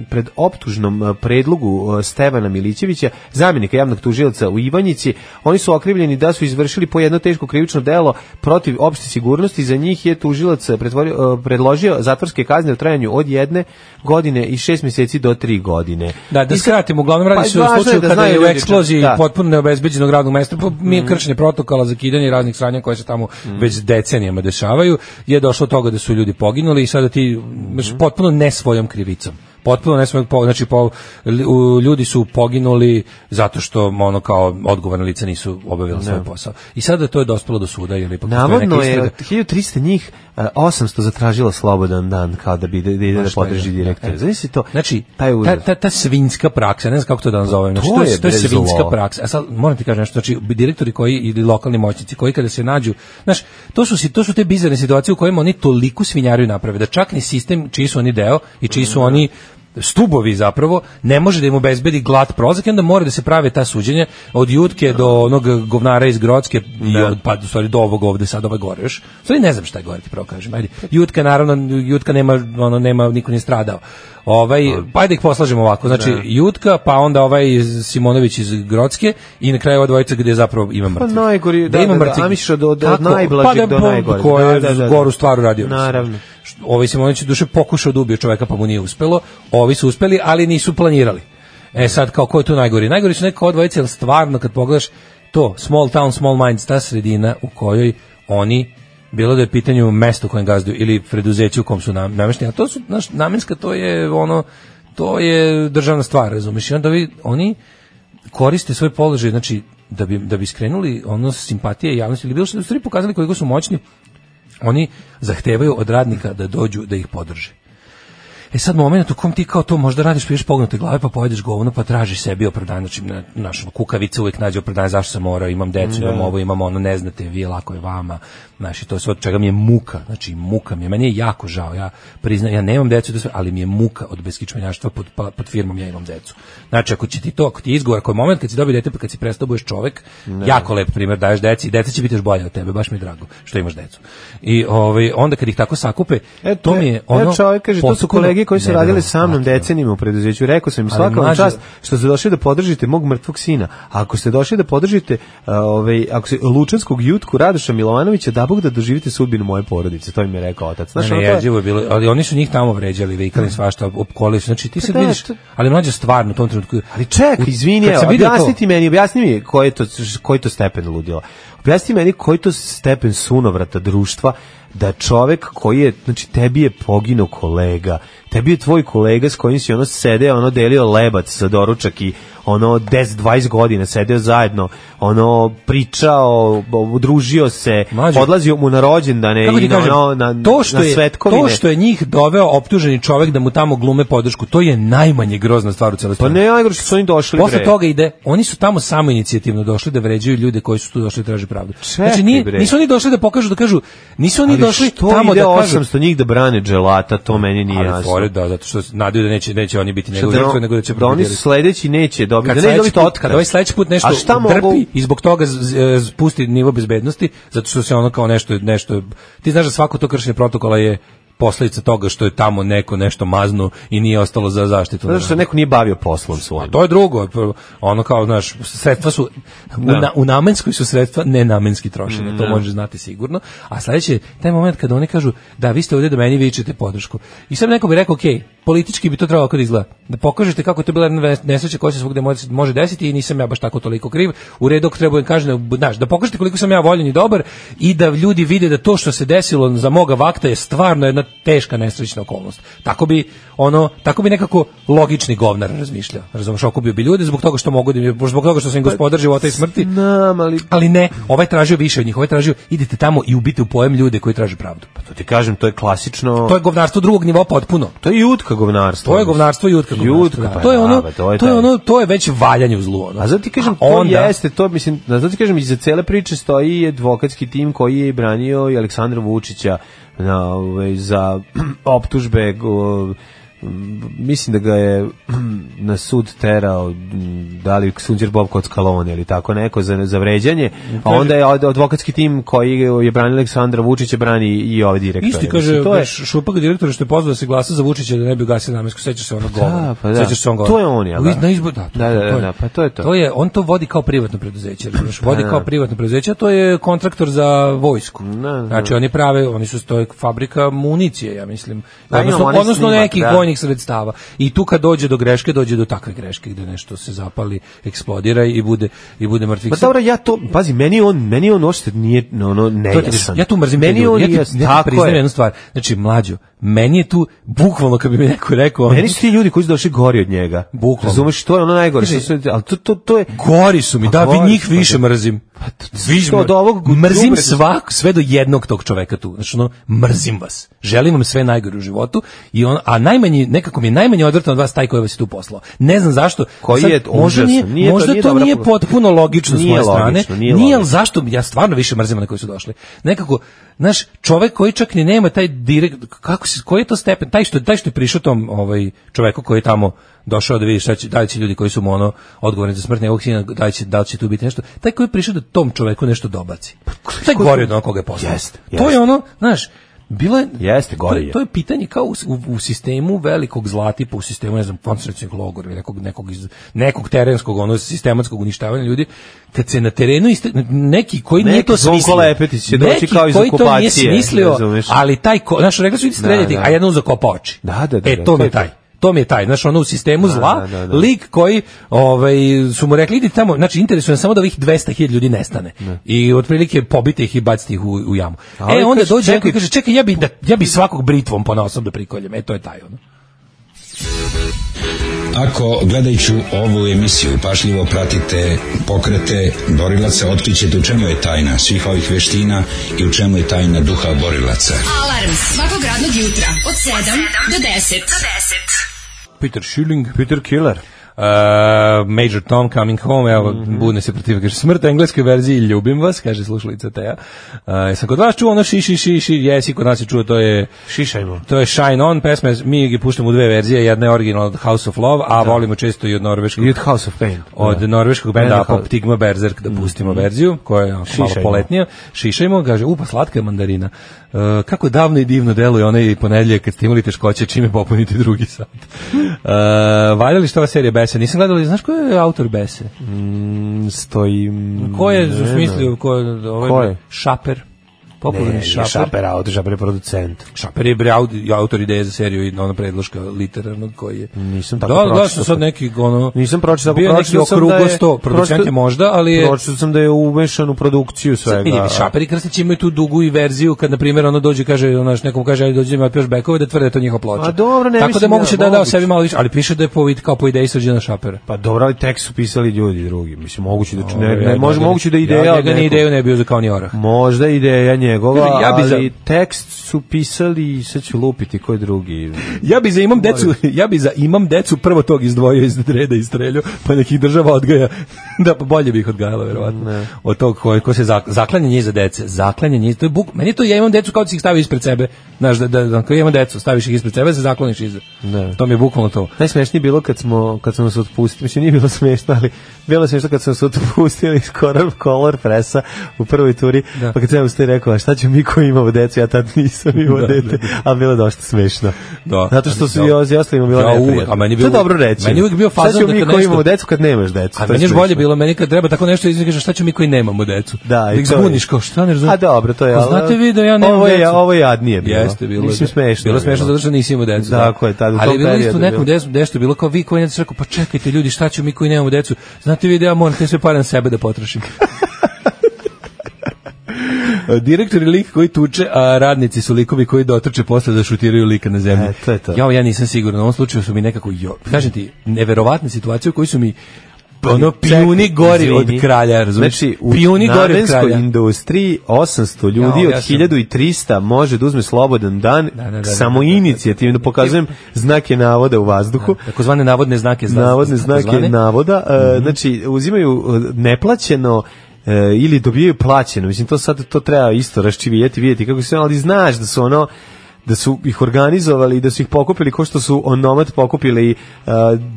S5: e, pred optužnom e, predlogu e, Stevana Milićevića, zamjenika javnog tužioca u Ivanjici, oni su okrivljeni da su izvršili po jedno teško krivično delo protiv opšte sigurnosti. Za njih je tužilac pretvorio- e, predložio zatvorske kazne u trajanju od jedne godine i šest mjeseci do tri godine.
S6: Da, da
S5: I sad-
S6: skratim, uglavnom
S5: Pa
S6: radi se o
S5: važno je
S6: slučaju
S5: da
S6: kada
S5: znaju
S6: je u
S5: ljudi,
S6: eksploziji
S5: da. Mm.
S6: potpuno neobezbeđenog radnog mesta, po- mi kršenje protokola za kidanje i raznih sranja koje se tamo već decenijama dešavaju, je došlo do toga da su ljudi poginuli i sada ti znaš,
S5: Mm.
S6: potpuno ne svojom krivicom. Potpuno ne svojom, po- znači po, li- u- ljudi su poginuli zato što ono kao odgovorne lice nisu obavili svoj posao. I sada to je dospelo do suda jer ipak postoji
S5: Navodno
S6: neka
S5: je
S6: istraga.
S5: od 1300 njih e, 800 zatražilo slobodan dan kao da bi da, da, ide da
S6: šta je
S5: podrži
S6: da.
S5: direktor.
S6: E.
S5: Znači to.
S6: Znači,
S5: taj
S6: ta,
S5: užas.
S6: ta, ta svinska praksa, ne znam kako to da nazovem, znači,
S5: to
S6: to, je,
S5: je
S6: to je
S5: bre
S6: svinska
S5: zlo.
S6: praksa. A sad moram ti kažem nešto, znači direktori koji ili lokalni moćnici koji kada se nađu, znaš, to su si- to su te bizarne situacije u kojima oni toliko svinjariju naprave da čak ni sistem čiji su oni deo i čiji su oni stubovi zapravo, ne može da im obezbedi glat prozak, i onda mora da se prave ta suđenja od jutke do onog govnara iz Grodske i od, pa u stvari do ovog ovde sad ove gore još. U Stvari ne znam šta je gore ti pravo kažem. Ajde. Jutka naravno, Jutka nema, ono, nema, niko nije stradao. Ovaj, pa ajde ih poslažemo ovako, znači Jutka, pa onda ovaj iz- Simonović iz Grodske i na kraju ova dvojica gdje zapravo ima mrtvih.
S5: Pa najgori- da,
S6: ima
S5: da, da,
S6: mrtvih.
S5: a misliš od- od- od
S6: Tako,
S5: najblažeg
S6: pa da,
S5: do
S6: bo-
S5: najgoreg.
S6: Ko je
S5: Da, da, da.
S6: goru stvar uradio. mislim.
S5: Naravno.
S6: Što- Ovaj Simonović je duše pokušao da ubije čoveka pa mu nije uspelo, ovi su uspeli, ali nisu planirali. E sad, kao ko je tu najgori? Najgori su neka odvojica, jer stvarno kad pogledaš to, small town, small minds, ta sredina u kojoj oni bilo da je pitanje u mestu u kojem gazduju ili preduzeću u kom su nam, namešteni, a to su, znaš, namenska, to je ono, to je državna stvar, razumiješ? I onda ovi- oni, koriste svoj položaj, znači da bi da bi skrenuli ono simpatije javnosti ili bilo što da su stvari pokazali koliko su moćni, oni zahtevaju od radnika da dođu da ih podrže. E sad moment u kom ti kao to možda radiš, piješ pognute glave, pa pojedeš govno, pa tražiš sebi opravdanje, znači na, naš kukavica uvek nađe opravdanje zašto sam morao, imam decu, imam ovo, imam ono, ne znate vi, lako je vama. Znači to je sve od čega mi je muka, znači muka mi je, meni je jako žao, ja priznajem, ja nemam decu, to sve, ali mi je muka od beskičmenjaštva pod, pa- pod firmom ja imam decu. Znači ako će ti to, ako ti je izgovor, ako je moment kad si dobio dete, pa kad si prestao budeš čovek, jako lep primjer daješ deci, deca će biti još bolje od tebe, baš mi je drago što imaš decu. I ovaj, onda kad ih tako sakupe,
S5: E,
S6: to mi je ono...
S5: e, čovjek kaže, to su
S6: potpuno
S5: kolege koji su radili sa mnom
S6: neverovatno.
S5: decenijima u preduzeću. Rekao sam im
S6: Ali
S5: svaka vam
S6: mlađe-
S5: čast što ste došli da podržite mog mrtvog sina. A ako ste došli da podržite a, ovaj, ako se, Lučanskog jutku Radoša Milovanovića, da Bog da doživite sudbinu moje porodice. To im je rekao otac. Znaš,
S6: Ne,
S5: ono,
S6: ne,
S5: to je-
S6: jezivo je bilo, ali oni su njih tamo vređali, vikali im svašta, opkolili su. Znači ti
S5: Pa
S6: sad
S5: da,
S6: vidiš,
S5: to-
S6: ali mlađe stvarno u tom trenutku.
S5: Ali ček,
S6: U-
S5: izvini,
S6: kad
S5: evo,
S6: sam video to-
S5: objasni ti meni, objasni mi koji je to, koji to stepen ludila. Objasni meni koji to stepen sunovrata društva da čovek koji je, znači tebi je poginuo kolega, tebi je tvoj kolega s kojim si ono sedeo, ono delio lebac za doručak i ono 10-20 godina sedeo zajedno, ono pričao, bo- družio se,
S6: Mlađe.
S5: odlazio mu na rođendane
S6: Kako ti
S5: i na,
S6: kažem,
S5: ono, na,
S6: to što
S5: na
S6: je
S5: svetkovine.
S6: to što je njih doveo optuženi čovjek da mu tamo glume podršku, to je najmanje grozna stvar u celoj
S5: Pa
S6: stvari.
S5: ne, najgore što su oni došli,
S6: Posle
S5: bre.
S6: toga ide, oni su tamo samo inicijativno došli da vređaju ljude koji su tu došli da traže pravdu.
S5: Čekaj,
S6: znači nije-
S5: bre.
S6: nisu oni došli da pokažu da kažu, nisu oni
S5: Ali
S6: došli
S5: što
S6: tamo
S5: ide
S6: da kažu
S5: 800 njih da brane dželata, to meni nije
S6: ali
S5: jasno.
S6: fore da zato što se nadaju da neće neće oni biti
S5: Što
S6: nego
S5: da, ono-
S6: žrtve nego da će
S5: da oni
S6: pobediti.
S5: sledeći neće dobiti,
S6: kad
S5: da neće
S6: sledeći
S5: dobiti
S6: put-
S5: otkaz.
S6: Kad ovaj sledeći put nešto
S5: A šta
S6: trpi
S5: mogu,
S6: i zbog toga z- z- z- pusti nivo bezbednosti, zato što se ono kao nešto, nešto ti znaš da svako to kršenje protokola je posledica toga što je tamo neko nešto maznu i nije ostalo za zaštitu.
S5: zato što neko nije bavio poslom svojim.
S6: To je drugo, prvo, ono kao, znaš, sredstva su, u, na, u namenskoj su sredstva nenamenski trošene, to možeš znati sigurno, a sledeće je taj moment kada oni kažu, da, vi ste ovdje da meni vičete podršku. I sad neko bi rekao, ok, politički bi to trebalo kada izgleda, da pokažete kako je to bila jedna nes- nesreća koja se svugde može- može desiti i nisam ja baš tako toliko kriv, u redu ako treba im kažem, znaš, da pokažete koliko sam ja voljen i dobar i da ljudi vide da to što se desilo za moga vakta je stvarno jedna teška nesrećna okolnost. Tako bi ono, tako bi nekako logični govnar razmišljao. Razumeš, okupio bi ljude zbog toga što mogu da im, zbog toga što su
S5: Pa,
S6: im gospodar života i smrti.
S5: Znam, ali
S6: Ali ne, ovaj tražio više od njih, ovaj tražio idite tamo i ubite u pojem ljude koji traže pravdu. Pa to,
S5: to ti kažem, to je klasično...
S6: to je govnarstvo drugog nivoa potpuno.
S5: to je jutka govnarstvo.
S6: To je govnarstvo i jutka. govnarstvo,
S5: Jutka,
S6: da.
S5: pa
S6: to je ono,
S5: da,
S6: to je,
S5: taj-
S6: ono, to je već valjanje u zlu. ono.
S5: A zato ti kažem,
S6: A
S5: to jeste, to mislim, a zato ti kažem, iza cele priče stoji advokatski tim koji je branio i Aleksandra Vučića na, ovaj, za [clears throat] optužbe, go- m, mislim da ga je [clears throat] na sud terao, m, da li Sunđer Bob Kockalone ili tako neko za, za vređanje, a onda je ad- advokatski tim koji je branio Aleksandra Vučića brani i ovaj direktor.
S6: Isti kaže
S5: Mislim, to je,
S6: baš šupak direktor što je pozvao da se glasa za Vučića da ne bi ugasio namensku, sećaš se onog govora.
S5: Da, pa da.
S6: Sećaš se onog
S5: To je on, jel da?
S6: U- Na izbor, da, to,
S5: Da, da,
S6: je-
S5: da, da, pa to je to. Pa
S6: To je, on to vodi kao privatno preduzeće, razumeš? Vodi
S5: da.
S6: kao privatno preduzeće, a to je kontraktor za vojsku.
S5: da.
S6: Znači oni prave, oni su to je fabrika municije, ja mislim.
S5: Da,
S6: odnosno,
S5: imamo onaj
S6: odnosno
S5: snimak,
S6: nekih
S5: da.
S6: vojnih sredstava. I tu kad dođe do greške, dođe do takve greške gde nešto se zapali, eksplodira i bude i bude mrtvih.
S5: Ma Pa dobro, ja to, pazi, meni je on, meni je on uopšte nije, ono,
S6: To ti kažem,
S5: nejasan.
S6: ja tu mrzim
S5: meni
S6: meni
S5: je on
S6: ja ti, ja
S5: nejasan,
S6: ti
S5: tako
S6: priznajem
S5: je.
S6: jednu stvar. Znači, mlađo, meni je tu, bukvalno kad bi mi neko rekao,
S5: Meni su ti ljudi koji su došli gori od njega.
S6: Bukvalno.
S5: Razumeš, to je ono najgore. Što su, ali to, to, to je...
S6: gori su mi,
S5: Pa
S6: da, vi
S5: gori
S6: njih
S5: su, pa
S6: više
S5: da.
S6: mrzim. Vi
S5: što od ovog
S6: mrzim
S5: đubreta su-
S6: svak, sve do jednog tog čoveka tu. Znači, ono, mrzim vas. Želim vam sve najgore u životu, i on, a najmanji, nekako mi je najmanje odvrtan od vas taj koji vas je tu poslao. Ne znam zašto.
S5: Koji je
S6: možda
S5: užasan.
S6: nije,
S5: Nije to-
S6: možda
S5: nije
S6: to
S5: dobra
S6: nije
S5: poruka.
S6: potpuno logično s
S5: Nije
S6: moje strane.
S5: logično, nije
S6: Nije,
S5: logično.
S6: ali zašto ja stvarno više mrzim na koji su došli. Nekako Znaš, čovek koji čak ni nema taj direkt kako se koji je to stepen taj što taj što je prišao tom ovaj čoveku koji je tamo došao da vidi šta će da li će ljudi koji su mu ono odgovorni za smrt njegovog sina da li će da li će tu biti nešto taj koji je prišao da tom čoveku nešto dobaci taj gori od onog koga je poslao
S5: Pa, Jeste,
S6: to
S5: jeste.
S6: je ono znaš Bilo je,
S5: Jeste,
S6: to-
S5: gori je.
S6: to je pitanje kao u, u, u sistemu velikog zlatipa, u sistemu, ne znam, koncentracijog logora ili nekog, nekog, iz, nekog terenskog, ono, sistematskog uništavanja ljudi, kad se na terenu, iste, neki koji
S5: Neki
S6: nije to
S5: Zvonko
S6: smislio,
S5: Lepetić će doći
S6: neki
S5: kao iz
S6: koji to nije
S5: okupacije,
S6: smislio,
S5: razumeš?
S6: ali taj, ko, znaš, rekli su idi streljati,
S5: Da, da.
S6: a jednom zakopa oči.
S5: Da, da, da,
S6: E,
S5: da,
S6: to
S5: to
S6: mi
S5: je
S6: je
S5: to.
S6: taj. To mi je taj, znaš, ono u sistemu zla,
S5: da, da, da.
S6: lik koji ovaj, su mu rekli, idi tamo, znači interesuje nas samo da ovih 200.000 ljudi nestane. I otprilike pobite ih i bacite ih u, u jamu.
S5: A ovaj
S6: e, onda
S5: kaže,
S6: dođe neko i
S5: čekaj,
S6: kaže, čekaj, ja bi, da, ja bi svakog britvom ponaosob da prikoljem. E, to je taj, ono.
S11: Ako gledajući ovu emisiju pašljivo pratite pokrete borilaca, otkrićete u čemu je tajna svih ovih veština i u čemu je tajna duha borilaca.
S9: Alarm svakog radnog jutra od 7 do 10.
S6: Peter Schilling. Peter Killer. Uh, Major Tom Coming Home, evo,
S5: Mhm.
S6: budne se protiv, kaže, smrt engleskoj verziji, ljubim vas, kaže slušalica Teja. Uh, sam kod vas čuo ono ši, ši, ši, ši, jesi, kod nas je čuo, to je...
S5: Šišajmo.
S6: To je Shine On pesma, mi ga puštamo u dve verzije, jedna je originalna od House of Love, a volimo često i od norveškog...
S5: I od House of Pain.
S6: Od
S5: Da.
S6: norveškog benda
S5: Benda
S6: Apoptigma Berserk, da pustimo verziju, koja je onako malo
S5: Mm. Šišajmo.
S6: poletnija. Šišajmo, kaže, upa, slatka je mandarina. Uh, kako davno i divno deluje onaj ponedjeljak kad ste imali teškoće, čime popuniti drugi sat. Uh, valja li što ova serija Bese? Nisam gledala, znaš ko je autor Bese?
S5: Stoji...
S6: Ko je
S5: ne znam.
S6: smislio, ko je, ovaj,
S5: Ko je?
S6: Šaper? Popularni
S5: Ne,
S6: Šaper.
S5: Šaper. Šaper, auto, Šaper je producent.
S6: Šaper je bre aud- autor ideje za seriju i ona predloška literarnog koji je.
S5: Nisam tako
S6: da,
S5: pročitao
S6: da, sam sad
S5: sam.
S6: neki ono...
S5: Nisam pročitao,
S6: Bio neki
S5: pročitao sam da
S6: okruglo
S5: je-
S6: sto, producent je
S5: pročitao-
S6: možda, ali je...
S5: Pročitao sam da je umešan u produkciju svega.
S6: Vidi, vidi, Šaper i Krstić imaju tu dugu i verziju kad, na primjer, ono dođe i kaže, ono, znaš, nekom kaže, ajde dođe da mi otpioš bekove, da tvrde da je to njihova ploča.
S5: A dobro, ne
S6: Tako da
S5: mislim
S6: je moguće
S5: ja,
S6: da je dao
S5: moguće.
S6: sebi malo više, ali piše da je po, vid- kao po ideji srđana Šapera.
S5: Pa dobro, ali tekst su pisali ljudi drugi. Mislim, moguće da... Ne,
S6: Dobro, ja
S5: ne, može,
S6: njega-
S5: moguće da je
S6: Ja
S5: ideja...
S6: njega
S5: od
S6: ni
S5: nekog.
S6: ideju ne bio za kao ni orah.
S5: Možda je ideja njegova,
S6: Ljudi, ja bi za-
S5: ali tekst su pisali, sad ću lupiti, ko je drugi?
S6: Ja bi za imam decu, [laughs] ja bi za imam decu prvo tog izdvojio iz reda i streljao, pa nekih država odgaja. [laughs] da, pa bolje bi ih odgajala, verovatno. Od tog ko, ko se zak, zaklanja njih za dece. Zaklanja njih, to je buk, meni je to, ja imam decu kao da si ih stavi ispred sebe. Znaš, da, da, da, kao imam decu, staviš ih ispred sebe, se zakloniš iza.
S5: Ne.
S6: To mi je bukvalno to.
S5: Najsmešnije je bilo kad smo kad smo nas otpustili, mislim nije bilo smešno, ali bilo je smešno kad smo nas otpustili iz kolor, kolor presa u prvoj turi,
S6: Da.
S5: pa kad sam ste rekao, a šta ćemo mi koji imamo decu, ja tad
S6: [laughs]
S5: nisam imao
S6: Da,
S5: dete, a bilo je dosta smešno.
S6: Da.
S5: Zato što su
S6: Da.
S5: i oz- i ostalima bilo
S6: Ja uvek,
S5: neprijatno.
S6: a meni bi
S5: To je
S6: uvek-
S5: dobro reći.
S6: meni je uvek bio fazon
S5: Šta ćemo
S6: da
S5: mi
S6: kad
S5: koji
S6: nešto-
S5: imamo decu kad nemaš decu?
S6: A
S5: To je
S6: meni još
S5: smešno.
S6: bolje bilo, meni kad treba tako nešto izgaš, šta ću mi koji nemamo decu?
S5: Da,
S6: da
S5: i
S6: ih
S5: to je-
S6: zbuniš, kao šta ne razumem.
S5: A dobro, to je.
S6: Pa
S5: ali-
S6: znate vi da ja nemam
S5: ovo je,
S6: decu.
S5: Ovo je jadnije bilo.
S6: Jeste, bilo je.
S5: Mislim smešno.
S6: Bilo je smešno zato što nisi imao decu.
S5: Tako je, tad u
S6: Ali
S5: tom
S6: je bilo isto
S5: periodu
S6: nekom
S5: bilo.
S6: desu, desu bilo kao vi koji ne rekao, pa čekajte ljudi, šta ću mi koji nemamo decu? Znate vi da ja moram te sve pare na sebe da potrošim. [laughs] Direktor je lik koji tuče, a radnici su likovi koji dotrče posle da šutiraju lika na zemlju.
S5: E, to je to.
S6: Jao, ja nisam siguran. U ovom slučaju su mi nekako, jo, kažem ti, neverovatne situacije u kojoj su mi ono
S5: Čekaj,
S6: pijuni gori od
S5: izvini.
S6: kralja, razumiješ?
S5: Znači, u
S6: pijuni gori od
S5: namenskoj
S6: kralja.
S5: industriji 800 ljudi
S6: Ja, ja
S5: od
S6: sam-
S5: 1300 može da uzme slobodan dan
S6: da, da, da,
S5: samo inicijativno pokazujem znake navoda u vazduhu.
S6: Takozvane navodne znake. zna-
S5: Navodne znake
S6: takozvane.
S5: navoda, e,
S6: Mhm.
S5: znači uzimaju e, neplaćeno e, ili dobijaju plaćeno. Mislim to sad to treba isto raščivijeti, vidjeti kako se ali znaš da su ono da su ih organizovali i da su ih pokupili ko što su onomad pokupili uh,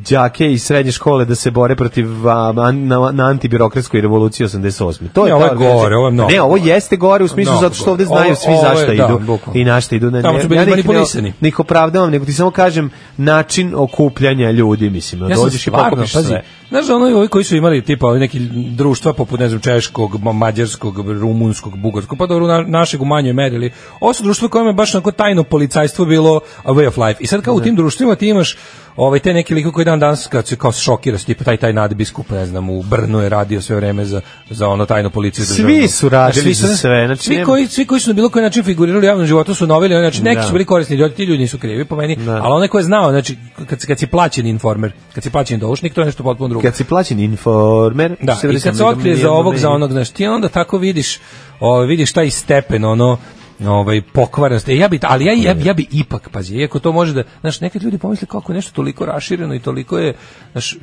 S5: đake iz srednje škole da se bore protiv a, an- na, na antibirokratskoj revoluciji 88. To
S6: Ne,
S5: je
S6: ovo
S5: ta
S6: je
S5: organizacija.
S6: gore, ovo je mnogo
S5: Ne, ovo
S6: gore.
S5: jeste gore u smislu
S6: Mnogo
S5: zato što
S6: gore.
S5: ovde
S6: Ovo-
S5: znaju svi
S6: ovo je,
S5: zašto
S6: da,
S5: idu
S6: bukvalno.
S5: i na šta idu. Ne,
S6: Tamo
S5: ne,
S6: su bili
S5: ja ih ne-
S6: manipulisani.
S5: ih opravdavam, nego ti samo kažem način okupljanja ljudi, mislim,
S6: Ja sam
S5: dođeš i
S6: stvarno,
S5: pokupiš
S6: pazi,
S5: sve.
S6: Znaš da ono, ovi koji su imali tipa ovi neki društva poput ne znam češkog, ma- mađarskog, rumunskog, bugarskog, pa dobro na, našeg u manjoj meri, ali ovo su društva kojima je baš onako tajno policajstvo bilo a way of life. I sad kao u tim društvima ti imaš ovaj te neki lik koji dan danas kad se kao šokira se tipa taj taj nadbiskup ne znam u Brnu je radio sve vreme za za ono tajno policiju
S5: Svi
S6: državnu.
S5: su radili
S6: Znaš, svi
S5: za
S6: su-
S5: sve, znači
S6: svi
S5: nema-
S6: koji svi koji su na bilo koji način figurirali u javnom životu su noveli, znači neki
S5: Da.
S6: su bili korisni ljudi, ti ljudi nisu krivi po meni,
S5: Da.
S6: ali onaj ko je znao, znači kad kad si plaćeni informer, kad si plaćeni doušnik, to je nešto potpuno drugo.
S5: Kad si plaćen informer,
S6: Da, i kad se otkrije za ovog, za onog, znaš, ti onda tako vidiš, o, vidiš taj stepen, ono, ovaj pokvarenost. E, ja bi, ali ja, ja, ja bi ipak, pazi, iako to može da, znaš, nekad ljudi pomisle kako je nešto toliko rašireno i toliko je, znaš,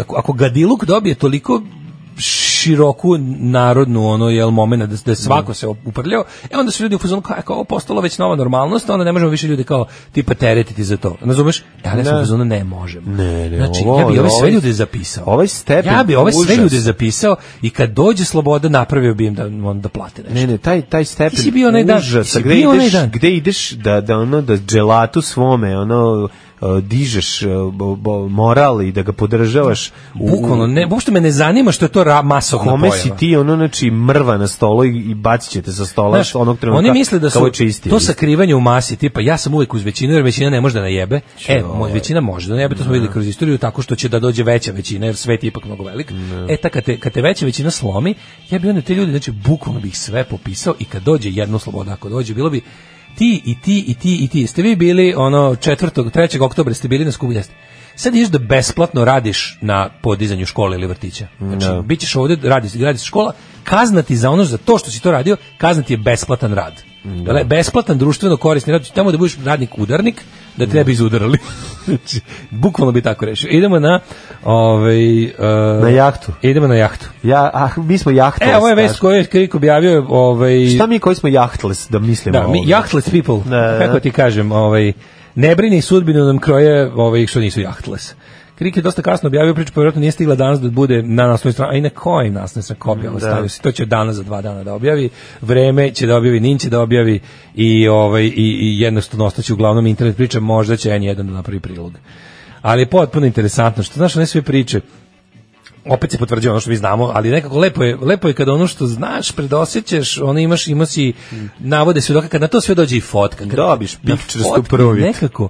S6: ako, ako gadiluk dobije toliko široku narodnu ono jel momenat da, da je svako se uprljao e onda su ljudi u fazonu kao ako je ovo postalo već nova normalnost onda ne možemo više ljudi kao tipa teretiti za to razumeš E, ja ne, sam u
S5: Ne.
S6: fazonu ne možemo
S5: Ne, ne,
S6: znači
S5: ovo-
S6: ja bi ove sve
S5: ovaj-
S6: ljude zapisao
S5: ovaj stepen
S6: ja bi ove sve
S5: užas.
S6: ljude zapisao i kad dođe sloboda napravio bi im da on da plate nešto.
S5: Ne, ne, taj taj stepen.
S6: Ti si bio onaj dan, ti
S5: užasa,
S6: si
S5: gde
S6: bio onaj
S5: ideš,
S6: dan.
S5: gde ideš da da ono da dželatu svome, ono uh, dižeš uh, bo- bo- moral i da ga podržavaš u-
S6: Bukvalno ne, uopšte me ne zanima što je to ra, masovna
S5: Kome
S6: pojava.
S5: si ti ono znači mrva na stolu i, i bacit ćete sa stola
S6: Znaš,
S5: onog trenutka.
S6: Oni misle da
S5: kao
S6: su
S5: je čisti.
S6: to sakrivanje u masi, tipa ja sam uvek uz većinu jer većina ne može da najebe. E, mo- većina može da najebe, to smo videli kroz istoriju tako što će da dođe veća većina jer svet je ipak mnogo velik. E, ta kad te, kad te veća većina slomi, ja bi onda te ljudi, znači bukvalno bih sve popisao i kad dođe jedno sloboda, ako dođe, bilo bi ti i ti i ti i ti. Ste vi bili ono 4. 3. oktobra ste bili na skupu jeste. sad ideš da besplatno radiš na podizanju škole ili vrtića. Znači,
S5: Da.
S6: bit ćeš ovdje, radiš, radiš škola, kaznati za ono, za to što si to radio, kaznati je besplatan rad. Da. Besplatan društveno korisni rad, Znači, tamo da budeš radnik udarnik, da te ne bi izudarali. [laughs] Znači, Bukvalno bi tako rešio. Idemo na... Ovaj, e,
S5: Na jahtu.
S6: Idemo na jahtu.
S5: Ja, a, mi smo jahtu.
S6: E, ovo je vest koju je Krik objavio. Ovaj,
S5: Šta mi koji smo jahtles da mislimo?
S6: da, mi,
S5: ovdje?
S6: jahtless people,
S5: Da, da.
S6: kako ti kažem, ovaj, ne brini sudbinu nam kroje ovih što nisu jahtless. Krik je dosta kasno objavio priču, pa vjerojatno nije stigla danas da bude na naslovnoj strani, a i na kojim naslovnoj strani kopija, ali
S5: Da.
S6: stavio se. To će danas za dva dana da objavi, vreme će da objavi, nin će da objavi i, ovaj, i, i jednostavno ostaće uglavnom internet priča, možda će N1 da napravi prilog. Ali je potpuno interesantno, što znaš, one sve priče, opet se potvrđuje ono što mi znamo, ali nekako lepo je, lepo je kada ono što znaš, predosećeš, ono imaš, ima si navode svjedoka, kad na to sve dođe i fotka. Kad,
S5: Dobiš
S6: na
S5: picturestu
S6: fotki
S5: provid.
S6: Nekako,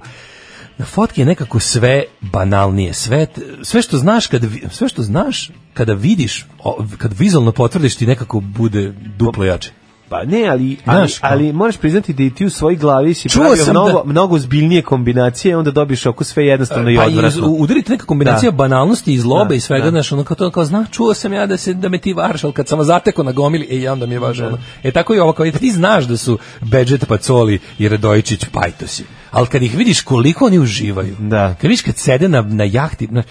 S6: na fotki je nekako sve banalnije, sve, t- sve što znaš kada, vi- sve što znaš kada vidiš, o- kad vizualno potvrdiš ti nekako bude duplo jače.
S5: Pa ne, ali, ali,
S6: Znaš, kao-
S5: ali moraš priznati da i ti u svojoj glavi si
S6: Čuo
S5: pravio
S6: sam
S5: mnogo,
S6: da-
S5: mnogo zbiljnije kombinacije, onda dobiš oko sve jednostavno i
S6: Pa i iz-
S5: odvratno.
S6: u- udarite neka kombinacija
S5: Da.
S6: banalnosti i zlobe
S5: Da,
S6: i svega,
S5: da.
S6: znaš, ono kao to, kao, zna, čuo sam ja da, se, da me ti varaš, ali kad sam vas zateko na gomili, e, ja onda mi je važno. ono. E, tako i ovo, kao, ti znaš da su Bedžet Pacoli i Radojičić Pajtosi, ali kad ih vidiš koliko oni uživaju,
S5: Da.
S6: kad vidiš kad sede na, na jahti, na,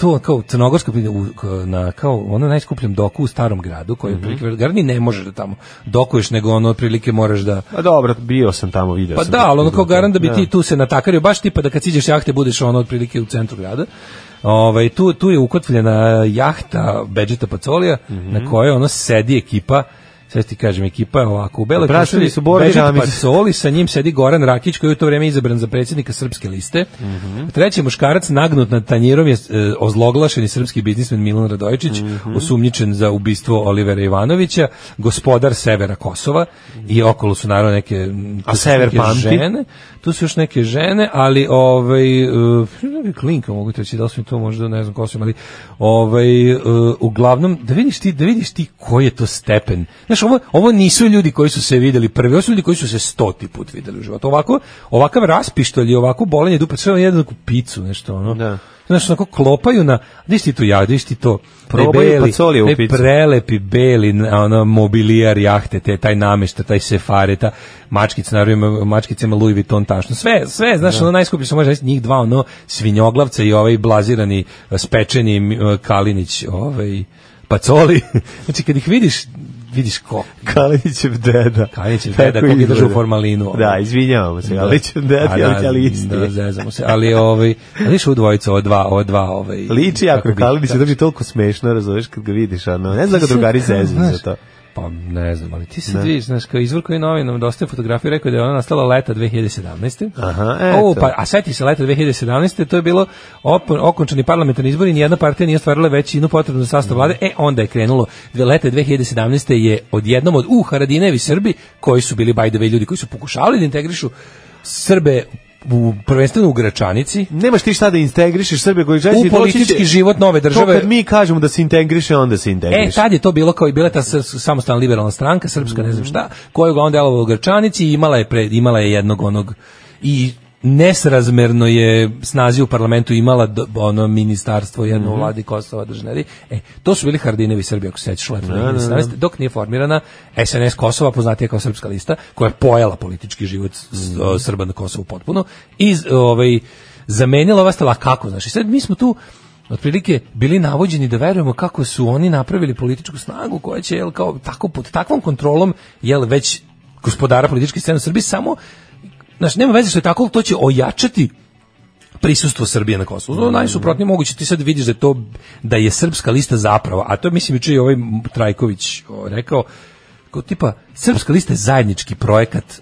S6: to kao crnogorsko u- k- na kao ono najskupljem doku u starom gradu
S5: Mhm.
S6: koji je otprilike gar ni ne možeš da tamo dokuješ nego ono otprilike moraš da
S5: A Pa dobro, bio sam tamo, video
S6: pa
S5: sam.
S6: da, ali ono kao garant da bi ti tu se natakario, baš tipa da kad siđeš jahte budeš ono otprilike u centru grada. Ovaj, tu, tu je ukotvljena jahta Bedžeta Pacolija,
S5: Mhm.
S6: na kojoj ono sedi ekipa Sve ti kažem, ekipa je ovako u beloj
S5: Oprašteni
S6: košulji,
S5: su Bora i
S6: Bedžet
S5: Đamić.
S6: Pacoli, sa njim sedi Goran Rakić koji je u to vrijeme izabran za predsjednika srpske liste. Treći muškarac nagnut nad tanjirom je e, ozloglašeni srpski biznismen Milan Radojičić, osumnjičen za ubistvo Olivera Ivanovića, gospodar severa Kosova i okolo su naravno neke m,
S5: A
S6: tu su
S5: sever
S6: neke
S5: pamti?
S6: žene, tu su još neke žene, ali ovaj uh, klinka mogu ti reći da li su mi to možda ne znam ko su, ali ovaj e, uglavnom da vidiš ti da vidiš ti koji je to stepen. Znaš, ovo ovo nisu ljudi koji su se vidjeli prvi, ovo su ljudi koji su se stoti put vidjeli u životu. Ovako, ovakav raspištolj i ovako bolenje dupe, sve jedan picu, nešto ono.
S5: Da.
S6: Znaš, onako klopaju na, gdje ti tu ja, gdje ti to, taj
S5: Probaju
S6: beli,
S5: pacolije u
S6: taj
S5: picu.
S6: prelepi beli na- ono mobilijar jahte, te taj namešta, taj sefareta, mačkica naravno ima- mačkica ima Louis Vuitton tašno. Sve, sve, znaš, ono najskuplje što može reći njih dva ono svinjoglavca i ovaj blazirani eh, spečeni eh, Kalinić, ovaj Pacoli. [laughs] znači kad ih vidiš, vidiš ko
S5: Kalinićev deda.
S6: Kalinićev deda,
S5: Tako
S6: kog je
S5: izgleda.
S6: držao u formalinu.
S5: Da, izvinjavamo se, Kalinićev deda,
S6: A
S5: ali,
S6: Pa da,
S5: ali isti.
S6: Da, zezamo se. Ali ovaj, ali vidiš u dvojicu, ova dva, ova dva, ovaj.
S5: Liči jako,
S6: kako bi-
S5: Kalinić
S6: da.
S5: se drži toliko smešno, razumeš, kad ga vidiš, ano, ne znam ga
S6: [laughs]
S5: drugari zezu za
S6: Znaš,
S5: to.
S6: Pa ne znam, ali ti se vidiš, znaš, kao izvor koji je novinom dosta fotografiju rekao da je ona nastala leta 2017.
S5: Aha,
S6: Ovo,
S5: eto.
S6: pa, a seti se leta 2017. To je bilo op- okončani parlamentarni izbor i nijedna partija nije stvarila većinu potrebnu za
S5: Mhm.
S6: sastav vlade. E, onda je krenulo. Dve- Leta 2017. je odjednom od u Haradinevi Srbi, koji su bili by the way ljudi koji su pokušavali da integrišu Srbe u, prvenstveno u Gračanici,
S5: Nemaš ti šta da integrišeš Srbije koji želiš.
S6: U
S5: i doći
S6: politički
S5: će-
S6: život nove
S5: To
S6: države.
S5: kad mi kažemo da se integriše, onda se
S6: E,
S5: integriše.
S6: tad je to bilo kao i bila ta srs- samostalna liberalna stranka, srpska, ne znam šta, koja je uglavnom delovala u Grčanici i imala je, pre, imala je jednog onog i nesrazmerno je snazi u parlamentu imala do- ono ministarstvo jedno u vladi Kosova državi. E, to su bili Hardinevi Srbi, ako se sećaš, leto 2017., dok nije formirana SNS Kosova, poznatija kao srpska lista, koja je pojela politički život s- o, Srba na Kosovu potpuno, i z- ovaj, zamenila ova stala kako, znači, sad mi smo tu, otprilike bili navođeni da verujemo kako su oni napravili političku snagu koja će jel kao tako pod takvom kontrolom jel već gospodara političke scene u Srbiji samo znaš nema veze što je tako ali to će ojačati prisustvo Srbije na Kosovu. Ono najsuprotnije moguće ti sad vidiš da je to da je srpska lista zapravo, a to je, mislim juče i ovaj Trajković o, rekao kao tipa srpska lista je zajednički projekat k-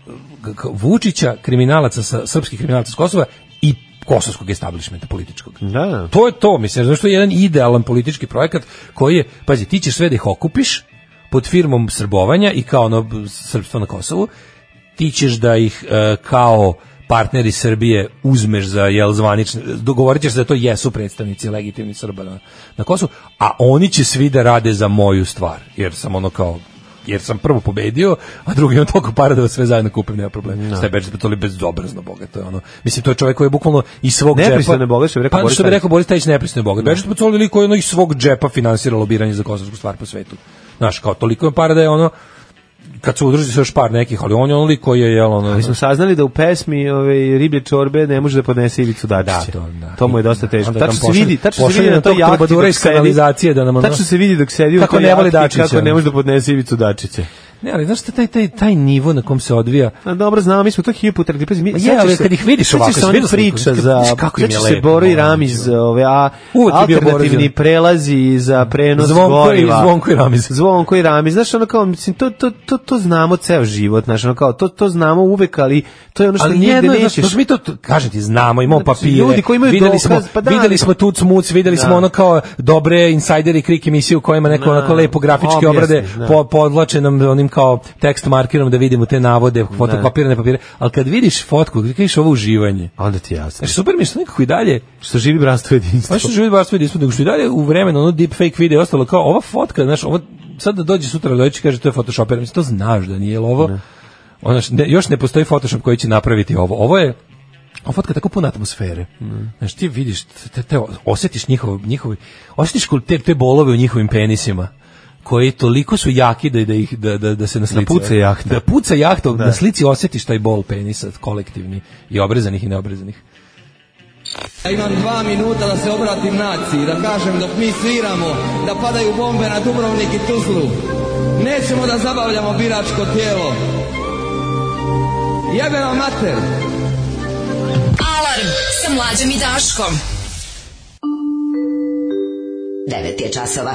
S6: k- Vučića, kriminalaca sa srpskih kriminalaca s Kosova i kosovskog establishmenta političkog.
S5: Da.
S6: To je to, mislim, znaš, to je jedan idealan politički projekat koji je, pazi, ti ćeš sve da ih okupiš pod firmom srbovanja i kao ono b- srpstvo na Kosovu, ti ćeš da ih e, kao partneri Srbije uzmeš za jel zvanične, dogovorit ćeš se da to jesu predstavnici legitimni Srba na, na Kosovu, a oni će svi da rade za moju stvar, jer sam ono kao jer sam prvo pobedio, a drugi imam toliko para da vas sve zajedno kupim, nema problem. No. Stebe to li bezobrazno bogato je ono. Mislim to je čovjek koji je bukvalno iz svog džepa.
S5: Nepristojno je bogat, što bi rekao
S6: Pa
S5: Boris
S6: što bi
S5: Tadić.
S6: rekao Boris Tajić nepristojno je bogat. Bečić Pacoli liko je ono iz svog džepa finansira lobiranje za kosovsku stvar po svetu. Znaš, kao toliko je para da je ono kad se udruži sa još par nekih, ali on je onli koji je jel ono.
S5: Mi smo saznali da u pesmi ove riblje čorbe ne može da podnese Ivicu Dačića.
S6: Da, to, da.
S5: mu je dosta teško.
S6: Onda ga
S5: Tačno se
S6: pošalje-
S5: vidi, tačno se
S6: pošalje
S5: vidi
S6: na
S5: na toj
S6: tog
S5: jahti
S6: trubadura
S5: dok
S6: iz
S5: sedi.
S6: kanalizacije da nam ono-
S5: Tačno se vidi dok sedi u
S6: Kako
S5: toj
S6: ne voli
S5: jahti
S6: Dačića,
S5: Kako ne
S6: ono.
S5: može da podnese Ivicu Dačića.
S6: Ne, ali znaš šta, taj, taj, taj nivo na kom se odvija,
S5: A dobro, znamo, mi smo to hiljadu puta rekli. Pazi, mi,
S6: Ma je,
S5: sjećaš
S6: ali
S5: se-
S6: kad ih vidiš
S5: sjećaš
S6: ovako,
S5: se
S6: jesi
S5: onih
S6: vidio sliku?
S5: priča za,
S6: Znaš kako im je
S5: sjećaš se
S6: lepo,
S5: Boro i
S6: ono,
S5: Ramiz,
S6: ono.
S5: ove, a,
S6: Uvek je bio Boro i
S5: alternativni
S6: Ramiz.
S5: prelazi za prenos
S6: Zvonko i-
S5: goriva.
S6: Zvonko i Ramiz.
S5: Zvonko i Ramiz, znaš, ono kao, mislim, to, to, to, to znamo ceo život, znaš, ono kao, to, to znamo uvek, ali to je ono što
S6: ali
S5: nigde
S6: jedno, je, znaš,
S5: nećeš.
S6: to mi to, to- kažem ti, znamo, imamo
S5: Znači,
S6: papire,
S5: ljudi koji imaju
S6: videli,
S5: dokaz,
S6: smo,
S5: pa da, ali-
S6: videli smo tuc muc, videli
S5: Da.
S6: smo ono kao dobre insajderi krik emisije u kojima neko
S5: Da,
S6: onako lepo
S5: objasni,
S6: grafički obrade,
S5: da.
S6: po, podlače nam onim kao tekst markirom da vidimo te navode, fotokopirane papire, ali kad vidiš fotku, kad vidiš ovo uživanje,
S5: Onda ti je jasno.
S6: znaš, Znači, super mi je što nekako i dalje,
S5: Što živi bratstvo i jedinstvo.
S6: Pa što živi baš vidi ispod, nego što i dalje u vremenu ono deepfake video je ostalo kao ova fotka, znaš, ovo sad da dođe sutra doći kaže to je photoshopirano, mislim to znaš da nije jel ovo. Ono, š- ne, još ne postoji photoshop koji će napraviti ovo. Ovo je ova fotka je tako puna atmosfere. Znaš, ti vidiš, te, te osjetiš njihov, njihovi, osjetiš kol- te, te bolove u njihovim penisima koji toliko su jaki da, da, ih, da, da, da se na slici...
S5: puca jahta.
S6: Da puca jahta, na slici osjetiš taj bol penisa kolektivni i obrezanih i neobrezanih.
S12: Ja imam dva minuta da se obratim naciji, da kažem dok mi sviramo, da padaju bombe na Dubrovnik i Tuzlu. Nećemo da zabavljamo biračko tijelo. Jebe vam mater!
S9: Alarm sa mlađom i Daškom. 9 je časova.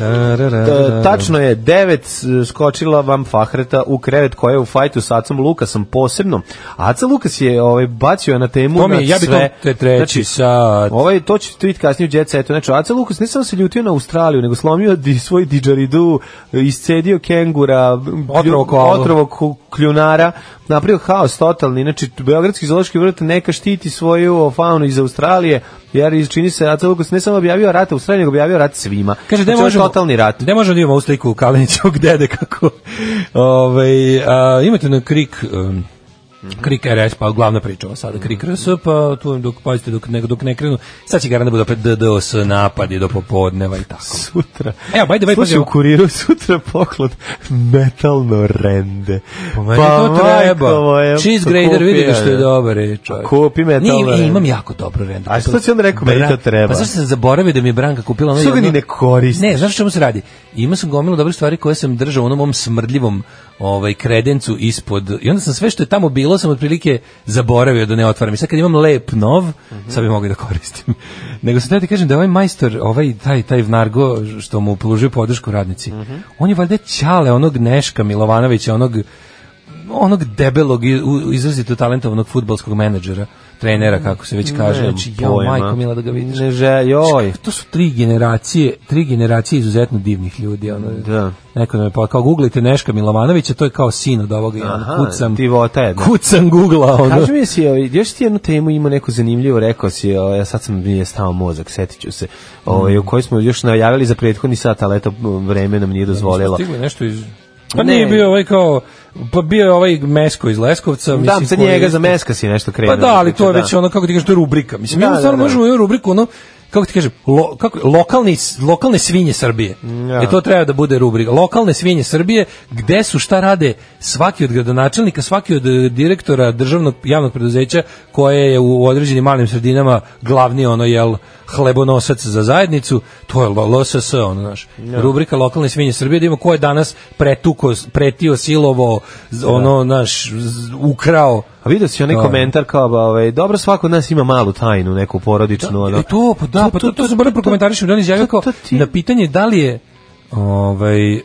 S5: E, Tačno je, devet s- skočila vam Fahreta u krevet koja je u fajtu s Acom Lukasom posebno. Aca Lukas je ovaj, bacio na temu
S6: To mi
S5: na
S6: je, ja bi to
S5: sve.
S6: te treći sat.
S5: Ovaj, to će tweet kasnije u Jet Setu. Znači, Aca Lukas ne samo se ljutio na Australiju, nego slomio di, svoj didžaridu, iscedio kengura,
S6: Otrovo koalu.
S5: otrovo ku- kljunara, napravio haos totalni. Znači, Beogradski zoološki vrt neka štiti svoju faunu iz Australije, jer čini se Aca Lukas ne samo objavio rat Australiji, nego objavio rat svima.
S6: Kaže,
S5: Znači,
S6: ne
S5: ovo je
S6: možemo,
S5: totalni rat.
S6: Ne možemo da imamo ovu sliku Kalinićevog dede kako. Ovaj a, imate na krik um, Krik RS, pa glavna priča ova sada, Krik RS, pa tu dok, pazite, dok ne, dok ne krenu, sad će garant da bude opet DDoS napadi do popodneva i tako.
S5: sutra.
S6: Evo, by the way,
S5: Slušaj,
S6: pazi,
S5: u kuriru sutra poklad metalno rende.
S6: Pa meni to treba.
S5: majko moja,
S6: Cheese
S5: pa
S6: grader,
S5: kupi,
S6: vidi što je
S5: ja.
S6: dobar je čovjek.
S5: Kupi metalno
S6: Nije,
S5: rende.
S6: imam jako dobro rendu.
S5: A što si onda rekao, meni to treba?
S6: Pa zašto sam zaboravio da mi je Branka kupila ono
S5: Što ga
S6: jedno-
S5: ni ne koristi?
S6: Ne, znaš čemu se radi? Imao sam gomilu dobrih stvari koje sam držao u onom mom smrdljivom ovaj, kredencu ispod. I onda sam sve što je tamo bilo, sam otprilike zaboravio da ne otvaram. I sad kad imam lep nov,
S5: Mhm.
S6: sad bi mogli da koristim. [laughs] Nego sam teo ti kažem da je ovaj majstor, ovaj, taj, taj Vnargo, što mu pružuje podršku radnici,
S5: Mhm.
S6: on je valjda ćale onog Neška Milovanovića, onog onog debelog i- u- izrazito talentovnog fudbalskog menadžera, trenera kako se već kaže,
S5: Nemam
S6: znači ja
S5: pojma.
S6: majko mila da ga vidiš.
S5: Ne žel, joj.
S6: To su tri generacije, tri generacije izuzetno divnih ljudi. Ono,
S5: Da.
S6: Neko nam je pa kao googlite Neška Milovanovića, to je kao sin od ovoga. i ono,
S5: Aha,
S6: kucam,
S5: divota jedna.
S6: kucam googla. Ono.
S5: Kaži mi jesi, ovaj, još ti jednu temu ima neku zanimljivu, rekao si, ovaj, a sad sam mi je stao mozak, setit ću se, ovaj, u kojoj smo još najavili za prethodni sat, ali eto, vreme nam nije dozvolilo.
S6: Stiglo je nešto iz... Pa
S5: Ne.
S6: nije bio ovaj kao... Pa bio je ovaj Mesko iz Leskovca.
S5: Da,
S6: mislim,
S5: za
S6: koji je
S5: njega, za
S6: isto-
S5: meska si nešto krenuo.
S6: Pa da, ali
S5: priča,
S6: to je
S5: znači, da.
S6: već ono, kako ti kažeš, to je rubrika. Mislim,
S5: Da,
S6: mi stvarno
S5: da, da.
S6: možemo imati rubriku, ono, kako ti kažem, lo, kako, lokalni, s- lokalne svinje Srbije.
S5: Ja.
S6: E to treba da bude rubrika. Lokalne svinje Srbije, gde su, šta rade svaki od gradonačelnika, svaki od e, direktora državnog javnog preduzeća koje je u određenim malim sredinama glavni ono jel hlebonosac za zajednicu, to je lo- LSS ono naš. Rubrika lokalne svinje Srbije da ima ko je danas pretuko, pretio, silovo, z- ono naš z- ukrao.
S5: A vidio si onaj
S6: Da.
S5: komentar kao, ba, ovaj, dobro, svako od nas ima malu tajnu, neku porodičnu, ono.
S6: E to, pa da, pa to, to, se moram prokomentarišem, da on je izjavio
S5: to-
S6: kao
S5: to ti-
S6: na pitanje da li je ovaj, e,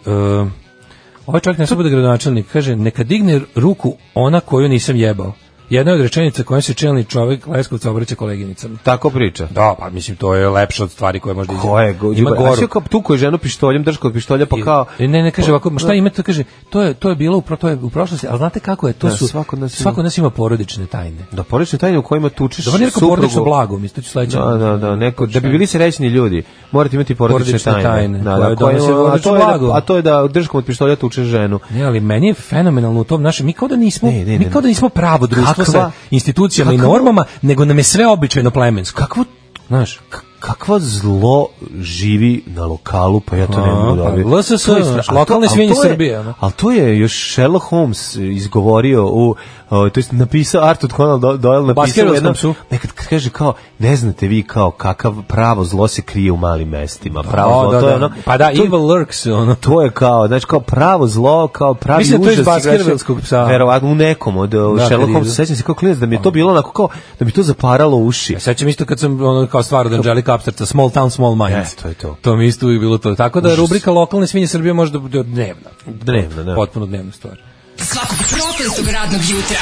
S6: ovaj čovjek ne bude gradonačelnik, kaže, neka digne ruku ona koju nisam jebao. jedna od rečenica kojom se čelni čovjek Leskovca obraća koleginicama.
S5: Tako priča.
S6: Da, pa mislim to je lepše od stvari koje možda
S5: Ko je go,
S6: Ima
S5: ima
S6: goru.
S5: goru. Kao, tu koju ženu pištoljem drži kod pištolja pa kao
S6: I E, Ne, ne kaže ovako, ma šta ima to kaže, to je to je bilo u pro- to je u prošlosti, ali znate kako je, to
S5: Da,
S6: su
S5: svako od nas ima-
S6: svako od nas ima porodične tajne.
S5: Da porodične tajne u kojima tučeš
S6: Da, on je rekao
S5: suprugu.
S6: porodično blago, mislim, to ću sledeće.
S5: Da, da, da, neko, da bi bili srećni ljudi, morate imati porodične,
S6: Porodične
S5: tajne.
S6: tajne,
S5: Da,
S6: koje
S5: da, koje,
S6: donose
S5: a, to je
S6: blago.
S5: da, a to je da držkom od pištolja tučeš ženu.
S6: Ne, ali meni je fenomenalno u tom našem, mi kao da nismo,
S5: Ne, ne, ne,
S6: mi kao da nismo pravo društvo
S5: Kakva-
S6: sa institucijama i
S5: kakva-
S6: normama, nego nam je sve običajno plemensko.
S5: Kakvo
S6: Znaš,
S5: k- kakva zlo živi na lokalu, pa ja to ne
S6: A,
S5: mogu
S6: pa
S5: dobiti.
S6: LSS,
S5: To je stra-
S6: znaš,
S5: a to-
S6: lokalne
S5: ali
S6: svinje
S5: to je-
S6: Srbije, ono.
S5: Ali to je još Sherlock Holmes izgovorio u, o, to jest napisao Arthur Conan Do- Doyle napisao u
S6: Baskervilskom
S5: jednom,
S6: psu.
S5: nekad kad kaže kao, ne znate vi kao kakav pravo zlo se krije u malim mestima. Pravo
S6: O,
S5: zlo,
S6: da,
S5: to je
S6: da.
S5: ono,
S6: Pa da,
S5: to,
S6: evil lurks, ono.
S5: To je kao, znači kao pravo zlo, kao pravi
S6: Mislim da to je iz
S5: užas.
S6: Baskervilskog psa.
S5: Verovatno, u nekom od
S6: Da,
S5: da,
S6: kad
S5: Sherlock
S6: je-
S5: Holmes, sećam se kao klinac da mi je to bilo onako kao, da mi to zaparalo uši.
S6: Ja sećam isto kad sam ono kao stvar od Anđelika Apsterca, Small Town, Small Minds.
S5: E, to je to.
S6: To mi isto uvijek bilo to. Tako da rubrika lokalne svinje Srbije može da bude dnevna.
S5: Dnevno, da.
S6: Potpuno dnevna stvar.
S9: Svakog prokletog radnog jutra.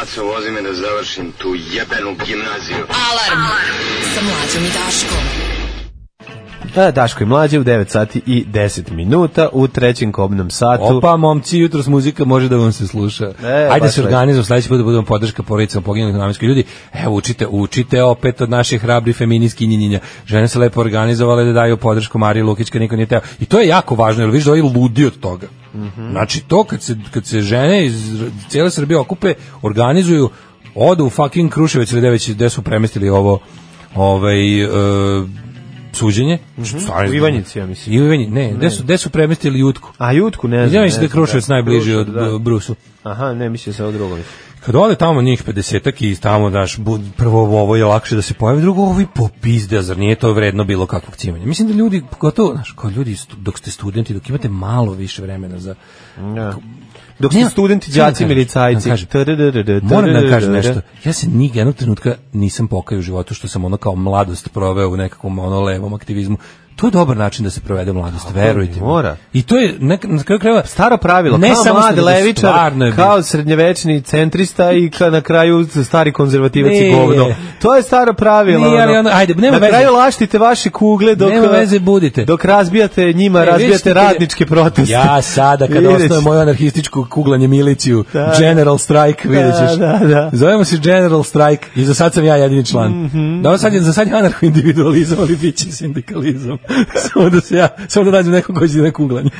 S13: Aco, vozi me da završim tu jebenu gimnaziju.
S9: Alarm sa mlađom i Daškom.
S5: Da, Daško i mlađe u 9 sati i 10 minuta u trećem kobnom satu.
S6: Opa, momci, jutros muzika može da vam se sluša. Ajde
S5: E, baš
S6: se
S5: lepo.
S6: organizujemo sledeći put da budemo podrška porodicama poginulih namenskih ljudi. Evo, učite, učite opet od naših hrabri feministki njinjenja. Žene se lepo organizovale da daju podršku Mariji Lukić kad niko nije teo. I to je jako važno, jer vidiš da ovi ludi od toga.
S5: Mhm.
S6: Znači, to kad se, kad se žene iz r- cijele Srbije okupe, organizuju, odu u fucking Kruševac ili gde već gde su premestili ovo ovaj, e, suđenje. Stvarno-
S5: Mhm. U Ivanjici, ja mislim.
S6: I u Ivanjici, ne, gde su, gde su premestili Jutku.
S5: A jutku ne znam.
S6: Ja
S5: ne
S6: mislim da je
S5: znam,
S6: Kruševac najbliži od
S5: Kruševac, da.
S6: B- Brusu.
S5: Aha, ne, mislim se o drugom.
S6: Kad ode tamo njih 50-ak i tamo daš, bu- prvo ovo je lakše da se pojavi, drugo ovo i popizde, a zar nije to vredno bilo kakvog cimanja? Mislim da ljudi, gotovo, znaš, kao ljudi stu- dok ste studenti, dok imate malo više vremena za...
S5: Dok su
S6: Nema-
S5: studenti,
S6: Samo da
S5: đaci,
S6: kažem, da
S5: milicajci.
S6: kažem.
S5: tadadadada,
S6: Moram da vam kažem
S5: tadadadada.
S6: nešto. Ja se ni jednog trenutka nisam pokajao u životu što sam ono kao mladost proveo u nekakvom ono levom aktivizmu. To je dobar način da se provede mladost, verujte mi.
S5: mora.
S6: I to je nek, na kraju krajeva
S5: Staro pravilo, ne kao
S6: samo
S5: mladi
S6: nego
S5: levičar,
S6: stvarno je bilo.
S5: kao srednjevečni centrista i ka, na kraju stari konzervativac i
S6: Ne.
S5: govno. To je staro pravilo.
S6: Nije, ali
S5: ono.
S6: ono, ajde, nema
S5: na
S6: veze.
S5: kraju laštite vaše kugle dok,
S6: Nema veze, budite.
S5: dok razbijate njima,
S6: E, vidiš ti
S5: razbijate
S6: kad je-
S5: radničke proteste.
S6: Ja sada kada
S5: Vidjet
S6: osnovim
S5: ćeš.
S6: moju anarhističku kuglanje miliciju,
S5: Da.
S6: General Strike, vidjet ćeš.
S5: Da, da, da.
S6: Zovemo se General Strike i za sad sam ja jedini član.
S5: Mhm.
S6: Dobro, sad je, za sad je anarcho-individualizam, ali bit će sindikalizam. [laughs] samo da se ja, samo da nađem nekog koji će na kuglanje.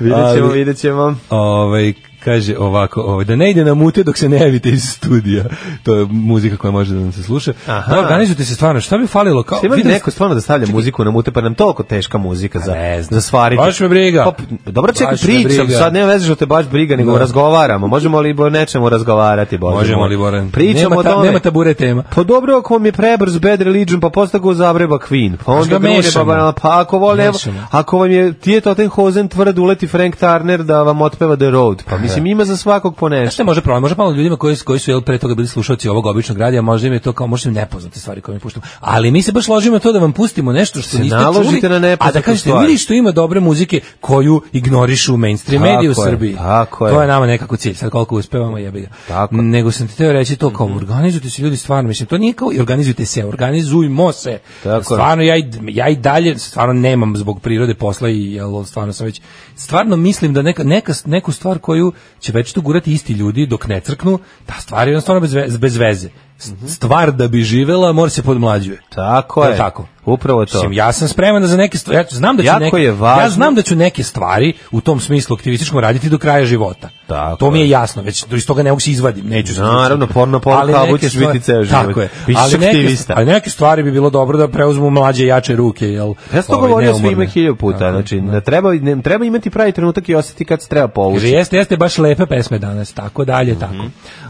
S5: Vidjet ćemo,
S6: Ali-
S5: vidjet ćemo.
S6: ovaj kaže ovako, ovaj, da ne ide na mute dok se ne javite iz studija. To je muzika koja može da nam se sluša.
S5: Aha.
S6: Da, organizujte se stvarno, šta bi falilo? Kao,
S5: Šta ima
S6: vidim-
S5: neko stvarno da stavlja muziku na mute, pa nam toliko teška muzika za,
S6: ne znam.
S5: za svariti.
S6: Baš me briga.
S5: Pa, p- dobro, čekaj,
S6: Baš me
S5: pričam,
S6: briga.
S5: sad ne veze što te baš briga, nego
S6: Da.
S5: razgovaramo. Možemo li o nečemu razgovarati, Bože
S6: Možemo
S5: moj?
S6: li, Boran?
S5: Pa Pričamo
S6: Nema
S5: o
S6: ta-
S5: tome.
S6: nema tabure tema.
S5: Pa dobro, ako vam je prebrz Bad Religion, pa posle ga zabreba Queen. Pa onda
S6: ga
S5: grune, pa,
S6: mešamo.
S5: banalno. pa ako, vol, evo,
S6: Mešamo.
S5: ako vam je Tije Tottenhosen tvrd uleti Frank Turner da vam otpeva The Road. Pa mislim, ima za svakog po
S6: Znaš
S5: nešto.
S6: šta može problem, može malo ljudima koji, koji su jel, pre toga bili slušalci ovog običnog radija, možda im je to kao, možda im nepoznate stvari koje mi puštamo. Ali mi se baš ložimo na to da vam pustimo nešto što
S5: Se
S6: niste
S5: naložite
S6: čuli,
S5: na
S6: a
S5: nepoznatu
S6: da kažete,
S5: stvar.
S6: vidi što ima dobre muzike koju ignorišu mainstream
S5: Tako
S6: mediji u
S5: je,
S6: Srbiji.
S5: tako je.
S6: To je nama nekako cilj, sad koliko uspevamo jebi ga.
S5: Tako Mhm. je.
S6: Nego sam ti teo reći to kao, organizujte se ljudi stvarno, mislim, to nije kao organizujte se, organizujmo se.
S5: Tako je.
S6: stvarno, ja i, ja i dalje stvarno nemam zbog prirode posla i jel, stvarno sam već, stvarno mislim da neka, neka, neku stvar koju će već tu gurati isti ljudi dok ne crknu, ta stvar je jednostavno bez, ve- bez veze. S- Stvar da bi živela mora se podmlađuje.
S5: Tako
S6: Je
S5: je.
S6: li tako?
S5: Upravo to.
S6: Mislim, ja sam spreman da za neke stvari, ja znam da ću
S5: Jako
S6: neke,
S5: je važno-
S6: ja znam da ću neke stvari u tom smislu aktivističkom raditi do kraja života.
S5: Tako
S6: to mi je
S5: je.
S6: jasno, već iz toga ne mogu se izvadim, neću se.
S5: Naravno, porno poruka,
S6: Ali neke
S5: budeš biti
S6: stvari-
S5: ceo život.
S6: Tako je.
S5: Bićeš
S6: ali neke,
S5: aktivista.
S6: ali neke stvari bi bilo dobro da preuzmu mlađe i jače ruke, jel?
S5: Pa Ja sam to
S6: ovaj,
S5: govorio
S6: neumorne.
S5: svima hiljadu puta, znači ne treba ne, treba imati pravi trenutak i osjeti kad se treba
S6: Kaže,
S5: povući.
S6: jeste, jeste baš lepe pesme danas, tako dalje, tako.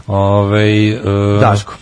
S6: Ovaj, e,
S5: Mhm. Daško.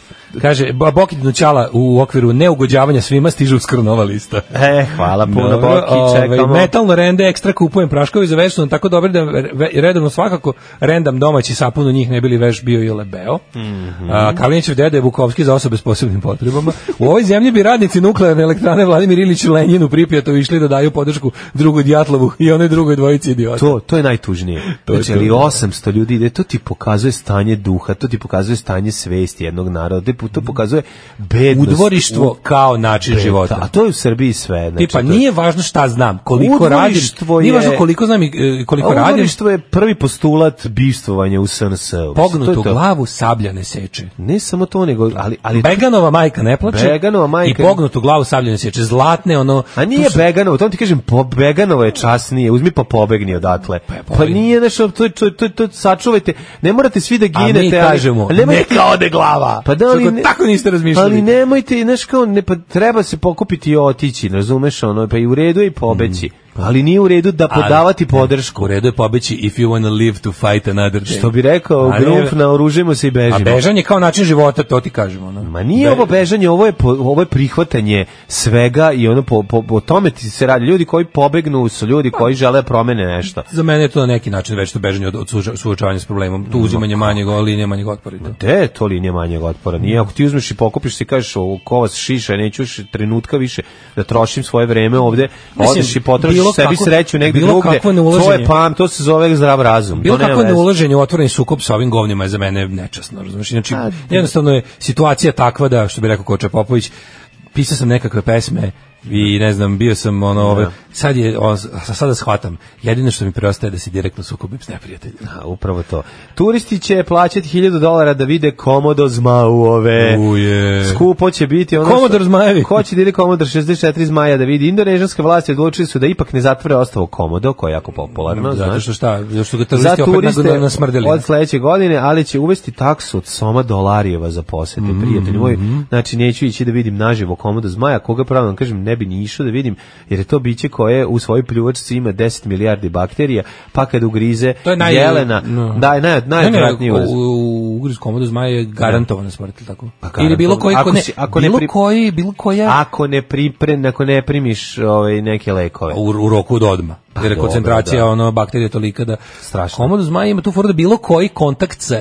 S6: Kaže, ba- Bokitinu Ćala u okviru neugođavanja svima stiže uskoro nova lista.
S5: E, hvala puno, Boki, čekamo.
S6: metalno rende ovaj, ekstra kupujem praškovi za veš su nam tako dobri da re- redovno svakako rendam domaći sapun u njih ne bili veš bio i lebeo.
S5: Mhm.
S6: A, Kalinićev deda je Bukovski za osobe s posebnim potrebama. U ovoj zemlji bi radnici nuklearne elektrane Vladimir Ilić i Lenjin u Pripjatu išli da daju podršku drugu Djatlovu i onoj drugoj dvojici idiota.
S5: To, to je najtužnije.
S6: [laughs] To je
S5: znači, ali
S6: to.
S5: 800 ljudi ide, to ti pokazuje stanje duha, to ti pokazuje stanje svesti jednog naroda, to- to pokazuje bednost.
S6: Udvorištvo kao način
S5: Beda.
S6: života.
S5: A to je u Srbiji sve. Znači,
S6: Tipa,
S5: to E, je-
S6: nije važno šta znam, koliko radim,
S5: Udvorištvo
S6: nije
S5: je-
S6: važno koliko znam i e, koliko
S5: A
S6: radim,
S5: udvorištvo je prvi postulat bivstvovanja u SNS. -u. Znači, To
S6: pognutu
S5: je to.
S6: glavu sablja ne seče.
S5: Ne samo to, nego, ali... ali
S6: Beganova majka ne plače
S5: Beganova majka-
S6: i pognutu glavu sablja ne seče. Zlatne ono...
S5: A nije Beganovo, to ti kažem, po, Beganovo je časnije, uzmi pa pobegni odatle. Pa, nije nešto, to, je- to, to, to sačuvajte, ne morate svi da
S6: A
S5: ginete.
S6: mi
S5: ali-
S6: kažemo,
S5: a nemojte-
S6: neka ode glava.
S5: Pa da, ali
S6: Tako-
S5: ne- pa
S6: tako niste razmišljali.
S5: Ali nemojte, znaš kao, ne, pa treba se pokupiti i otići, razumeš ono, pa i u redu je i pobeći. Ali nije u redu da
S6: Mm. Ali-
S5: podavati podršku.
S6: U redu je pobeći if you wanna live to fight another day.
S5: Što bi rekao,
S6: A
S5: grunf,
S6: ne-
S5: naoružimo se i bežimo.
S6: A bežanje kao način života, to ti kažemo. ono. No.
S5: Ma nije ovo bežanje, ovo je, po- ovo je prihvatanje svega i ono po, po, po tome ti se radi. Ljudi koji pobegnu su ljudi koji
S6: Pa-
S5: žele da promene nešto.
S6: Za mene je to na neki način već to bežanje od, od suoča- suočavanja s problemom. Tu uzimanje manjeg ola linije, manjeg otpora. i to.
S5: Te je to linija manjeg otpora. Nije, ako ti uzmeš i pokupiš se i kažeš o, ko vas šiša, neću još trenutka više da trošim svoje vreme ovde,
S6: Mislim,
S5: odeš i potrošiš
S6: bilo
S5: sebi
S6: kako-
S5: sreću negde
S6: bilo
S5: drugde.
S6: kakvo
S5: To
S6: neulaženje.
S5: je pam, to se zove zdrav razum.
S6: Bilo
S5: To nema
S6: kako ne
S5: veze.
S6: ulaženje u otvoreni sukob sa ovim govnima je za mene nečasno, razumiješ? Znači, jednostavno je situacija takva da, što bi rekao Koča Popović, pisao sam nekakve pesme i ne znam, bio sam ono, ove, sad je, on, sada shvatam, jedino što mi preostaje je da se direktno sukobim s neprijateljem.
S5: A, upravo to. Turisti će plaćati 1000 dolara da vide komodo zmauove.
S6: Uje.
S5: Skupo će biti ono
S6: Komodor zmajevi.
S5: Ko će da ide komodor 64 zmaja da vidi? Indonežanske vlasti odlučili su da ipak ne zatvore ostavo komodo, koje je jako popularno.
S6: Zato
S5: znaš.
S6: što šta, zato što ga
S5: za
S6: teroristi opet
S5: turiste
S6: na, nasmrdili.
S5: od sledeće godine, ali će uvesti taksu od soma dolarijeva za posete,
S6: Mhm.
S5: prijatelji moji. Znači, neću ići da vidim naživo komodo zmaja, koga pravo vam kažem, ne bi ni išao da vidim, jer je to biće koje u svojoj pljuvačci ima 10 milijardi bakterija, pa kad ugrize
S6: To je naj-
S5: jelena,
S6: no.
S5: da, je naj, najodvratniji
S6: Ne, ne,
S5: uraz.
S6: u, u Ugriz komodu zmaja je garantovana smrt, ili tako?
S5: Pa
S6: Ili bilo
S5: garantovano.
S6: koji, ko
S5: Ako
S6: ne,
S5: si- ako ne
S6: bilo
S5: pri-
S6: koji, bilo koja...
S5: Ako ne pripre, ako ne primiš ovaj, neke lekove.
S6: u, u roku od odma.
S5: Pa
S6: jer je
S5: dobro,
S6: koncentracija
S5: da.
S6: ono bakterija je tolika da
S5: Strašno.
S6: Komodo zmaja ima tu foru da bilo koji kontakt sa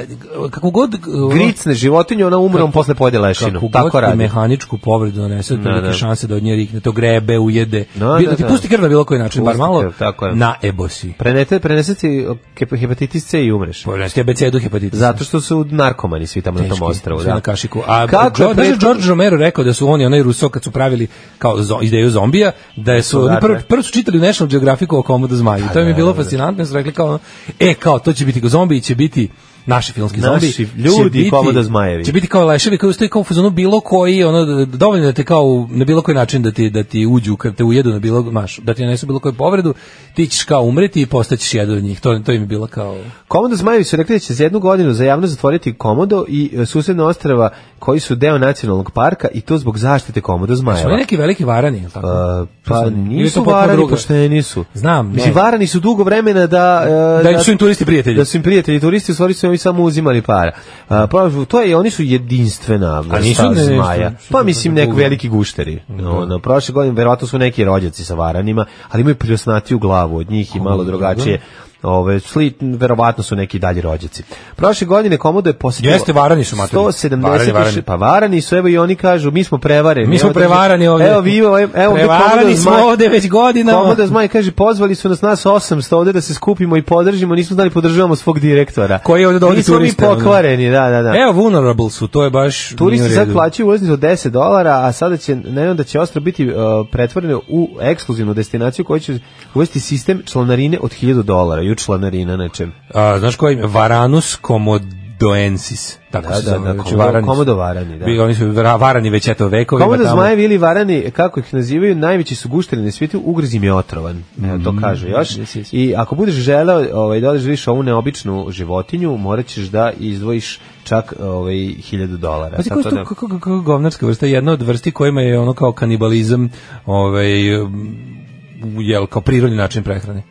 S6: kako god ono,
S5: Gricne životinje, ona umre, on posle pojede lešinu.
S6: kako god
S5: Tako
S6: ti
S5: radi.
S6: mehaničku povredu donese, to
S5: da.
S6: neke šanse da od nje rikne, to grebe, ujede.
S5: Da,
S6: Bilo-
S5: da,
S6: ti
S5: da.
S6: pusti krv na bilo koji način, bar
S5: Pusti
S6: malo
S5: krv, tako je.
S6: na ebosi.
S5: Prenete, prenese ti ke- hepatitis C i umreš.
S6: Povrenesti abecedu hepatitisa.
S5: Zato što su narkomani svi tamo na tom
S6: Teški,
S5: ostrvu.
S6: sve
S5: Da.
S6: na kašiku. A
S5: Kako
S6: Kako
S5: je pre-
S6: George Romero rekao da su oni onaj Ruso kad su pravili kao zo, ideju zombija, da su oni
S5: Odatle.
S6: prvo prvo su čitali u National Geographicu o komodu zmaju.
S5: Pa
S6: to mi je bilo fascinantno, jer su rekli kao ono, e kao to će biti zombi će biti naši filmski
S5: Naši
S6: zombi.
S5: ljudi
S6: će biti-
S5: komodo zmajevi.
S6: Će biti kao leševi koji stoji kao u fazonu bilo koji, ono dovoljno da te kao na bilo koji način da ti da ti uđu, kad te ujedu na bilo maš, da ti nanesu bilo koju povredu, ti ćeš kao umreti i postaćeš jedan od njih. To to im je bilo kao
S5: Komodo Zmajevi su rekli da će za jednu godinu za javno zatvoriti Komodo i e, susedna ostrava koji su deo nacionalnog parka i to zbog zaštite Komodo
S6: Su oni
S5: Zmajeva.
S6: neki veliki varani, jel tako?
S5: E,
S6: Šta
S5: pa
S6: su oni? Ili to
S5: nisu
S6: potpuno
S5: varani,
S6: drugo?
S5: pošteni su.
S6: Znam,
S5: Mislim,
S6: ne.
S5: varani su dugo vremena da... e,
S6: Da im su im turisti prijatelji.
S5: Da su im prijatelji turisti, u stvari su oni samo uzimali para. E, pa, to je, oni su jedinstvena vrsta
S6: nisu ne,
S5: zmaja.
S6: nisu-
S5: Pa mislim, nek
S6: drugo.
S5: veliki gušteri. No, na prošle godine, verovatno su neki rođaci sa varanima, ali imaju pljosnatiju glavu od njih i malo drugačije. Ove, sli, verovatno su neki dalji rođaci. Prošle godine Komodo je posjetilo...
S6: Jeste, varani su, mater.
S5: 170
S6: Varani, varani.
S5: pa varani su, evo i oni kažu, mi smo prevareni.
S6: E, Mi smo
S5: Evo, drži-
S6: prevarani ovdje.
S5: Evo vi, evo, evo ovdje
S6: Prevarani
S5: Komodo
S6: smo
S5: Zmaj.
S6: ovdje već godinama.
S5: Komodo Zmaj kaže, pozvali su nas nas 800 ovdje da se skupimo i podržimo, nismo znali podržavamo svog direktora.
S6: Koji je ovdje dovodi
S5: Nismo mi
S6: turiste, ono.
S5: pokvareni, da, da, da.
S6: Evo vulnerable su, to je baš
S5: Turisti
S6: nije u
S5: sad
S6: redu.
S5: plaćaju ulaznicu od 10 dolara, a sada će, ne da će ostro biti uh, pretvoreno u ekskluzivnu destinaciju koja će uvesti sistem članarine od 1000 dolara. Ju članarina nečem.
S6: A, znaš koji? Varanus komodoensis. Tako
S5: Da,
S6: se
S5: da,
S6: zove,
S5: da,
S6: znači
S5: komodo-
S6: varani su.
S5: komodo varani, da.
S6: Bi- Oni su vra- varani već eto vekovima
S5: Komodo
S6: tamo.
S5: zmajevi ili varani, kako ih nazivaju, najveći su gušteri na svijetu, ugriz im je otrovan. Evo,
S6: Mm-hmm.
S5: to kažu još.
S6: Jesi, jesi.
S5: I ako budeš želeo ovaj, da održiviš ovu neobičnu životinju, morat ćeš da izdvojiš čak ovaj, 1000 dolara.
S6: Pazi,
S5: Tako
S6: koji su
S5: da-
S6: Pa to- kako, kako, kako govnarska vrsta, jedna od vrsti kojima je ono kao kanibalizam, ovaj, um, jel, kao prirodni način prehrane.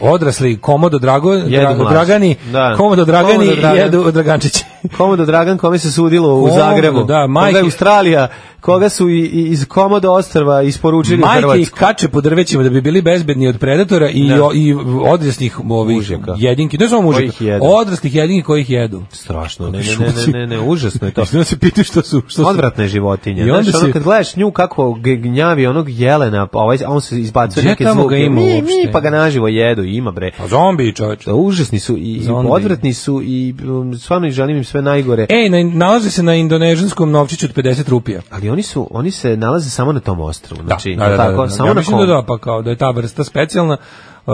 S6: Odrasli komodo drago, dra-
S5: mlađe.
S6: dragani,
S5: Da.
S6: komodo dragani
S5: Komodo Dragan.
S6: jedu dragančići.
S5: Komodo Dragan kome se sudilo u
S6: Komodo,
S5: Zagrebu. Koga
S6: da, majke-
S5: je Australija, koga su i, i iz Komodo ostrva isporučili u
S6: Majke ih
S5: Hrvatsku.
S6: kače po drvećima da bi bili bezbedni od predatora i,
S5: Da.
S6: o, i odraslih ovih jedinki. Ne samo mužika,
S5: Kojih jedu.
S6: odraslih jedinki kojih jedu.
S5: Strašno, ne, ne, ne, ne, ne, užasno je to.
S6: [laughs] Mislim da se pitaš što su... Što su-
S5: Odvratne životinje.
S6: I onda
S5: Znaš, ono,
S6: se-
S5: kad gledaš nju kako g- gnjavi onog jelena, pa ovaj, a on se izbacuje
S6: Gdje
S5: neke
S6: tamo
S5: zvuke.
S6: ga ima
S5: mi, mi,
S6: uopšte?
S5: pa ga naživo jedu, ima bre.
S6: Pa zombi, čoveč.
S5: Da, užasni su i, i
S6: Zombi.
S5: odvratni su i um, stvarno i želim im sve najgore.
S6: Ej, na, nalaze se na indonežanskom novčiću od 50 rupija.
S5: Ali oni su oni se nalaze samo na tom ostrvu. Znači,
S6: da, da, da,
S5: tako,
S6: da, da.
S5: samo
S6: ja
S5: na
S6: mislim da
S5: kom.
S6: da, pa kao da je ta vrsta specijalna. Uh,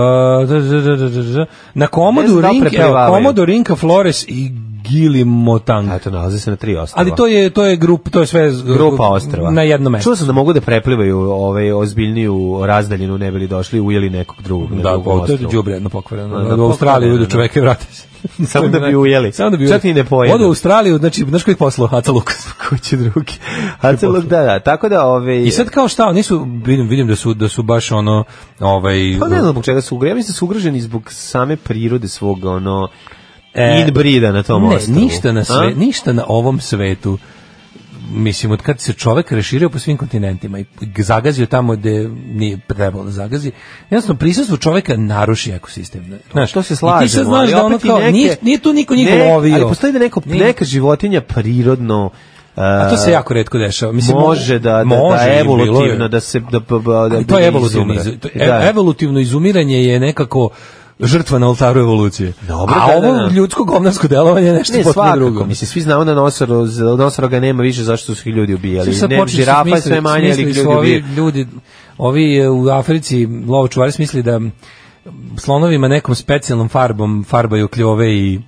S6: da, da, da, da, da, da. na
S5: Ne znam
S6: komodu
S5: da li
S6: Rinka,
S5: prepevavaju.
S6: komodu Rinka Flores i Gili Motang.
S5: Eto, nalaze se na tri ostrva.
S6: Ali to je to je grup, to je sve z-
S5: grupa ostrva.
S6: na jednom mestu.
S5: Čuo sam da mogu da preplivaju ovaj ozbiljniju razdaljinu ne bili došli ujeli nekog drugog na
S6: Da,
S5: drugom
S6: pa to je
S5: ostrvu.
S6: đubre jedno pokvareno.
S5: Da, da,
S6: Odu u Australiju
S5: pokvareno,
S6: idu
S5: da.
S6: čoveke vrate se.
S5: [laughs] Samo da bi
S6: ne-
S5: ujeli.
S6: Samo da bi
S5: Čak
S6: ujeli.
S5: i ne pojedu.
S6: Odu u Australiju, znači, znaš koji poslo, Haca Lukas.
S5: Ko će drugi? [laughs] A celog da, da, tako da ovaj, ove
S6: I sad kao šta, nisu, vidim, vidim da su, da su baš ono, ovaj...
S5: pa ne znam zbog čega su ugroženi, ja mislim da su ugroženi zbog same prirode svog ono e, inbrida na tom
S6: ne,
S5: ostrvu.
S6: ništa na, sve,
S5: A?
S6: ništa na ovom svetu mislim, od kad se čovek reširio po svim kontinentima i zagazio tamo gde nije trebalo da zagazi, jednostavno prisustvo čoveka naruši ekosistem. Znaš,
S5: to se
S6: I ti
S5: slažemo,
S6: sad znaš
S5: ali
S6: da ono
S5: opet i
S6: kao,
S5: neke-
S6: nije, nije tu niko njih
S5: Ne,
S6: lovio.
S5: Ali postoji da neko,
S6: Nije-
S5: neka životinja prirodno e,
S6: A to se jako retko dešava. Mislim,
S5: može da, da, da
S6: može i bilo je.
S5: evolutivno da se da, da, da
S6: Ali to je evolutivno,
S5: izumre.
S6: izu- to je- e- evolutivno izumiranje je nekako žrtva na oltaru evolucije.
S5: Dobro,
S6: A
S5: da, da,
S6: ovo
S5: da.
S6: ljudsko govnarsko delovanje je nešto
S5: Ne,
S6: potpuno
S5: svakako,
S6: drugo.
S5: mislim, svi znamo da nosoro, nosoroga nema više, zašto su ih ljudi ubijali.
S6: Sad
S5: Ne,
S6: počeli su
S5: žirafa je
S6: smisliti-
S5: sve manje, ali ih
S6: smislili su
S5: ljudi
S6: ovi
S5: ubijaju.
S6: ljudi, ovi e, u Africi lovočuvari smisli da slonovima nekom specijalnom farbom farbaju kljove i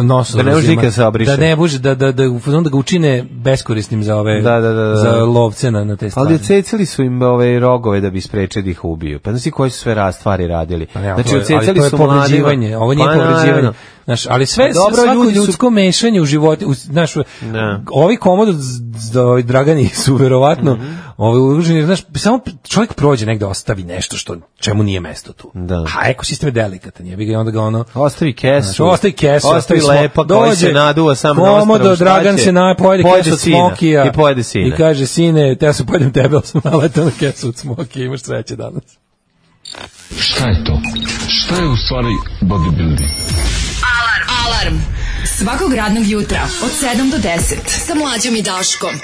S6: nos
S5: Da ne može nikad se obriše.
S6: da ne može da da da u fazonu da ga učine beskorisnim za ove
S5: Da, da, da, da.
S6: za lovce na, na te stvari.
S5: Ali ocecili su im ove rogove da bi sprečili da ih ubiju. Pa znači koji su sve ra- stvari radili.
S6: Ja,
S5: znači
S6: to je- Pa ali
S5: ocecili
S6: to je
S5: su mladima.
S6: povređivanje, ovo nije
S5: Pa,
S6: povređivanje.
S5: naravno.
S6: Znaš, ali sve
S5: Dobro,
S6: Dobro, svako
S5: ljudi su-
S6: ljudsko mešanje u životu, u, znaš,
S5: Ne.
S6: ovi komodo z- z- ovi dragani [laughs] su verovatno ovi uruženi, znaš, samo čovjek prođe negde ostavi nešto što čemu nije mesto tu.
S5: Da.
S6: A ekosistem je delikatan, jebi ga i onda ga ono
S5: Ostavi kesu.
S6: Znaš, ostavi kesu,
S5: ostavi
S6: smo-
S5: lepa, koji se naduva sam na ostrvu.
S6: Komodo,
S5: šta
S6: Dragan
S5: će?
S6: se na, pojede,
S5: Pojede
S6: kesu od
S5: sina.
S6: Smokija.
S5: I pojede sine.
S6: I kaže, sine, te ja sam pojedem tebe, ali sam naletao na kesu od Smokija, imaš sreće danas.
S14: Šta je to? Šta je u stvari bodybuilding?
S9: Alarm. Alarm. Svakog radnog jutra od 7 do 10 sa Mlađom i Daškom.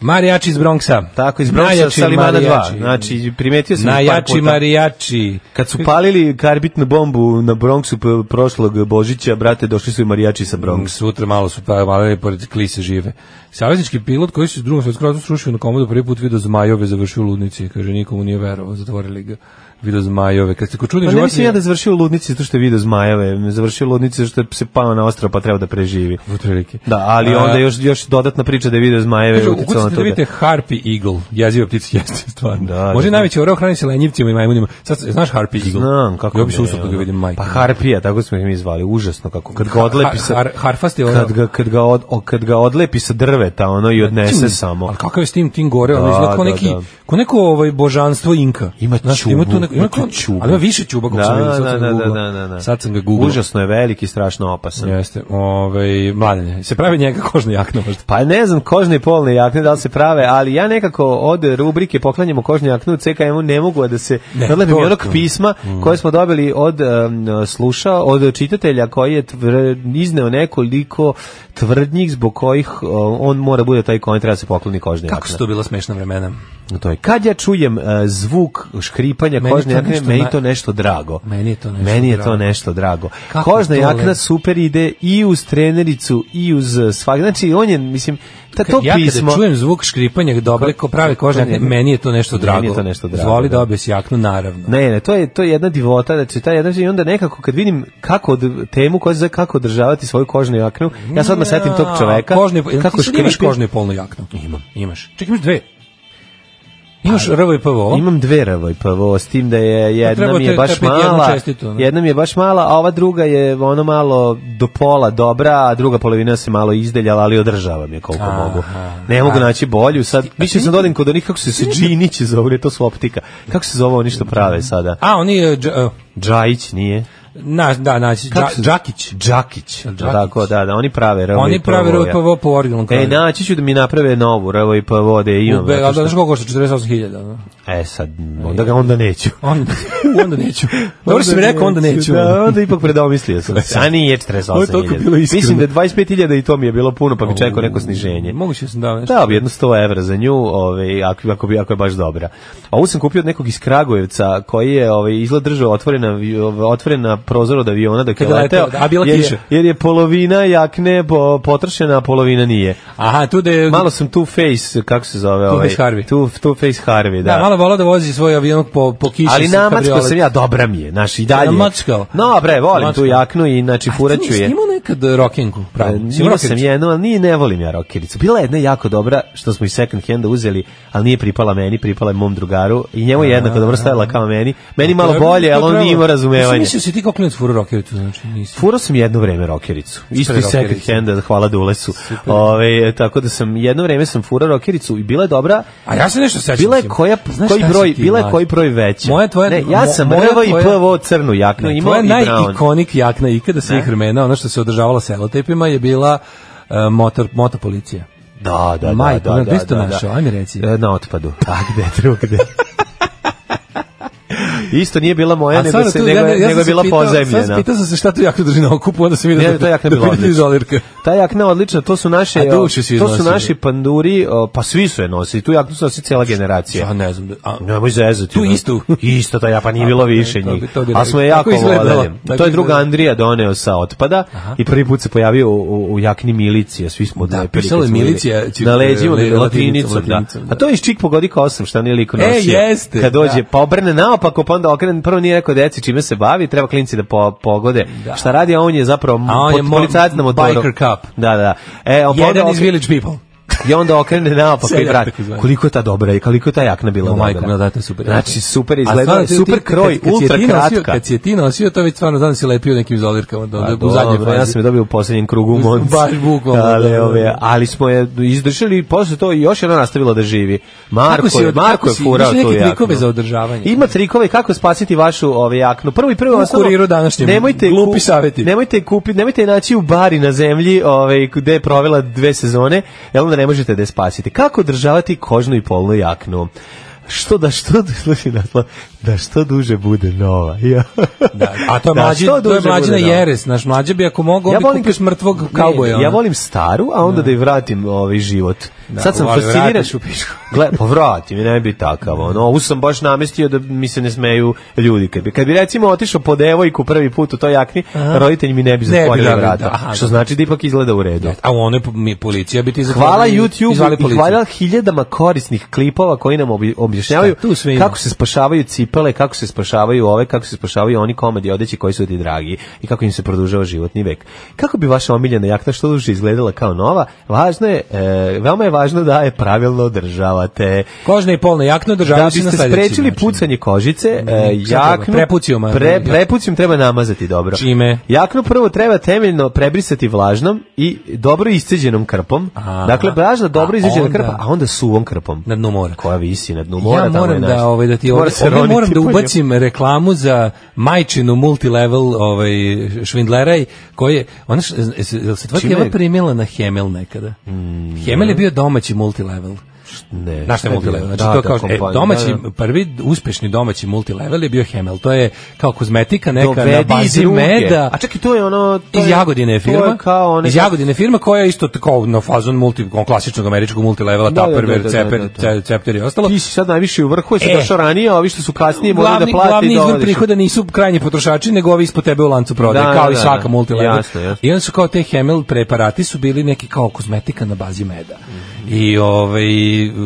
S6: Marijači iz Bronxa.
S5: Tako, iz Bronsa
S6: Najjači
S5: Salimana 2.
S6: marijači.
S5: Znači, primetio sam ih par
S6: Najjači
S5: puta.
S6: marijači.
S5: Kad su palili karbitnu bombu na Bronxu p- prošlog Božića, brate, došli su i marijači sa Bronxa.
S6: Sutra malo su pavalili pored klise žive. Saveznički pilot koji se u drugom svetskom ratu srušio na komodu prvi put video zmajove završio u ludnici. Kaže, nikomu nije verovao, zatvorili ga. Video zmajove. Kad se ko čudni
S5: Pa ne
S6: životinje...
S5: mislim ja da je završio u ludnici zato što je video zmajeve, završio u ludnici zato što se pao na ostrava pa treba da preživi.
S6: Otprilike.
S5: Da, ali
S6: A-
S5: onda još, još dodatna priča da je video zmajeve
S6: Kaže,
S5: i uticao na to
S6: ukucite da
S5: da-
S6: vidite Harpy Eagle, jeziva ptica [laughs] jeste stvarno.
S5: Da, da,
S6: Može najveći orao hrani se lenjivcima i majmunima. Sad, znaš Harpy Eagle?
S5: Znam kako.
S6: Ja bi se
S5: ne,
S6: usupno da
S5: ono.
S6: ga vidim majke.
S5: Pa harpija, tako smo ih mi zvali, užasno kako. Kad ga odlepi sa
S6: Har- har- harfasti orao.
S5: kad ga kad ga od, o, kad ga odlepi sa drveta, ono i odnese
S6: Tim,
S5: samo.
S6: Ali kakav je s tim tim gore, ono
S5: Da,
S6: izgleda kao
S5: da,
S6: neki,
S5: da.
S6: ko neko ovaj božanstvo Inka.
S5: Ima
S6: Znaš,
S5: čubu,
S6: Ima tu neko, ima
S5: ima
S6: kao-
S5: čubu.
S6: Ali ima više čuba kako
S5: Da,
S6: sam vidio, sad
S5: da,
S6: sam
S5: da,
S6: ga
S5: da,
S6: googlao.
S5: da, da.
S6: Sad sam ga googlao.
S5: Užasno je veliki i strašno opasan.
S6: Jeste, ovaj, mladen, se pravi njega kožna jakna možda.
S5: Pa ne znam, kožne i polne jakne da li se prave, ali ja nekako od rubrike poklanjamo kožne jakne u CKM-u ne mogu a da se
S6: Ne, Mm.
S5: nadlepim
S6: to-
S5: i onog
S6: to-
S5: pisma koje smo dobili od um, sluša, od čitatelja koji je tvr- izneo nekoliko tvrdnjih zbog kojih um, on mora bude taj koji treba da se pokloni kožne jakne.
S6: Kako su to bila smešna vremena.
S5: To je. Kad ja čujem uh, zvuk škripanja
S6: Meni
S5: kožne
S6: to
S5: jakne,
S6: nešto
S5: meni
S6: na-
S5: to nešto drago.
S6: Meni je to nešto
S5: Meni je to
S6: drago.
S5: nešto drago.
S6: Kako
S5: Kožna
S6: to
S5: jakna
S6: lepo.
S5: super ide i uz trenericu i uz uh, svak. Znači, on je, mislim, ta, to
S6: ja
S5: pismo...
S6: kada čujem zvuk škripanja dobre ko prave kožne
S5: to
S6: jakne,
S5: nije-
S6: meni je to nešto
S5: Meni
S6: drago.
S5: je to nešto drago,
S6: Zvoli
S5: da.
S6: da objes jaknu, naravno.
S5: Ne, ne, to je to je jedna divota, znači ta jedna i onda nekako kad vidim kako od, temu koja se zove kako održavati svoju kožnu jaknu, ja sad me setim tog čoveka.
S6: Kožne,
S5: kako
S6: kako ti sad imaš
S5: škripi.
S6: kožne polno jaknu? Imam. Imaš. Čekaj, imaš dve. Imaš rvo i PVO?
S5: Pa, Imam dve RVPVO, s tim da je jedna
S6: Pa treba
S5: mi je
S6: te-
S5: baš
S6: tepiti jednu
S5: mala,
S6: čestitu, ne?
S5: jedna mi je baš mala, a ova druga je ono malo do pola dobra, a druga polovina se malo izdeljala, ali održavam je koliko
S6: Aha.
S5: mogu. Ne mogu
S6: A-
S5: naći bolju, sad više sam dodim kod onih kako se se džinići zove, ili je to su optika. Kako se zove oni što prave sada?
S6: A, oni... e, eh, dž- e,
S5: Džajić nije.
S6: Na, da, naći.
S5: Kako se-
S6: Đa- Đakić.
S5: Đakić. Tako, da, da, oni prave RVPVO.
S6: Oni prave RVPVO po originalnom
S5: E,
S6: kraju.
S5: naći ću da mi naprave novu RVPVO da je imam.
S6: Ube,
S5: zato
S6: a
S5: što-
S6: znaš koliko košta 48.000? no?
S5: E, sad, onda ga onda neću. [laughs]
S6: Onda, onda neću.
S5: Pa
S6: Dobro si mi rekao, onda neću.
S5: Da, onda ipak predomislio sam se. A nije 48.000.
S6: Ovo je toliko bilo iskreno.
S5: Mislim da je 25.000 i to mi je bilo puno, pa bi čekao neko sniženje.
S6: Moguće sam dao nešto.
S5: Da, bi jedno 100 evra za nju, ovaj, ako, ako, bi, ako je baš dobra. A Ovu sam kupio od nekog iz Kragujevca, koji je ovaj, izgled držao otvorena, vi- ovaj, otvorena prozor od aviona dok je
S6: Kad je leteo,
S5: leteo.
S6: E, da, a bila
S5: jer,
S6: kiša.
S5: je, jer je polovina jakne po, potrošena, a polovina
S6: [laughs]
S5: nije.
S6: Aha, tu da je...
S5: Malo sam Two Face, kako se zove?
S6: Two
S5: ovaj,
S6: Face Harvey.
S5: Two, two Face Harvey, da.
S6: Da, malo volao da vozi svoj avion po, po kiši.
S5: Ali
S6: sa
S5: namackao
S6: kabriolet.
S5: sam ja, dobra mi je, znaš, i dalje.
S6: Namackao?
S5: No, bre, volim
S6: Namackao.
S5: tu jaknu i, znači, furaću
S6: Ti
S5: je. Pa,
S6: nisi imao nekad e, rokinku, pravo. Si imao
S5: Imao sam
S6: rokericu?
S5: jednu, ali nije, ne volim ja rokericu. Bila je jedna jako dobra, što smo iz second handa uzeli, ali nije pripala meni, pripala je mom drugaru i njemu je jednako dobro stajala kao meni. Meni malo
S6: Treba-
S5: bolje, ali on
S6: treba-
S5: nije imao
S6: Mislim,
S5: razumevanje.
S6: Mislio si ti kao klinac furu rokericu, znači nisi.
S5: Furao sam jedno vreme rokericu. Isto iz second
S6: rokericu.
S5: handa, hvala Dulesu. Ove, tako da sam, jedno vreme sam furao rokericu i bila je dobra.
S6: A ja se nešto sećam.
S5: Bila je
S6: Simo.
S5: koja,
S6: Znaš
S5: koji
S6: šta si
S5: broj,
S6: ti,
S5: bila je
S6: mlađe?
S5: koji broj veća.
S6: Moja tvoja...
S5: Ne, ja
S6: mo-
S5: sam
S6: moja
S5: RV i
S6: tvoja-
S5: PVO crnu jaknu,
S6: Ne,
S5: imao i
S6: Tvoja
S5: brown.
S6: najikonik jakna ikada svih vremena, ono što se održavala selotepima, je bila e, motor, motopolicija.
S5: Da, da, da.
S6: Majko,
S5: da,
S6: gde
S5: da,
S6: si to
S5: da, da.
S6: našao? Pa, Ajme reci.
S5: E, Na otpadu.
S6: [laughs]
S5: A gde, drugde. [laughs] Isto nije bila moja,
S6: A
S5: nego,
S6: stvarno,
S5: se,
S6: tu,
S5: nego,
S6: ja- ja
S5: nego
S6: sam
S5: je
S6: se
S5: bila
S6: pitao- sad sam
S5: pozemljena.
S6: Pitao sam se šta tu jakna drži na okupu, onda sam vidio
S5: Ne,
S6: da
S5: to je jakna
S6: da
S5: bila
S6: pitaju
S5: odlična.
S6: izolirka.
S5: Ta jakna odlična, to su naše,
S6: A dušu
S5: o,
S6: si
S5: to su
S6: iznosili.
S5: naši panduri, o, pa svi su je nosili, tu jaknu su nosili cijela generacija.
S6: Ja ne znam. da- A,
S5: Nemoj zezati.
S6: Tu
S5: no.
S6: istu?
S5: Isto ta ja, pa nije bilo
S6: pa ne,
S5: više
S6: to bi-
S5: njih.
S6: to bi
S5: A smo je
S6: rekao.
S5: jako
S6: Tako izgledalo,
S5: vladali.
S6: tako
S5: To je drug
S6: izgledalo.
S5: Andrija doneo sa otpada i prvi put se pojavio u, u, u jakni milicija, svi smo da,
S6: pisalo je milicija, či-
S5: na leđima,
S6: le-
S5: latinicom,
S6: latinicom, latinicom,
S5: da. A to je iz Čik pogodika 8, šta nije liko
S6: E,
S5: nosio.
S6: jeste,
S5: Kad dođe,
S6: da.
S5: pa obrne naopako, pa onda okrene, prvo nije rekao deci čime se bavi, treba klinci da po, pogode. Šta radi, a on je zapravo
S6: A on
S5: pot-
S6: je mo-
S5: policajac na motoru.
S6: biker cop.
S5: Da, da. E, on pa onda
S6: Jedan iz
S5: okre-
S6: Village People.
S5: i onda okrene naopako i
S6: Seljak
S5: vrati.
S6: takozvani.
S5: Koliko je ta dobra i koliko je ta jakna bila
S6: No,
S5: dobra.
S6: majko, mila, da, to je super.
S5: Znači, super
S6: A
S5: izgleda,
S6: stvarno, ti-
S5: super
S6: ti-
S5: kroj,
S6: kad- kad si
S5: ultra
S6: je ti nosio-
S5: kratka.
S6: Kad si je ti nosio, to već stvarno znam da si lepio nekim izolirkama da,
S5: Pa,
S6: da, u
S5: dobro,
S6: zadnjoj
S5: Ja
S6: fazi.
S5: sam je dobio u posljednjem krugu u Monci.
S6: Baš bukvalno,
S5: Ali,
S6: da, da, da.
S5: ove, ali smo je izdržali i posle to još je ona nastavila da živi. Marko,
S6: Kako si
S5: je,
S6: od-
S5: Marko
S6: kako
S5: je
S6: si-
S5: furao
S6: imaš
S5: tu
S6: neke
S5: jaknu.
S6: trikove za održavanje?
S5: Ima trikove kako spasiti vašu ove jaknu. Prvo i prvo
S6: U
S5: osnovno,
S6: kuriru današnjem.
S5: Nemojte kup-
S6: Glupi saveti.
S5: Nemojte je kupiti, nemojte je naći u bari na zemlji, ovaj gde je provela dve sezone, jer onda ne možete da je spasite. Kako održavati kožnu i polnu jaknu? Što da što [laughs] slušaj naslov, da što duže bude nova. Ja.
S6: Da, a to
S5: [laughs]
S6: je
S5: Da,
S6: mlađi,
S5: što
S6: to je
S5: duže
S6: mlađina
S5: bude nova.
S6: jeres, naš mlađi bi ako mogao ja bi kupio
S5: kad-
S6: mrtvog
S5: Ne,
S6: kauboja.
S5: Ja
S6: ono.
S5: volim staru, a onda da je vratim ovaj život. Sad sam
S6: ali
S5: fasciniran.
S6: vratiš u pičku. [laughs]
S5: Gle, pa vratim, ne bi takav. Ono, ovu sam baš namestio da mi se ne smeju ljudi. Kad bi, kad bi recimo otišao po devojku prvi put u toj jakni, roditelj mi ne bi
S6: Ne bi
S5: zatvorili
S6: dali,
S5: vrata.
S6: da, aha,
S5: što
S6: da.
S5: znači da ipak izgleda u redu.
S6: E, A u onoj po- mi policija bi ti zatvorila
S5: Hvala
S6: i- i zvali
S5: YouTube i
S6: policiju.
S5: hvala hiljadama korisnih klipova koji nam obi- objašnjavaju
S6: Šta, tu sve ima.
S5: kako se spašavaju cipele, kako se spašavaju ove, kako se spašavaju oni komadi odeći koji su ti dragi i kako im se produžava životni vek. Kako bi vaša omiljena jakna što duže izgledala kao nova, važno je, e, veoma je važno da je pravilno održavate.
S6: Kožna i polna jakna
S5: Da
S6: održavaju se Znači, na
S5: biste
S6: sledeći
S5: sprečili
S6: način.
S5: pucanje kožice, e,
S6: Mhm, šta treba?
S5: jaknu...
S6: Prepucijom, a ne?
S5: Pre, prepucijom treba namazati dobro.
S6: Čime?
S5: Jaknu prvo treba temeljno prebrisati vlažnom i dobro isceđenom krpom.
S6: Aha.
S5: Dakle, vlažna dobro
S6: A
S5: isceđena
S6: onda-
S5: krpa, a onda suvom krpom.
S6: Na dnu mora.
S5: Koja visi na dnu Pa mora.
S6: ja
S5: tamo je
S6: moram
S5: naš-
S6: da ovaj da ti
S5: Mora
S6: ovdje,
S5: se pa
S6: ovdje
S5: roniti
S6: moram da
S5: po njemu.
S6: ubacim reklamu za majčinu multilevel ovaj švindleraj koji je ona š- jel se- jel se tvoja
S5: Čime
S6: tijela
S5: je? Mm.
S6: primila na Hemel nekada. Hemel je bio domaći multilevel.
S5: Ne,
S6: Znaš šta je multilevel? Znači,
S5: Da,
S6: to
S5: da,
S6: kao, e,
S5: kompanija,
S6: domaći,
S5: da, da.
S6: prvi uspešni domaći multilevel je bio Hemel. To je kao kozmetika neka na
S5: Dovedi iz
S6: bazi
S5: ruke.
S6: meda.
S5: A čekaj, to je ono... to
S6: Iz
S5: je-
S6: Jagodine je
S5: to je
S6: firma.
S5: kao one...
S6: Iz Jagodine je firma koja je isto tako na fazon multi, on klasičnog američkog multilevela,
S5: Da, da, da,
S6: Tupperware,
S5: da, da,
S6: Ceper,
S5: da, da.
S6: Ce- Cepter i ostalo.
S5: Ti si sad najviše u vrhu, jer si
S6: E.
S5: došao ranije, a ovi što su kasnije moraju da
S6: Glavni,
S5: plate
S6: glavni
S5: i
S6: izvor
S5: dovodiš.
S6: prihoda nisu krajnji potrošači, nego ovi ispod tebe u lancu prodaje,
S5: Da,
S6: kao
S5: da,
S6: i
S5: da,
S6: svaka
S5: da.
S6: multilevel.
S5: Jasno, jasno.
S6: I onda su kao te Hemel preparati su bili neki kao kozmetika na bazi meda. I, ovaj,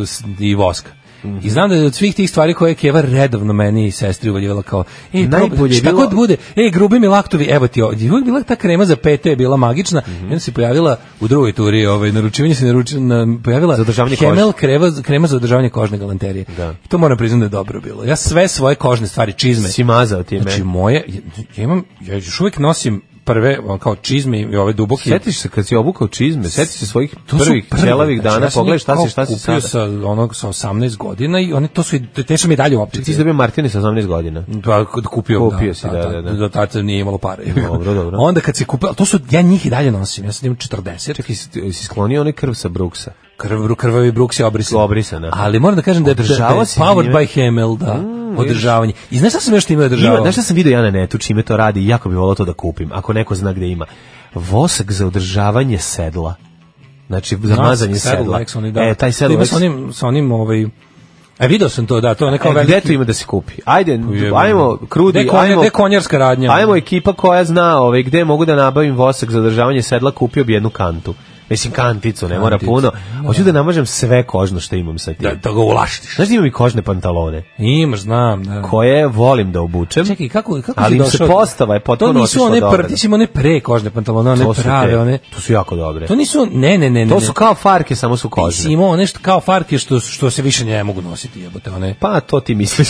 S6: s- i voska.
S5: Mhm.
S6: I znam da je od svih tih stvari koje je Keva redovno meni i sestri uvaljivala kao e,
S5: Najbolje
S6: Najbolje
S5: je
S6: šta
S5: bilo-
S6: god bude, e, grubi mi laktovi, evo ti ovdje. I Uvijek bila ta krema za pete, je bila magična.
S5: Mhm.
S6: I onda se pojavila u drugoj turi, ovaj, naručivanje se naručila, na, pojavila
S5: Za održavanje kože.
S6: Hemel krema, krema za održavanje kožne galanterije.
S5: Da.
S6: I To moram priznati da je dobro bilo. Ja sve svoje kožne stvari, čizme,
S5: Si mazao time.
S6: znači moje, ja, ja imam, ja još uvijek nosim prve, ono, kao čizme i ove duboke.
S5: Sjetiš se kad si obukao čizme, sjetiš se svojih
S6: To su
S5: prvih
S6: prve,
S5: ćelavih
S6: znači,
S5: dana,
S6: ja sam
S5: pogledaj
S6: njih
S5: šta
S6: kao
S5: si, šta si sada.
S6: kupio sa onog sa 18 godina i oni to su i- te su mi dalje u optici.
S5: Ti si dobio Martini sa 18 godina.
S6: Pa, kod kupio,
S5: Kupio si, da, da, da.
S6: Do tad se nije imalo pare.
S5: Dobro, dobro.
S6: Onda kad se kupio, to su, ja njih i dalje nosim, ja sam imam 40.
S5: Čekaj, si, si sklonio onaj krv sa Brooksa.
S6: Krv, krvavi Brooks je obrisan.
S5: Obrisan, da.
S6: Ali moram da kažem da je, da, da je
S5: Održavao si
S6: powered
S5: njime?
S6: by Hemel, da,
S5: Mm, vidiš.
S6: održavanje. I znaš šta sam još time održavao?
S5: Ima, znaš šta sam vidio ja na netu čime to radi i jako bi volao to da kupim, ako neko zna gde ima. Vosak za održavanje sedla. Znači, za mazanje sedla.
S6: Lex, oni, da.
S5: E, taj
S6: To
S5: sedla.
S6: ima sa onim, sa onim, ovaj... E, video sam to, da, to je neka
S5: E,
S6: velika...
S5: gde to ima da se kupi? Ajde,
S6: Ujebe.
S5: ajmo, krudi,
S6: Gde konja-
S5: ajmo...
S6: gde konjarska radnja?
S5: Ajmo ekipa koja zna ovaj, gde mogu da nabavim vosak za održavanje sedla, kupio bi jednu kantu. Mislim, kanticu, ne mora
S6: Kanticu.
S5: puno. Hoću da namažem sve kožno što imam sa tim.
S6: Da, da ga ulaštiš.
S5: Znaš da imam i kožne pantalone?
S6: Imaš, znam, da.
S5: koje volim da obučem.
S6: Čekaj, kako, kako
S5: Ali
S6: si
S5: im
S6: došao?
S5: se postava je potpuno
S6: To nisu
S5: otišla
S6: one
S5: dobro.
S6: prve, ti si imao one pre kožne pantalone, one
S5: To su
S6: prave,
S5: te.
S6: one...
S5: To su jako dobre.
S6: To nisu, ne, ne, ne, ne.
S5: To
S6: ne.
S5: su kao farke, samo su
S6: Ti si
S5: kožne.
S6: imao one što, kao farke što, što se više ne mogu nositi, jebote, one...
S5: Pa, to ti misliš.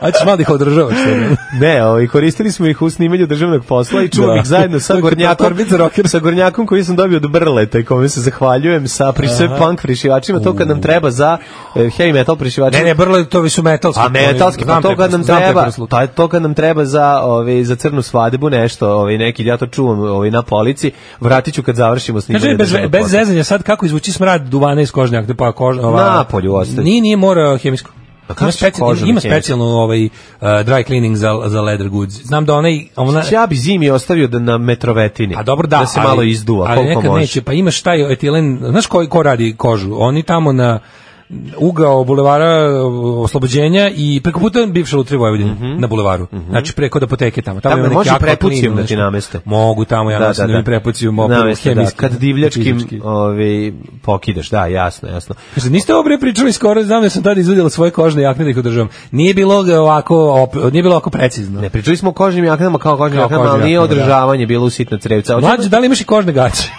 S6: A ćeš malo da ih održavaš. što
S5: [laughs] ne, ovaj, koristili smo ih u snimanju državnog posla i čuvam
S6: Da.
S5: ih zajedno sa
S6: [laughs] To je
S5: gornjakom,
S6: torbica rocker.
S5: sa gornjakom koji sam dobio od brleta i kome se zahvaljujem sa pri sve
S6: Aha.
S5: punk prišivačima, to kad nam treba za eh, heavy metal prišivačima.
S6: Ne, ne, brle, to su metalski.
S5: A metalski, pa
S6: Znam
S5: to
S6: taj
S5: kad nam
S6: prosluk, znam taj
S5: treba,
S6: prosluk.
S5: taj to kad nam treba za ovaj za crnu svadbu nešto, ovaj neki ja to čuvam ovaj na polici, vratiću kad završimo snimanje.
S6: Kaže bez
S5: državnog
S6: bez
S5: posla.
S6: zezanja sad kako izvući smrad duvana iz kožnjaka, pa kožna ova.
S5: Napolju ostaje. Pa
S6: Nije nije mora hemijsko.
S5: kako
S6: Ima,
S5: će
S6: speci,
S5: kožno
S6: ima
S5: hemijsko?
S6: specijalno ovaj uh, dry cleaning za za leather goods. Znam da onaj ona
S5: Znači, Ja bi zimi ostavio da na metrovetini.
S6: A Pa dobro da,
S5: E, se
S6: ali-
S5: malo izduva,
S6: ali
S5: koliko
S6: nekad
S5: može.
S6: neće, pa imaš taj etilen, znaš koji ko radi kožu? Oni tamo na ugao bulevara uh, Oslobođenja i preko puta bivše Lutrije Vojvodine na bulevaru. Znači preko da poteke tamo. Tamo
S5: Mhm. Tamo
S6: ima
S5: može
S6: neki aquaplin,
S5: prepucijom da
S6: nešto.
S5: ti nameste.
S6: Mogu tamo, ja da, da, mi prepucijom opet
S5: Nameste, da,
S6: hemijski,
S5: kad divljačkim
S6: fizički.
S5: ovaj, pokidaš, da, jasno, jasno.
S6: Kaže, niste ovo bre pričali skoro, znam da sam tada izudila svoje kožne jakne da ih održavam. Nije bilo ga ovako, op- nije bilo ovako precizno.
S5: Ne, pričali smo o kožnim jaknama kao kožnim
S6: Kao
S5: jaknama, ali
S6: kožnim
S5: nije
S6: jaknama, da.
S5: održavanje bilo u sitna crevca. Hoćemo-
S6: Mlađe, da li imaš i kožne gaće?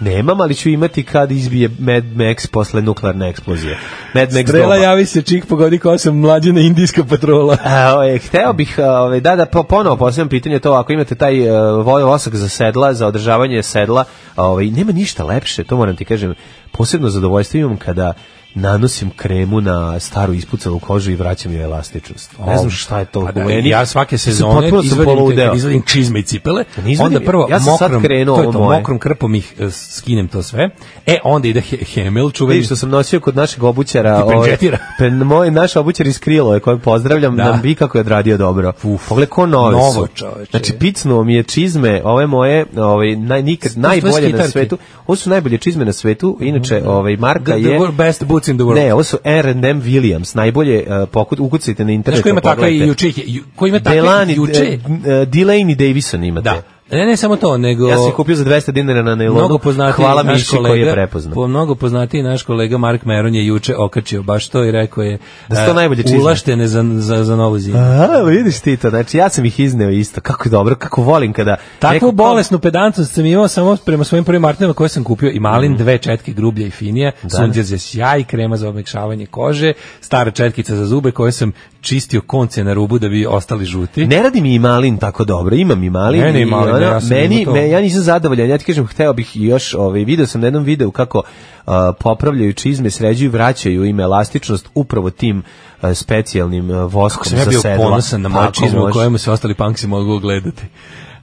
S5: Nemam, ali ću imati kad izbije Mad Max posle nuklearne eksplozije. Mad Max
S6: Strela
S5: doma.
S6: javi se, čik pogodi kosam, mlađena indijska patrola.
S5: [laughs] A, ovaj, hteo bih, ovaj, da, da, po- ponovo postavljam pitanje to, ako imate taj e, vo- vosak za sedla, za održavanje sedla, ovaj, nema ništa lepše, to moram ti kažem, posebno zadovoljstvo imam kada nanosim kremu na staru ispucalu kožu i vraćam joj elastičnost. Ne znam šta je to.
S6: Pa da,
S5: u meni.
S6: ja svake
S5: Mislim,
S6: sezone
S5: potpuno sam
S6: izvadim, te,
S5: poludeo.
S6: kad izvadim čizme i cipele,
S5: Pa ne izvadim
S6: onda
S5: je.
S6: prvo
S5: Ja sam sad
S6: mokrom,
S5: krenuo
S6: to je
S5: ovo
S6: to,
S5: moje.
S6: mokrom krpom ih eh, skinem to sve. E, onda ide he- Hemel, čuveni.
S5: Vidiš što sam nosio kod našeg obućara.
S6: Ti pendžetira.
S5: ovaj, [laughs] pen, moj, naš obućar iz Krilove, kojeg pozdravljam,
S6: Da.
S5: nam bi kako je odradio dobro. Uf, Pogled, ko nove su.
S6: Novo, čoveče.
S5: Znači, picnuo mi je čizme, ove moje, ovaj, naj, nikad,
S6: To su tvoje
S5: najbolje na
S6: skitarke. Mhm.
S5: svetu. Ovo su najbolje čizme na svetu, inače, ovaj,
S6: The,
S5: Marka
S6: the
S5: je...
S6: wor- best boots in the world.
S5: Ne, ovo su R&M Williams, najbolje uh, pokut, ukucajte na internetu.
S6: Znaš ko ima takve i
S5: pogledajte.
S6: juče? ih je- ju- Ko ima takve
S5: Delani,
S6: juče?
S5: eh, Delaney Davison imate.
S6: Da. Ne, ne samo to, nego...
S5: Ja sam ih kupio za 200 dinara na nailonu.
S6: Mnogo poznatiji
S5: Hvala
S6: naš
S5: Miši
S6: kolega,
S5: koji je prepoznao.
S6: Po mnogo poznatiji naš kolega Mark Meron je juče okačio baš to i rekao je
S5: Da su to
S6: e,
S5: najbolje čizme.
S6: ulaštene za, za, za novu zimu.
S5: A, vidiš ti to, znači ja sam ih izneo isto, kako dobro, kako volim kada... neko
S6: Takvu
S5: kao-
S6: bolesnu pedantost sam imao samo prema svojim prvim martinama koje sam kupio i malin,
S5: Mhm.
S6: dve četke grublje i finije, sunđer za sjaj, krema za omekšavanje kože, stara četkica za zube koje sam čistio konce na rubu da bi ostali žuti.
S5: Ne radi mi i malin tako dobro, imam i malin.
S6: Meni
S5: i
S6: i malin,
S5: ono,
S6: ja sam
S5: meni,
S6: imao to.
S5: me, ja nisam zadovoljan, ja ti kažem, hteo bih i još, ovaj, video sam na jednom videu kako a, popravljaju čizme, sređuju, vraćaju im elastičnost upravo tim a, specijalnim a, voskom
S6: sam ja
S5: za
S6: bio
S5: sedla.
S6: ponosan na moje
S5: Tako
S6: čizme u
S5: može.
S6: kojemu se ostali punksi mogu ogledati.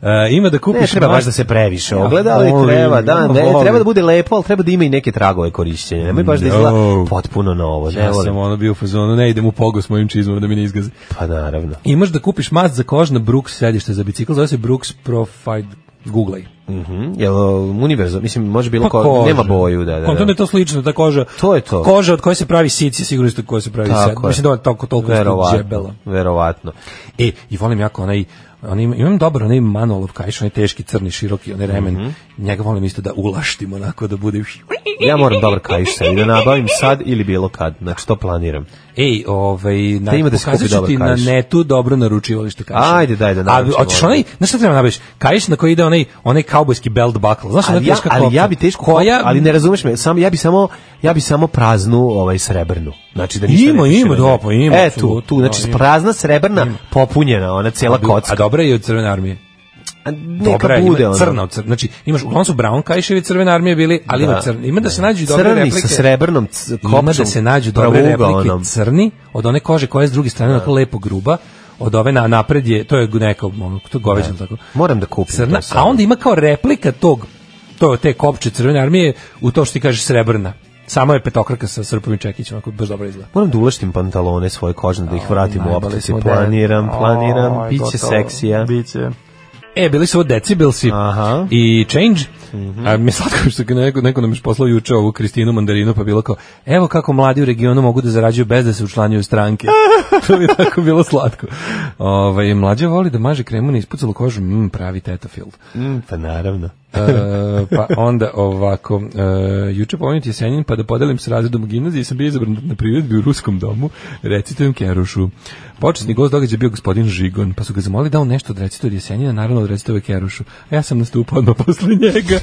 S6: E, ima da kupiš...
S5: Ne treba
S6: mas-
S5: baš da se previše
S6: Ja
S5: ogleda, ali
S6: volim,
S5: treba, da, ne,
S6: volim.
S5: treba da bude lepo, ali treba da ima i neke tragove korišćenja. Nemoj baš da izgleda
S6: No.
S5: potpuno novo, ne
S6: Ja sam
S5: volim.
S6: ono bio u fazonu, ne idem u pogo s mojim čizmom da mi ne izgaze.
S5: Pa naravno.
S6: Imaš da kupiš mast za kožna Brooks sedište za bicikl, zove se Brooks Profile, googlaj.
S5: Mhm. Jel uh, univerzum, mislim može bilo
S6: Pa
S5: ko,
S6: koža.
S5: nema boju, da, da.
S6: Kontam da
S5: da.
S6: je to slično, ta koža.
S5: To je to.
S6: Koža od koje se pravi sici, sigurno isto od koje se pravi sed.
S5: je.
S6: Mislim da je toliko, toliko isto
S5: verovatno,
S6: džebela.
S5: Verovatno.
S6: E, i volim jako onaj, onaj imam dobro onaj manolov kajš, onaj teški, crni, široki, onaj remen.
S5: Mhm.
S6: Njega volim isto da ulaštim onako, da bude...
S5: Ja moram dobar kaiš sad i da nabavim sad ili bilo kad, znači to planiram.
S6: Ej, ovaj, na,
S5: Da ima da se
S6: pokazat
S5: kupi
S6: ću
S5: dobar
S6: ti na
S5: kaiš.
S6: netu dobro naručivalište kaiša.
S5: Ajde, daj da
S6: A,
S5: naručimo
S6: hoćeš
S5: ovaj.
S6: onaj, znaš šta treba nabaviš? Kaiš na koji ide onaj, onaj kao kaubojski belt buckle. Znaš, ona
S5: ali ja,
S6: teška
S5: ali
S6: kopča.
S5: ja bi teško
S6: Koja-
S5: ali ne razumeš me, sam, ja bi samo ja bi samo praznu ovaj srebrnu. Znači da ništa
S6: Ima,
S5: ne piše
S6: ima,
S5: na
S6: da,
S5: njoj.
S6: pa ima,
S5: E tu,
S6: apsolutno,
S5: tu znači
S6: da, ima.
S5: prazna srebrna popunjena, ona cela
S6: A bi-
S5: kocka.
S6: A dobra je i od crvene armije.
S5: neka
S6: dobra, je,
S5: bude
S6: ima
S5: ono.
S6: crna, od crna, znači imaš uglavnom su brown kajševi crvene armije bili, ali ima crni. Ima da se nađu i dobre
S5: Crni sa
S6: replike.
S5: srebrnom c-
S6: Ima da
S5: kopčom, ono.
S6: se nađu dobre replike
S5: pravougaonom.
S6: crni od one kože koja je s druge strane onako lepo gruba od ove na napred je to je neka ono, to je goveđa
S5: Da.
S6: ili tako.
S5: Moram da kupim.
S6: Crna,
S5: to sad.
S6: a onda ima kao replika tog to te kopče crvene armije u to što ti kažeš srebrna. Samo je petokraka sa srpom i čekićem, ako baš dobro izgleda.
S5: Moram da ulaštim pantalone svoje kožne da ih vratim u
S6: najbolji
S5: optici.
S6: smo devet.
S5: Planiram, planiram,
S6: Aj,
S5: biće
S6: gotovo.
S5: seksija.
S15: Biće.
S6: E, bili su ovo Decibelsi i Change. A mi je slatko što je neko, neko nam još poslao juče ovu Kristinu Mandarinu, pa bilo kao, evo kako mladi u regionu mogu da zarađuju bez da se učlanjuju u stranke. to bi tako bilo slatko. Ove, mlađe voli da maže kremu na ispucalu kožu, mm, pravi tetafield.
S5: Mm, pa
S6: [laughs]
S5: naravno.
S6: E, pa onda ovako, e, juče pomenuti Jesenjin, pa da podelim s razredom u gimnaziji, sam bio izabran na priredbi u ruskom domu, recitujem Kerušu. Početni gost događaja bio gospodin Žigon, pa su ga zamolili da on nešto od recituje Jesenjina, naravno od recituje Kerušu. A ja sam nastupao odmah posle njega.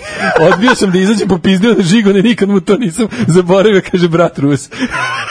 S6: Odbio sam da izađem popizdio na Žigone, nikad mu to nisam zaboravio, kaže brat Rus.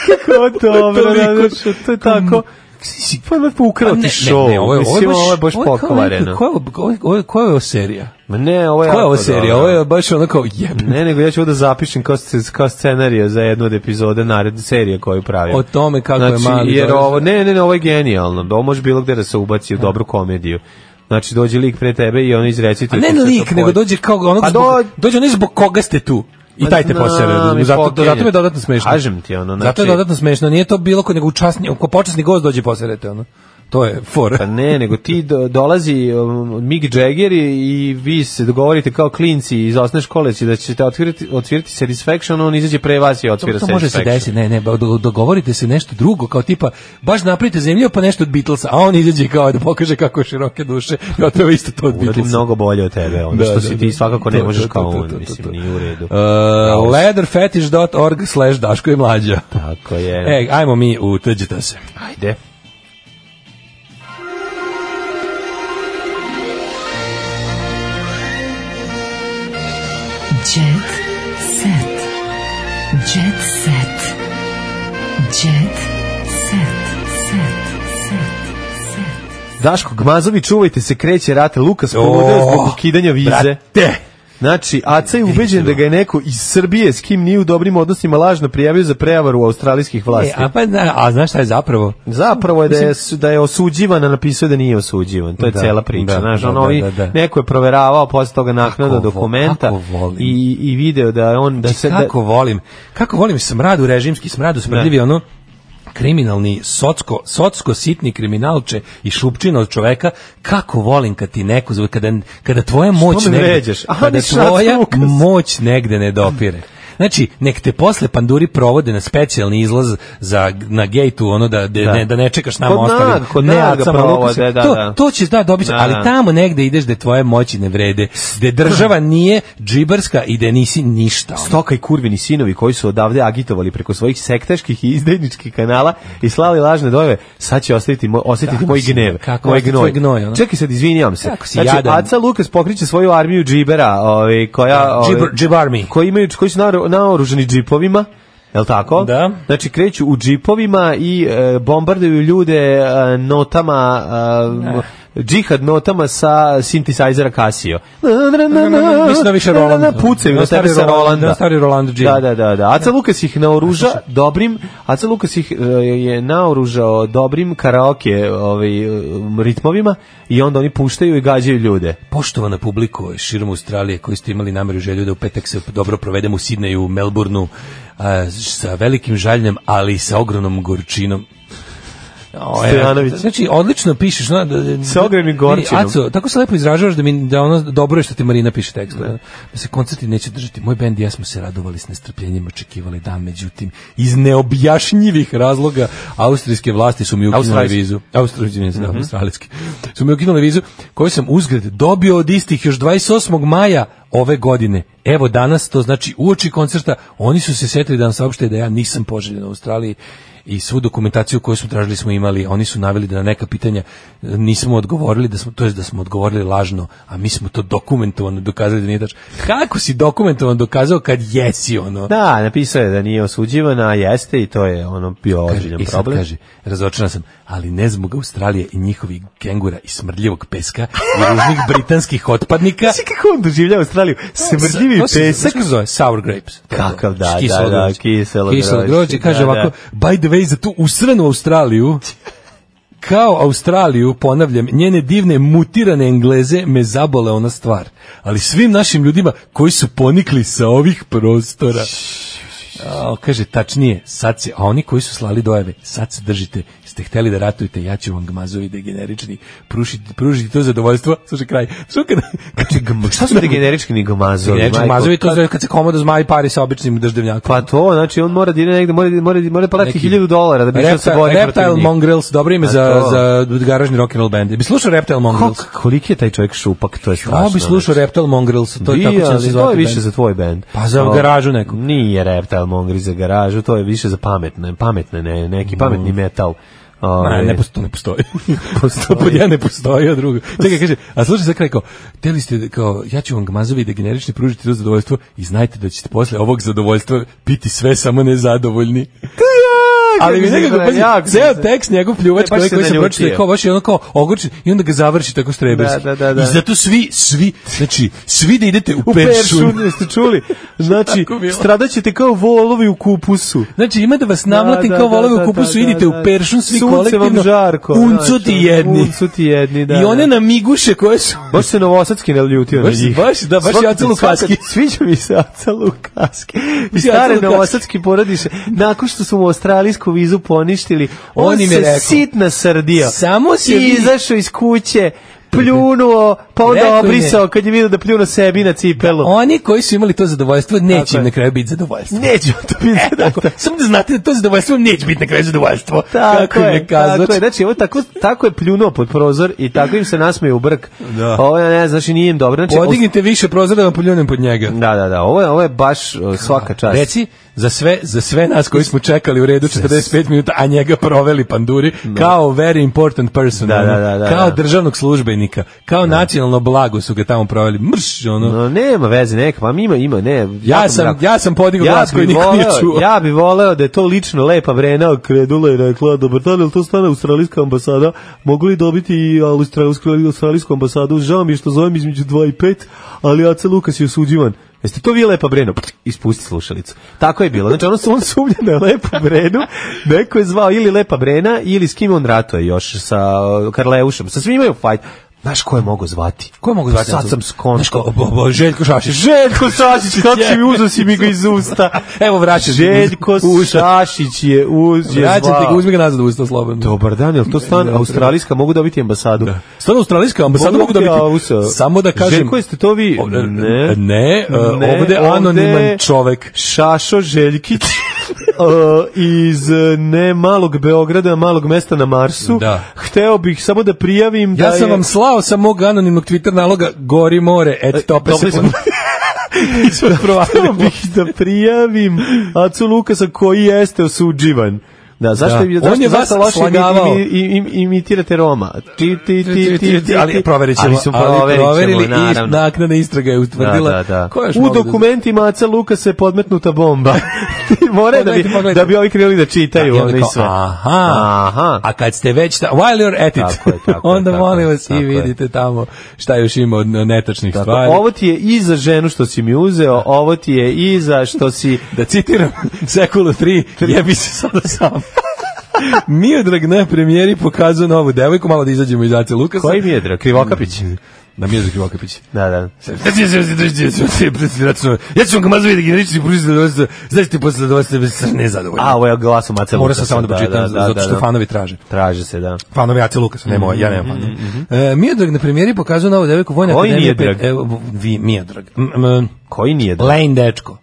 S5: Kako dobro,
S6: Toliko.
S5: Radošu, to je tako... Pa Si- Pa da ukrao ti show.
S6: ovo je, ovo je
S5: Mislim,
S6: baš,
S5: ovo je baš
S6: ovo je kao
S5: pokvareno.
S6: neka- Koja je ovo- ovo je- koja je ovo serija?
S5: Ma ne, ovo je...
S6: Koja je
S5: jako
S6: ovo serija?
S5: dobro.
S6: Ovo je baš ono kao jeb.
S5: Ne, nego ja ću ovo da zapišem kao, sc- kao scenariju za jednu od epizoda naredne serije koju pravim.
S6: O tome kako je
S5: znači,
S6: mali
S5: Jer
S6: Boris-
S5: ovo, ne, ne, ne, ovo je genijalno. Ovo može bilo gde da se ubaci u dobru komediju. Znači, dođe lik pre tebe i on izrecituje.
S6: A ne
S5: ti sve to
S6: lik,
S5: koje-
S6: nego dođe kao onog
S5: Pa
S6: zbog,
S5: do-
S6: dođe onaj zbog koga ste tu. I
S5: Ma
S6: taj te
S5: znam,
S6: posere.
S5: i
S6: Zato,
S5: pokenje.
S6: zato mi je dodatno smešno.
S5: Kažem ti, ono,
S6: Zato je
S5: znači-
S6: dodatno smešno. Nije to bilo ko nego učasni, ko počasni gost dođe poserete. Ono. To je for.
S5: Pa ne, nego ti do- dolazi um, Mick Jagger i, i vi se dogovorite kao klinci iz osne škole će da ćete otvirati, otvirati Satisfaction, on izađe pre vas i
S6: To,
S5: otvira
S6: to
S5: Satisfaction.
S6: može se desiti, ne, ne, ba- do- dogovorite se nešto drugo, kao tipa, baš napravite zemlju, pa nešto od Beatlesa, a on izađe kao da pokaže kako je široke duše, ja to je isto to od
S5: Uradi
S6: Beatlesa.
S5: mnogo bolje od tebe, ono
S6: Da,
S5: što
S6: da,
S5: si
S6: da.
S5: ti svakako ne
S6: To,
S5: možeš
S6: to,
S5: kao
S6: to, to,
S5: on,
S6: to, to,
S5: mislim,
S6: to.
S5: nije u redu.
S6: Uh, leatherfetish.org slash Daško i mlađa.
S5: Tako je.
S6: E, ajmo mi u Tđita se.
S5: Ajde.
S4: Jet set. Jet set. Jet set. Set.
S5: Daško Gmazovi, čuvajte se, kreće rate, Lukas poludeo
S6: O,
S5: zbog ukidanja vize.
S6: brate!
S5: Znači, Aca je ubeđen da ga je neko iz Srbije s kim nije u dobrim odnosima lažno prijavio za prevare u australijskih vlasti.
S6: E, a, pa, da, a znaš šta je zapravo?
S5: Zapravo je da je,
S6: Mislim-
S5: su- da je osuđivan, a napisao je da nije osuđivan. To je
S6: Da,
S5: cela priča.
S6: da,
S5: znaš,
S6: da,
S5: ono,
S6: da,
S5: ovi-
S6: da, da.
S5: Neko je proveravao posle toga naknada
S6: Kako vo-
S5: dokumenta
S6: kako volim.
S5: i, i video da je on... Da
S6: Znači,
S5: se, da,
S6: kako volim, kako volim smradu, režimski smradu, smrdljivi ono kriminalni, socko, socko sitni kriminalče i šupčina od čoveka, kako volim kad ti neko zove, kada, kada tvoja moć
S5: me
S6: negde,
S5: vređaš? A,
S6: kada
S5: misliš na
S6: tvoja
S5: Lukas?
S6: moć negde ne dopire. Znači, nek te posle panduri provode na specijalni izlaz za, na gejtu, ono da, da,
S5: Da.
S6: ne, da ne čekaš nama
S5: Kod
S6: ostali.
S5: Nag, kod
S6: ne,
S5: Nag ga
S6: Acama Lukasa.
S5: provode, da,
S6: to,
S5: da.
S6: to ćeš da dobiti,
S5: Da,
S6: ali
S5: da.
S6: tamo negde ideš da tvoje moći ne vrede, da država nije džibarska i da nisi ništa. ono.
S5: Stoka i kurvini sinovi koji su odavde agitovali preko svojih sektaških i izdajničkih kanala i slali lažne dojeve, sad će ostaviti moj, osjetiti
S6: Kako
S5: moj
S6: si-
S5: gnev,
S6: kako
S5: moj
S6: osjeti
S5: gnoj.
S6: tvoj gnoj, ono?
S5: Čekaj sad, izvinjavam se.
S6: Kako si
S5: znači,
S6: jadan.
S5: Aca Lukas pokriće svoju armiju džibera, ovaj, koja... ovaj,
S6: Džiber- džib army.
S5: Koji, imaju, koji su naoru- naoružani džipovima, Jel tako?
S6: Da.
S5: Znači kreću u džipovima i e, bombarduju ljude e, notama e, džihad notama sa sintisajzera Casio.
S6: Mislim da više Roland.
S5: Da, da, pucaju
S6: Da,
S5: na
S6: stari
S5: tebe sa
S6: Roland,
S5: Rolanda.
S6: da, stari Roland Jim.
S5: Da, da, da, da. Aca Lukas ih naoruža dobrim, Aca Lukas ih e, je naoružao dobrim karaoke ovaj, e, ritmovima i onda oni puštaju i gađaju ljude.
S6: Poštovana publiko širom Australije koji ste imali nameru i želju da u petak se dobro provedemo u Sidneju, u Melbourneu a, sa velikim žaljem, ali i sa ogromnom gorčinom. O, evo,
S5: Stojanović.
S6: Znači, odlično pišeš. No, da,
S5: Sa ogromnim gorčinom.
S6: E, Aco, tako se lepo izražavaš da, mi, da ono dobro je što ti Marina piše tekst. Da, da se koncerti neće držati. Moj bend i ja smo se radovali s nestrpljenjem, očekivali dan, međutim, iz neobjašnjivih razloga austrijske vlasti su mi ukinuli
S5: Australijski.
S6: vizu. Austrijski, ne znam, australijski. Su mi ukinuli vizu koju sam uzgred dobio od istih još 28. maja ove godine. Evo danas, to znači uoči koncerta, oni su se setili da nam saopšte da ja nisam poželjen u Australiji i svu dokumentaciju koju smo tražili smo imali, oni su naveli da na neka pitanja nismo odgovorili, da smo, to je da smo odgovorili lažno, a mi smo to dokumentovano dokazali da nije tačno. Kako si dokumentovano dokazao kad jesi ono?
S5: Da, napisao je da nije osuđivan, a jeste i to je ono bio
S6: Kaže,
S5: ozbiljan
S6: i sad
S5: problem.
S6: kaže, razočaran sam, ali ne zbog Australije i njihovih kengura i smrdljivog peska i
S5: [laughs]
S6: ružnih britanskih otpadnika.
S5: [laughs] Znaš kako on doživlja Australiju? Smrdljivi
S6: To se- to se-
S5: pesak.
S6: Kako se zove? Sour grapes. To je to.
S5: Kakav, da, da,
S6: Kiselo
S5: da,
S6: grožđe.
S5: kiselo grožđe,
S6: grožđe. Kaže
S5: da,
S6: ovako, by the way, za tu usranu Australiju, kao Australiju, ponavljam, njene divne mutirane engleze me zabole ona stvar. Ali svim našim ljudima koji su ponikli sa ovih prostora, a, kaže, tačnije, sad se, a oni koji su slali dojave, sad se držite, ste hteli da ratujete, ja ću vam gmazovi degenerični, pružiti, pružiti to zadovoljstvo, slušaj kraj. Slušaj, kad, [laughs] kad,
S5: Znači, Šta su degenerički nego mazovi?
S6: Generični
S5: majko?
S6: mazovi, to zove kad se komodo zmaji pari sa običnim državljakom.
S5: Pa to, znači on mora da ide negde, mora, mora, mora platiti
S6: Neki-
S5: 1000 dolara da bi išao da se
S6: Reptile,
S5: bori protiv
S6: Reptile
S5: njih.
S6: Mongrels, dobro ime
S5: A
S6: za,
S5: to.
S6: za garažni rock'n'roll band. Bi slušao Reptile Mongrels?
S5: Kako- koliki je taj čovjek šupak, to je strašno.
S6: Ja bi slušao Reptile Mongrels, to je
S5: Bi,
S6: tako će
S5: ali
S6: se
S5: to
S6: zvati.
S5: je više
S6: band.
S5: za tvoj bend.
S6: Pa za
S5: O,
S6: garažu neku.
S5: Nije Reptile Mongrels za garažu, to je više za pametne, pametne ne, neki pametni metal.
S6: Ma,
S5: Ovaj,
S6: ne postoji, ne postoji. [laughs] postoji. Pod jedan ne postoji, a drugo. Čekaj, kaže, a slušaj sad kraj kao, teli ste, kao, ja ću vam gmazovi da generični pružiti to zadovoljstvo i znajte da ćete posle ovog zadovoljstva biti sve samo nezadovoljni. Ali mi
S5: kako se
S6: nekako,
S5: izgleda, jako
S6: pazi, ceo
S5: se-
S6: tekst njegov pljuvač
S5: E, baš
S6: koji,
S5: se
S6: koji se
S5: naljutio.
S6: pročita je kao, baš je ono kao ogorčen i onda ga završi tako štreberski.
S5: Da, da, da, da.
S6: I zato svi, svi, znači, svi da idete u,
S5: U
S6: peršun.
S5: peršun, jeste čuli? Znači,
S6: [laughs] Tako bilo.
S5: stradaćete kao volovi u kupusu.
S6: Znači ima da vas namlatim
S5: Da, da,
S6: kao
S5: da,
S6: volove
S5: da,
S6: u kupusu,
S5: da, da,
S6: idite u
S5: da.
S6: peršun svi
S5: Sunce vam
S6: kolektivno,
S5: žarko,
S6: uncu
S5: znači,
S6: ti jedni.
S5: uncu ti jedni, da,
S6: I
S5: da.
S6: one namiguše koje su
S5: Baš se Novosadski ne ljutio
S6: Baš-
S5: na njih.
S6: baš, da, baš
S5: Svaki-
S6: je Aca Lukaski.
S5: svaka- Sviđa mi se Aca Lukaski. I
S6: Aca
S5: stare
S6: Lukaski.
S5: Novosadski porodiše, nakon što su mu australijsku vizu poništili, on,
S6: On im je
S5: se
S6: rekao.
S5: sitna srdija.
S6: Samo se
S5: I
S6: vi-
S5: izašao iz kuće, pljunuo, pa onda
S6: Rekao im je.
S5: obrisao kad je vidio da pljuno sebi na cipelu.
S6: Oni koji su imali to zadovoljstvo,
S5: Tako
S6: neće
S5: je.
S6: im na kraju biti zadovoljstvo.
S5: Neće on to biti.
S6: E, tako. Samo da znate da to zadovoljstvo vam neće biti na kraju zadovoljstvo.
S5: Tako
S6: Kako im
S5: je,
S6: kazao.
S5: tako je. Znači, ovo tako, tako je pljunuo pod prozor i tako im se nasmeje u brk.
S6: Da.
S5: Ovo ne, znači nije im dobro. Znači,
S6: Podignite više prozora da vam poljunem pod njega.
S5: Da, da, da, ovo je, ovo je baš uh, svaka čast.
S6: Reci, za sve, za sve nas koji smo čekali u redu 45 minuta, a njega proveli panduri, kao very important person,
S5: Da,
S6: ono,
S5: da, da, da,
S6: kao
S5: da.
S6: državnog službenika, kao nacionalno blago su ga tamo proveli, mrš, ono.
S5: No, nema veze, neka, pa ima, ima, ne.
S6: Ja
S5: jako
S6: sam-
S5: mrak.
S6: ja sam podigao glas
S5: bi
S6: koji niko nije
S5: voleo-
S6: čuo.
S5: Ja bih voleo da je to lično lepa vrena okredula i rekla, dobar dan, jel to stane australijska ambasada? Mogu li dobiti i australijsku, australijsku ambasadu? Žao mi je što zovem između 2 i 5, ali AC Lukas je osuđivan. Jeste to vi lepa breno? Pst, Ispusti slušalicu. Tako je bilo. Znači, ono su on sumnja na lepu brenu. Neko je zvao ili lepa brena, ili s kim on ratuje još, sa uh, Karleušem. Sa svima imaju fajt. Znaš ko je mogo zvati? Pa
S6: Ko mogu zvati?
S5: Sad sam
S6: Znaš ko-
S5: skonto.
S6: bo- bo- Željko Šašić.
S5: Željko Šašić, kako si mi uzeo si mi ga iz usta.
S6: Evo vraćam ti ga iz
S5: Željko
S6: usta.
S5: Šašić je uz je
S6: Vraćam ti ga,
S5: zvao.
S6: uzmi ga nazad u usta slobodno.
S5: Dobar dan, je li to stan australijska, mogu dobiti ambasadu? Da.
S6: Stvarno australijska ambasada mogu da biti. Samo da kažem.
S5: Željko, jeste to vi?
S6: O, Ne, ne, e, ovde anoniman čovek.
S5: Šašo Željkić e, iz e, ne malog Beograda, malog mesta na Marsu.
S6: Da.
S5: Hteo bih samo da prijavim da
S6: Ja sam
S5: je...
S6: vam slao sa mog anonimnog Twitter naloga Gori more, et tope se.
S5: Dobili E, smo-
S6: Mi smo
S5: Hteo
S6: provalili.
S5: bih da prijavim Acu Lukasa koji jeste osuđivan. Da, zašto
S6: Da.
S5: je
S6: On
S5: zašto,
S6: je vas
S5: zašto loše imi-
S6: slagavao.
S5: imi- im- imitirate Roma? Ti, ti, ti, ti, ti, ti.
S6: ali proverit ćemo,
S5: Ali su
S6: ali
S5: proverit ćemo,
S6: proverili i
S5: naravno.
S6: naknadna istraga je utvrdila.
S5: Da, da, da.
S6: Ko je još
S5: U
S6: mogao da-
S5: dokumentima Aca Lukasa je podmetnuta bomba. [laughs] More da bi,
S6: Pogledajte, pogledajte.
S5: da bi ovi krenuli da
S6: I
S5: čitaju
S6: onda
S5: ono i
S6: kao,
S5: sve.
S6: Aha,
S5: Aha.
S6: A kad ste već ta, while you're at it,
S5: Tako je,
S6: [laughs]
S5: tako je,
S6: onda
S5: tako
S6: molim
S5: je,
S6: vas i
S5: tako je.
S6: vidite tamo šta još ima od netačnih
S5: Tako,
S6: stvari.
S5: ovo ti je i za ženu što si mi uzeo, ovo ti je i za što si...
S6: da
S5: [laughs]
S6: citiram Sekulu 3, jebi se sada sam. Miodrag na premijeri pokazao novu devojku, malo da izađemo iz Ace Lukasa.
S5: Koji mi je drag? Krivokapić?
S6: Na Miodrag Krivokapić.
S5: Da, da.
S6: Ja ću vam ga mazvijeti generični pružiti zadovoljstvo, znači ti posle zadovoljstva bez srne zadovoljno.
S5: A, ovo je glasom Aca Lukasa.
S6: Mora sam samo da
S5: Da,
S6: počitam,
S5: da, da,
S6: zato što
S5: da.
S6: fanovi traže.
S5: Traže se, da.
S6: Fanovi Ace Lukasa, ne moja, ja nemam fanova. E, Miodrag na premijeri pokazao novu devojku Vojne
S5: Mm-hmm, Koji
S6: akademije.
S5: Miodrag?
S6: pet- Evo, vi, Miodrag. M- m-
S5: Koji nije drag?
S6: Lane dečko.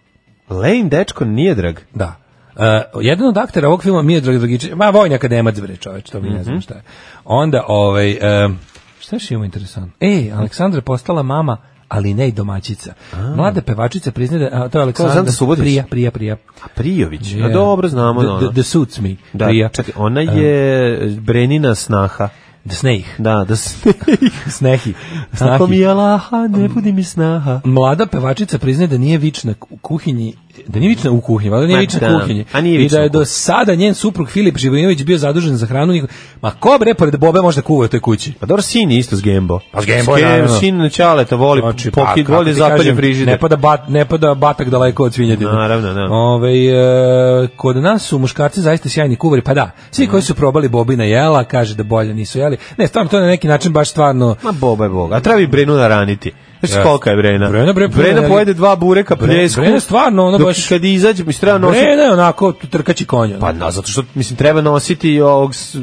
S5: Lane dečko nije drag.
S6: Da. Uh, jedan od aktera ovog filma Mija Drag Dragičić, ma vojni akademac bre čoveč, to mi ne
S5: Mhm.
S6: znam šta e, je. Onda ovaj, um, šta još ima interesantno? Ej, Aleksandra je E, postala mama ali ne i domaćica. Mlada pevačica priznaje da a, to je
S5: Ko, Sandra
S6: Aleksandra
S5: Subotić?
S6: Prija, Prija, Prija.
S5: A Prijović.
S6: Yeah.
S5: A dobro, znamo.
S6: The-
S5: da
S6: the-
S5: ono.
S6: the suits me.
S5: Da,
S6: Prija.
S5: čekaj, ona je Brenina snaha.
S6: The Snake.
S5: Da, da
S6: [laughs] Snehi. Snahi.
S5: Ako mi je laha, ne budi mi snaha.
S6: Mlada pevačica priznaje da nije vična u kuhinji, da nije vična u kuhinji, valjda nije
S5: Ma,
S6: vična
S5: da.
S6: u kuhinji.
S5: A nije
S6: I
S5: vična
S6: da je
S5: u kuhinji.
S6: do sada njen suprug Filip Živojinović bio zadužen za hranu. njiho- Ma ko bre pored Bobe može da kuva u toj kući?
S5: Pa dobro, sin je isto s Gembo.
S6: Pa s Gembo,
S5: Gem-
S6: naravno.
S5: Sin Čaleta voli
S6: Znači, pa,
S5: pokid,
S6: kako
S5: voli
S6: ti
S5: zapalje
S6: kažem,
S5: frižider.
S6: Ne pa- pada, bat, ne pada batak daleko od svinjetine.
S5: Naravno, da.
S6: Ove, e, kod nas su muškarci zaista sjajni kuvari, pa da, svi koji su probali bobina jela, kaže da bolje nisu jeli. Ne, stvarno, to je na neki način baš stvarno...
S5: Ma boba je boga. A treba bi Brenu naraniti. Znaš
S6: Jeste.
S5: kolika je Brena?
S6: Brena, bre,
S5: Brena
S6: Brena-
S5: pojede dva bureka
S6: Bre-
S5: pljesku.
S6: Brena stvarno, ono
S5: dok
S6: baš-
S5: Kad izađe, mi se treba nositi...
S6: Brena je onako trkaći konja.
S5: Pa na, zato što, mislim, treba nositi ovog, s-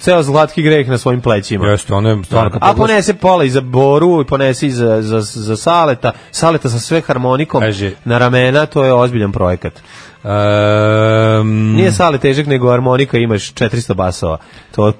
S5: ceo zlatki greh na svojim plećima.
S6: Jeste, ono je stvarno... kad
S5: A
S6: pogledaš-
S5: ponese pola i za boru i ponese i za, za, za saleta. Saleta sa sve harmonikom
S6: Kaže-
S5: na ramena, to je ozbiljan projekat.
S6: Ehm,
S5: Nije sale težak, nego harmonika imaš 400 basova. To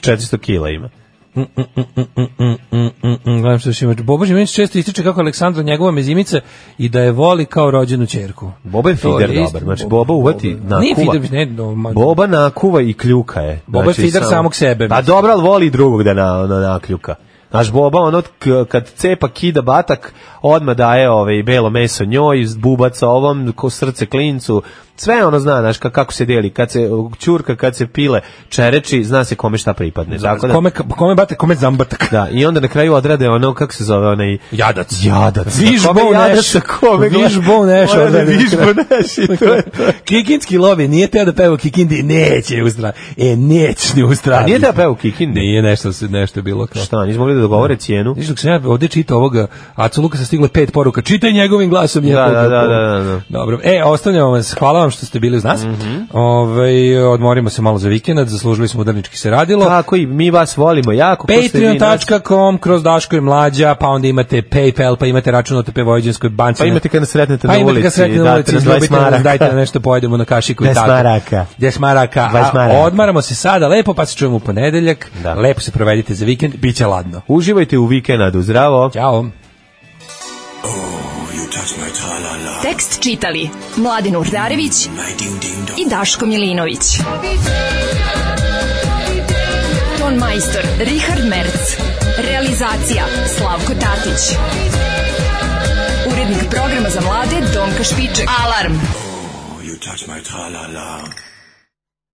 S5: 400 kila ima.
S6: Mm, mm, mm, gledam što još imaš. Bobo Živinić često ističe kako je Aleksandra njegova mezimica i da je voli kao rođenu čerku.
S5: Boba je
S6: To je
S5: fider
S6: isto,
S5: dobar. Znači,
S6: Boba-
S5: Boba uvati
S6: Boba-
S5: nakuva.
S6: Nije fider, ne, no, ma-
S5: Boba nakuva i kljuka je.
S6: Boba je fider samog sebe,
S5: Pa
S6: mislim.
S5: dobro, ali voli i drugog da na, na, nakljuka. Znaš, Boba, ono, k- kad cepa kida batak, odmah daje ove, belo meso njoj, bubaca ovom, ko srce klincu, sve ono zna, znaš, ka- kako se deli, kad se čurka, kad se pile, čereči, zna se kome šta pripadne. Tako Pa da,
S6: Kome, kome bate, kome zambatak.
S5: da, i onda na kraju odrade ono, kako se zove, onaj...
S6: Jadac.
S5: Jadac.
S6: Vižbo
S5: Kome
S6: neš.
S5: jadac, a kome gleda?
S6: Vižbo neš.
S5: Mora da
S6: ovdje na
S5: vižbo
S6: kraju.
S5: neš i to je to.
S6: [laughs] Kikinski lobi nije teo da peva u Kikindi, neće u Australiji. E, neće ni u
S5: A
S6: Australiji.
S5: nije da peo u Kikindi?
S6: Nije nešto, se- nešto je bilo kao.
S5: Šta, nismo mogli da dogovore cijenu?
S6: Viš dok sam ja ovdje čitao ovoga, a Luka se stigle pet poruka, čitaj njegovim glasom.
S5: da,
S6: njegovim
S5: da, da,
S6: glasom.
S5: da, Mhm. da.
S6: Dobro, e, ostavljamo vas, hvala vam što ste bili uz nas. Ovaj, odmorimo se malo za vikend, zaslužili smo udarnički se radilo.
S5: Tako i mi vas volimo jako. ko ste vi nas.
S6: Patreon.com kroz Daško i Mlađa, pa onda imate Paypal, pa imate račun OTP Vojđanskoj banci.
S5: Pa imate kad nas sretnete
S6: Pa
S5: na
S6: imate
S5: ulici.
S6: kad sretnete na
S5: date
S6: ulici,
S5: nam 20
S6: izlobite nas,
S5: maraka.
S6: dajte nam nešto, pojedemo na kašiku i
S5: 20
S6: tako.
S5: maraka.
S6: 10 maraka.
S5: 20 maraka.
S6: A odmaramo se sada lepo, pa se čujemo u ponedeljak.
S5: Da.
S6: Lepo se provedite za vikend, bit će ladno.
S5: Uživajte u vikendu. Zdravo.
S6: Ćao.
S4: Tekst čitali Mladin Urdarević i Daško Milinović. Ton majstor Richard Merc. Realizacija Slavko Tatić. Urednik programa za mlade Donka Špiček. Alarm!
S15: You touch my tra-la-la.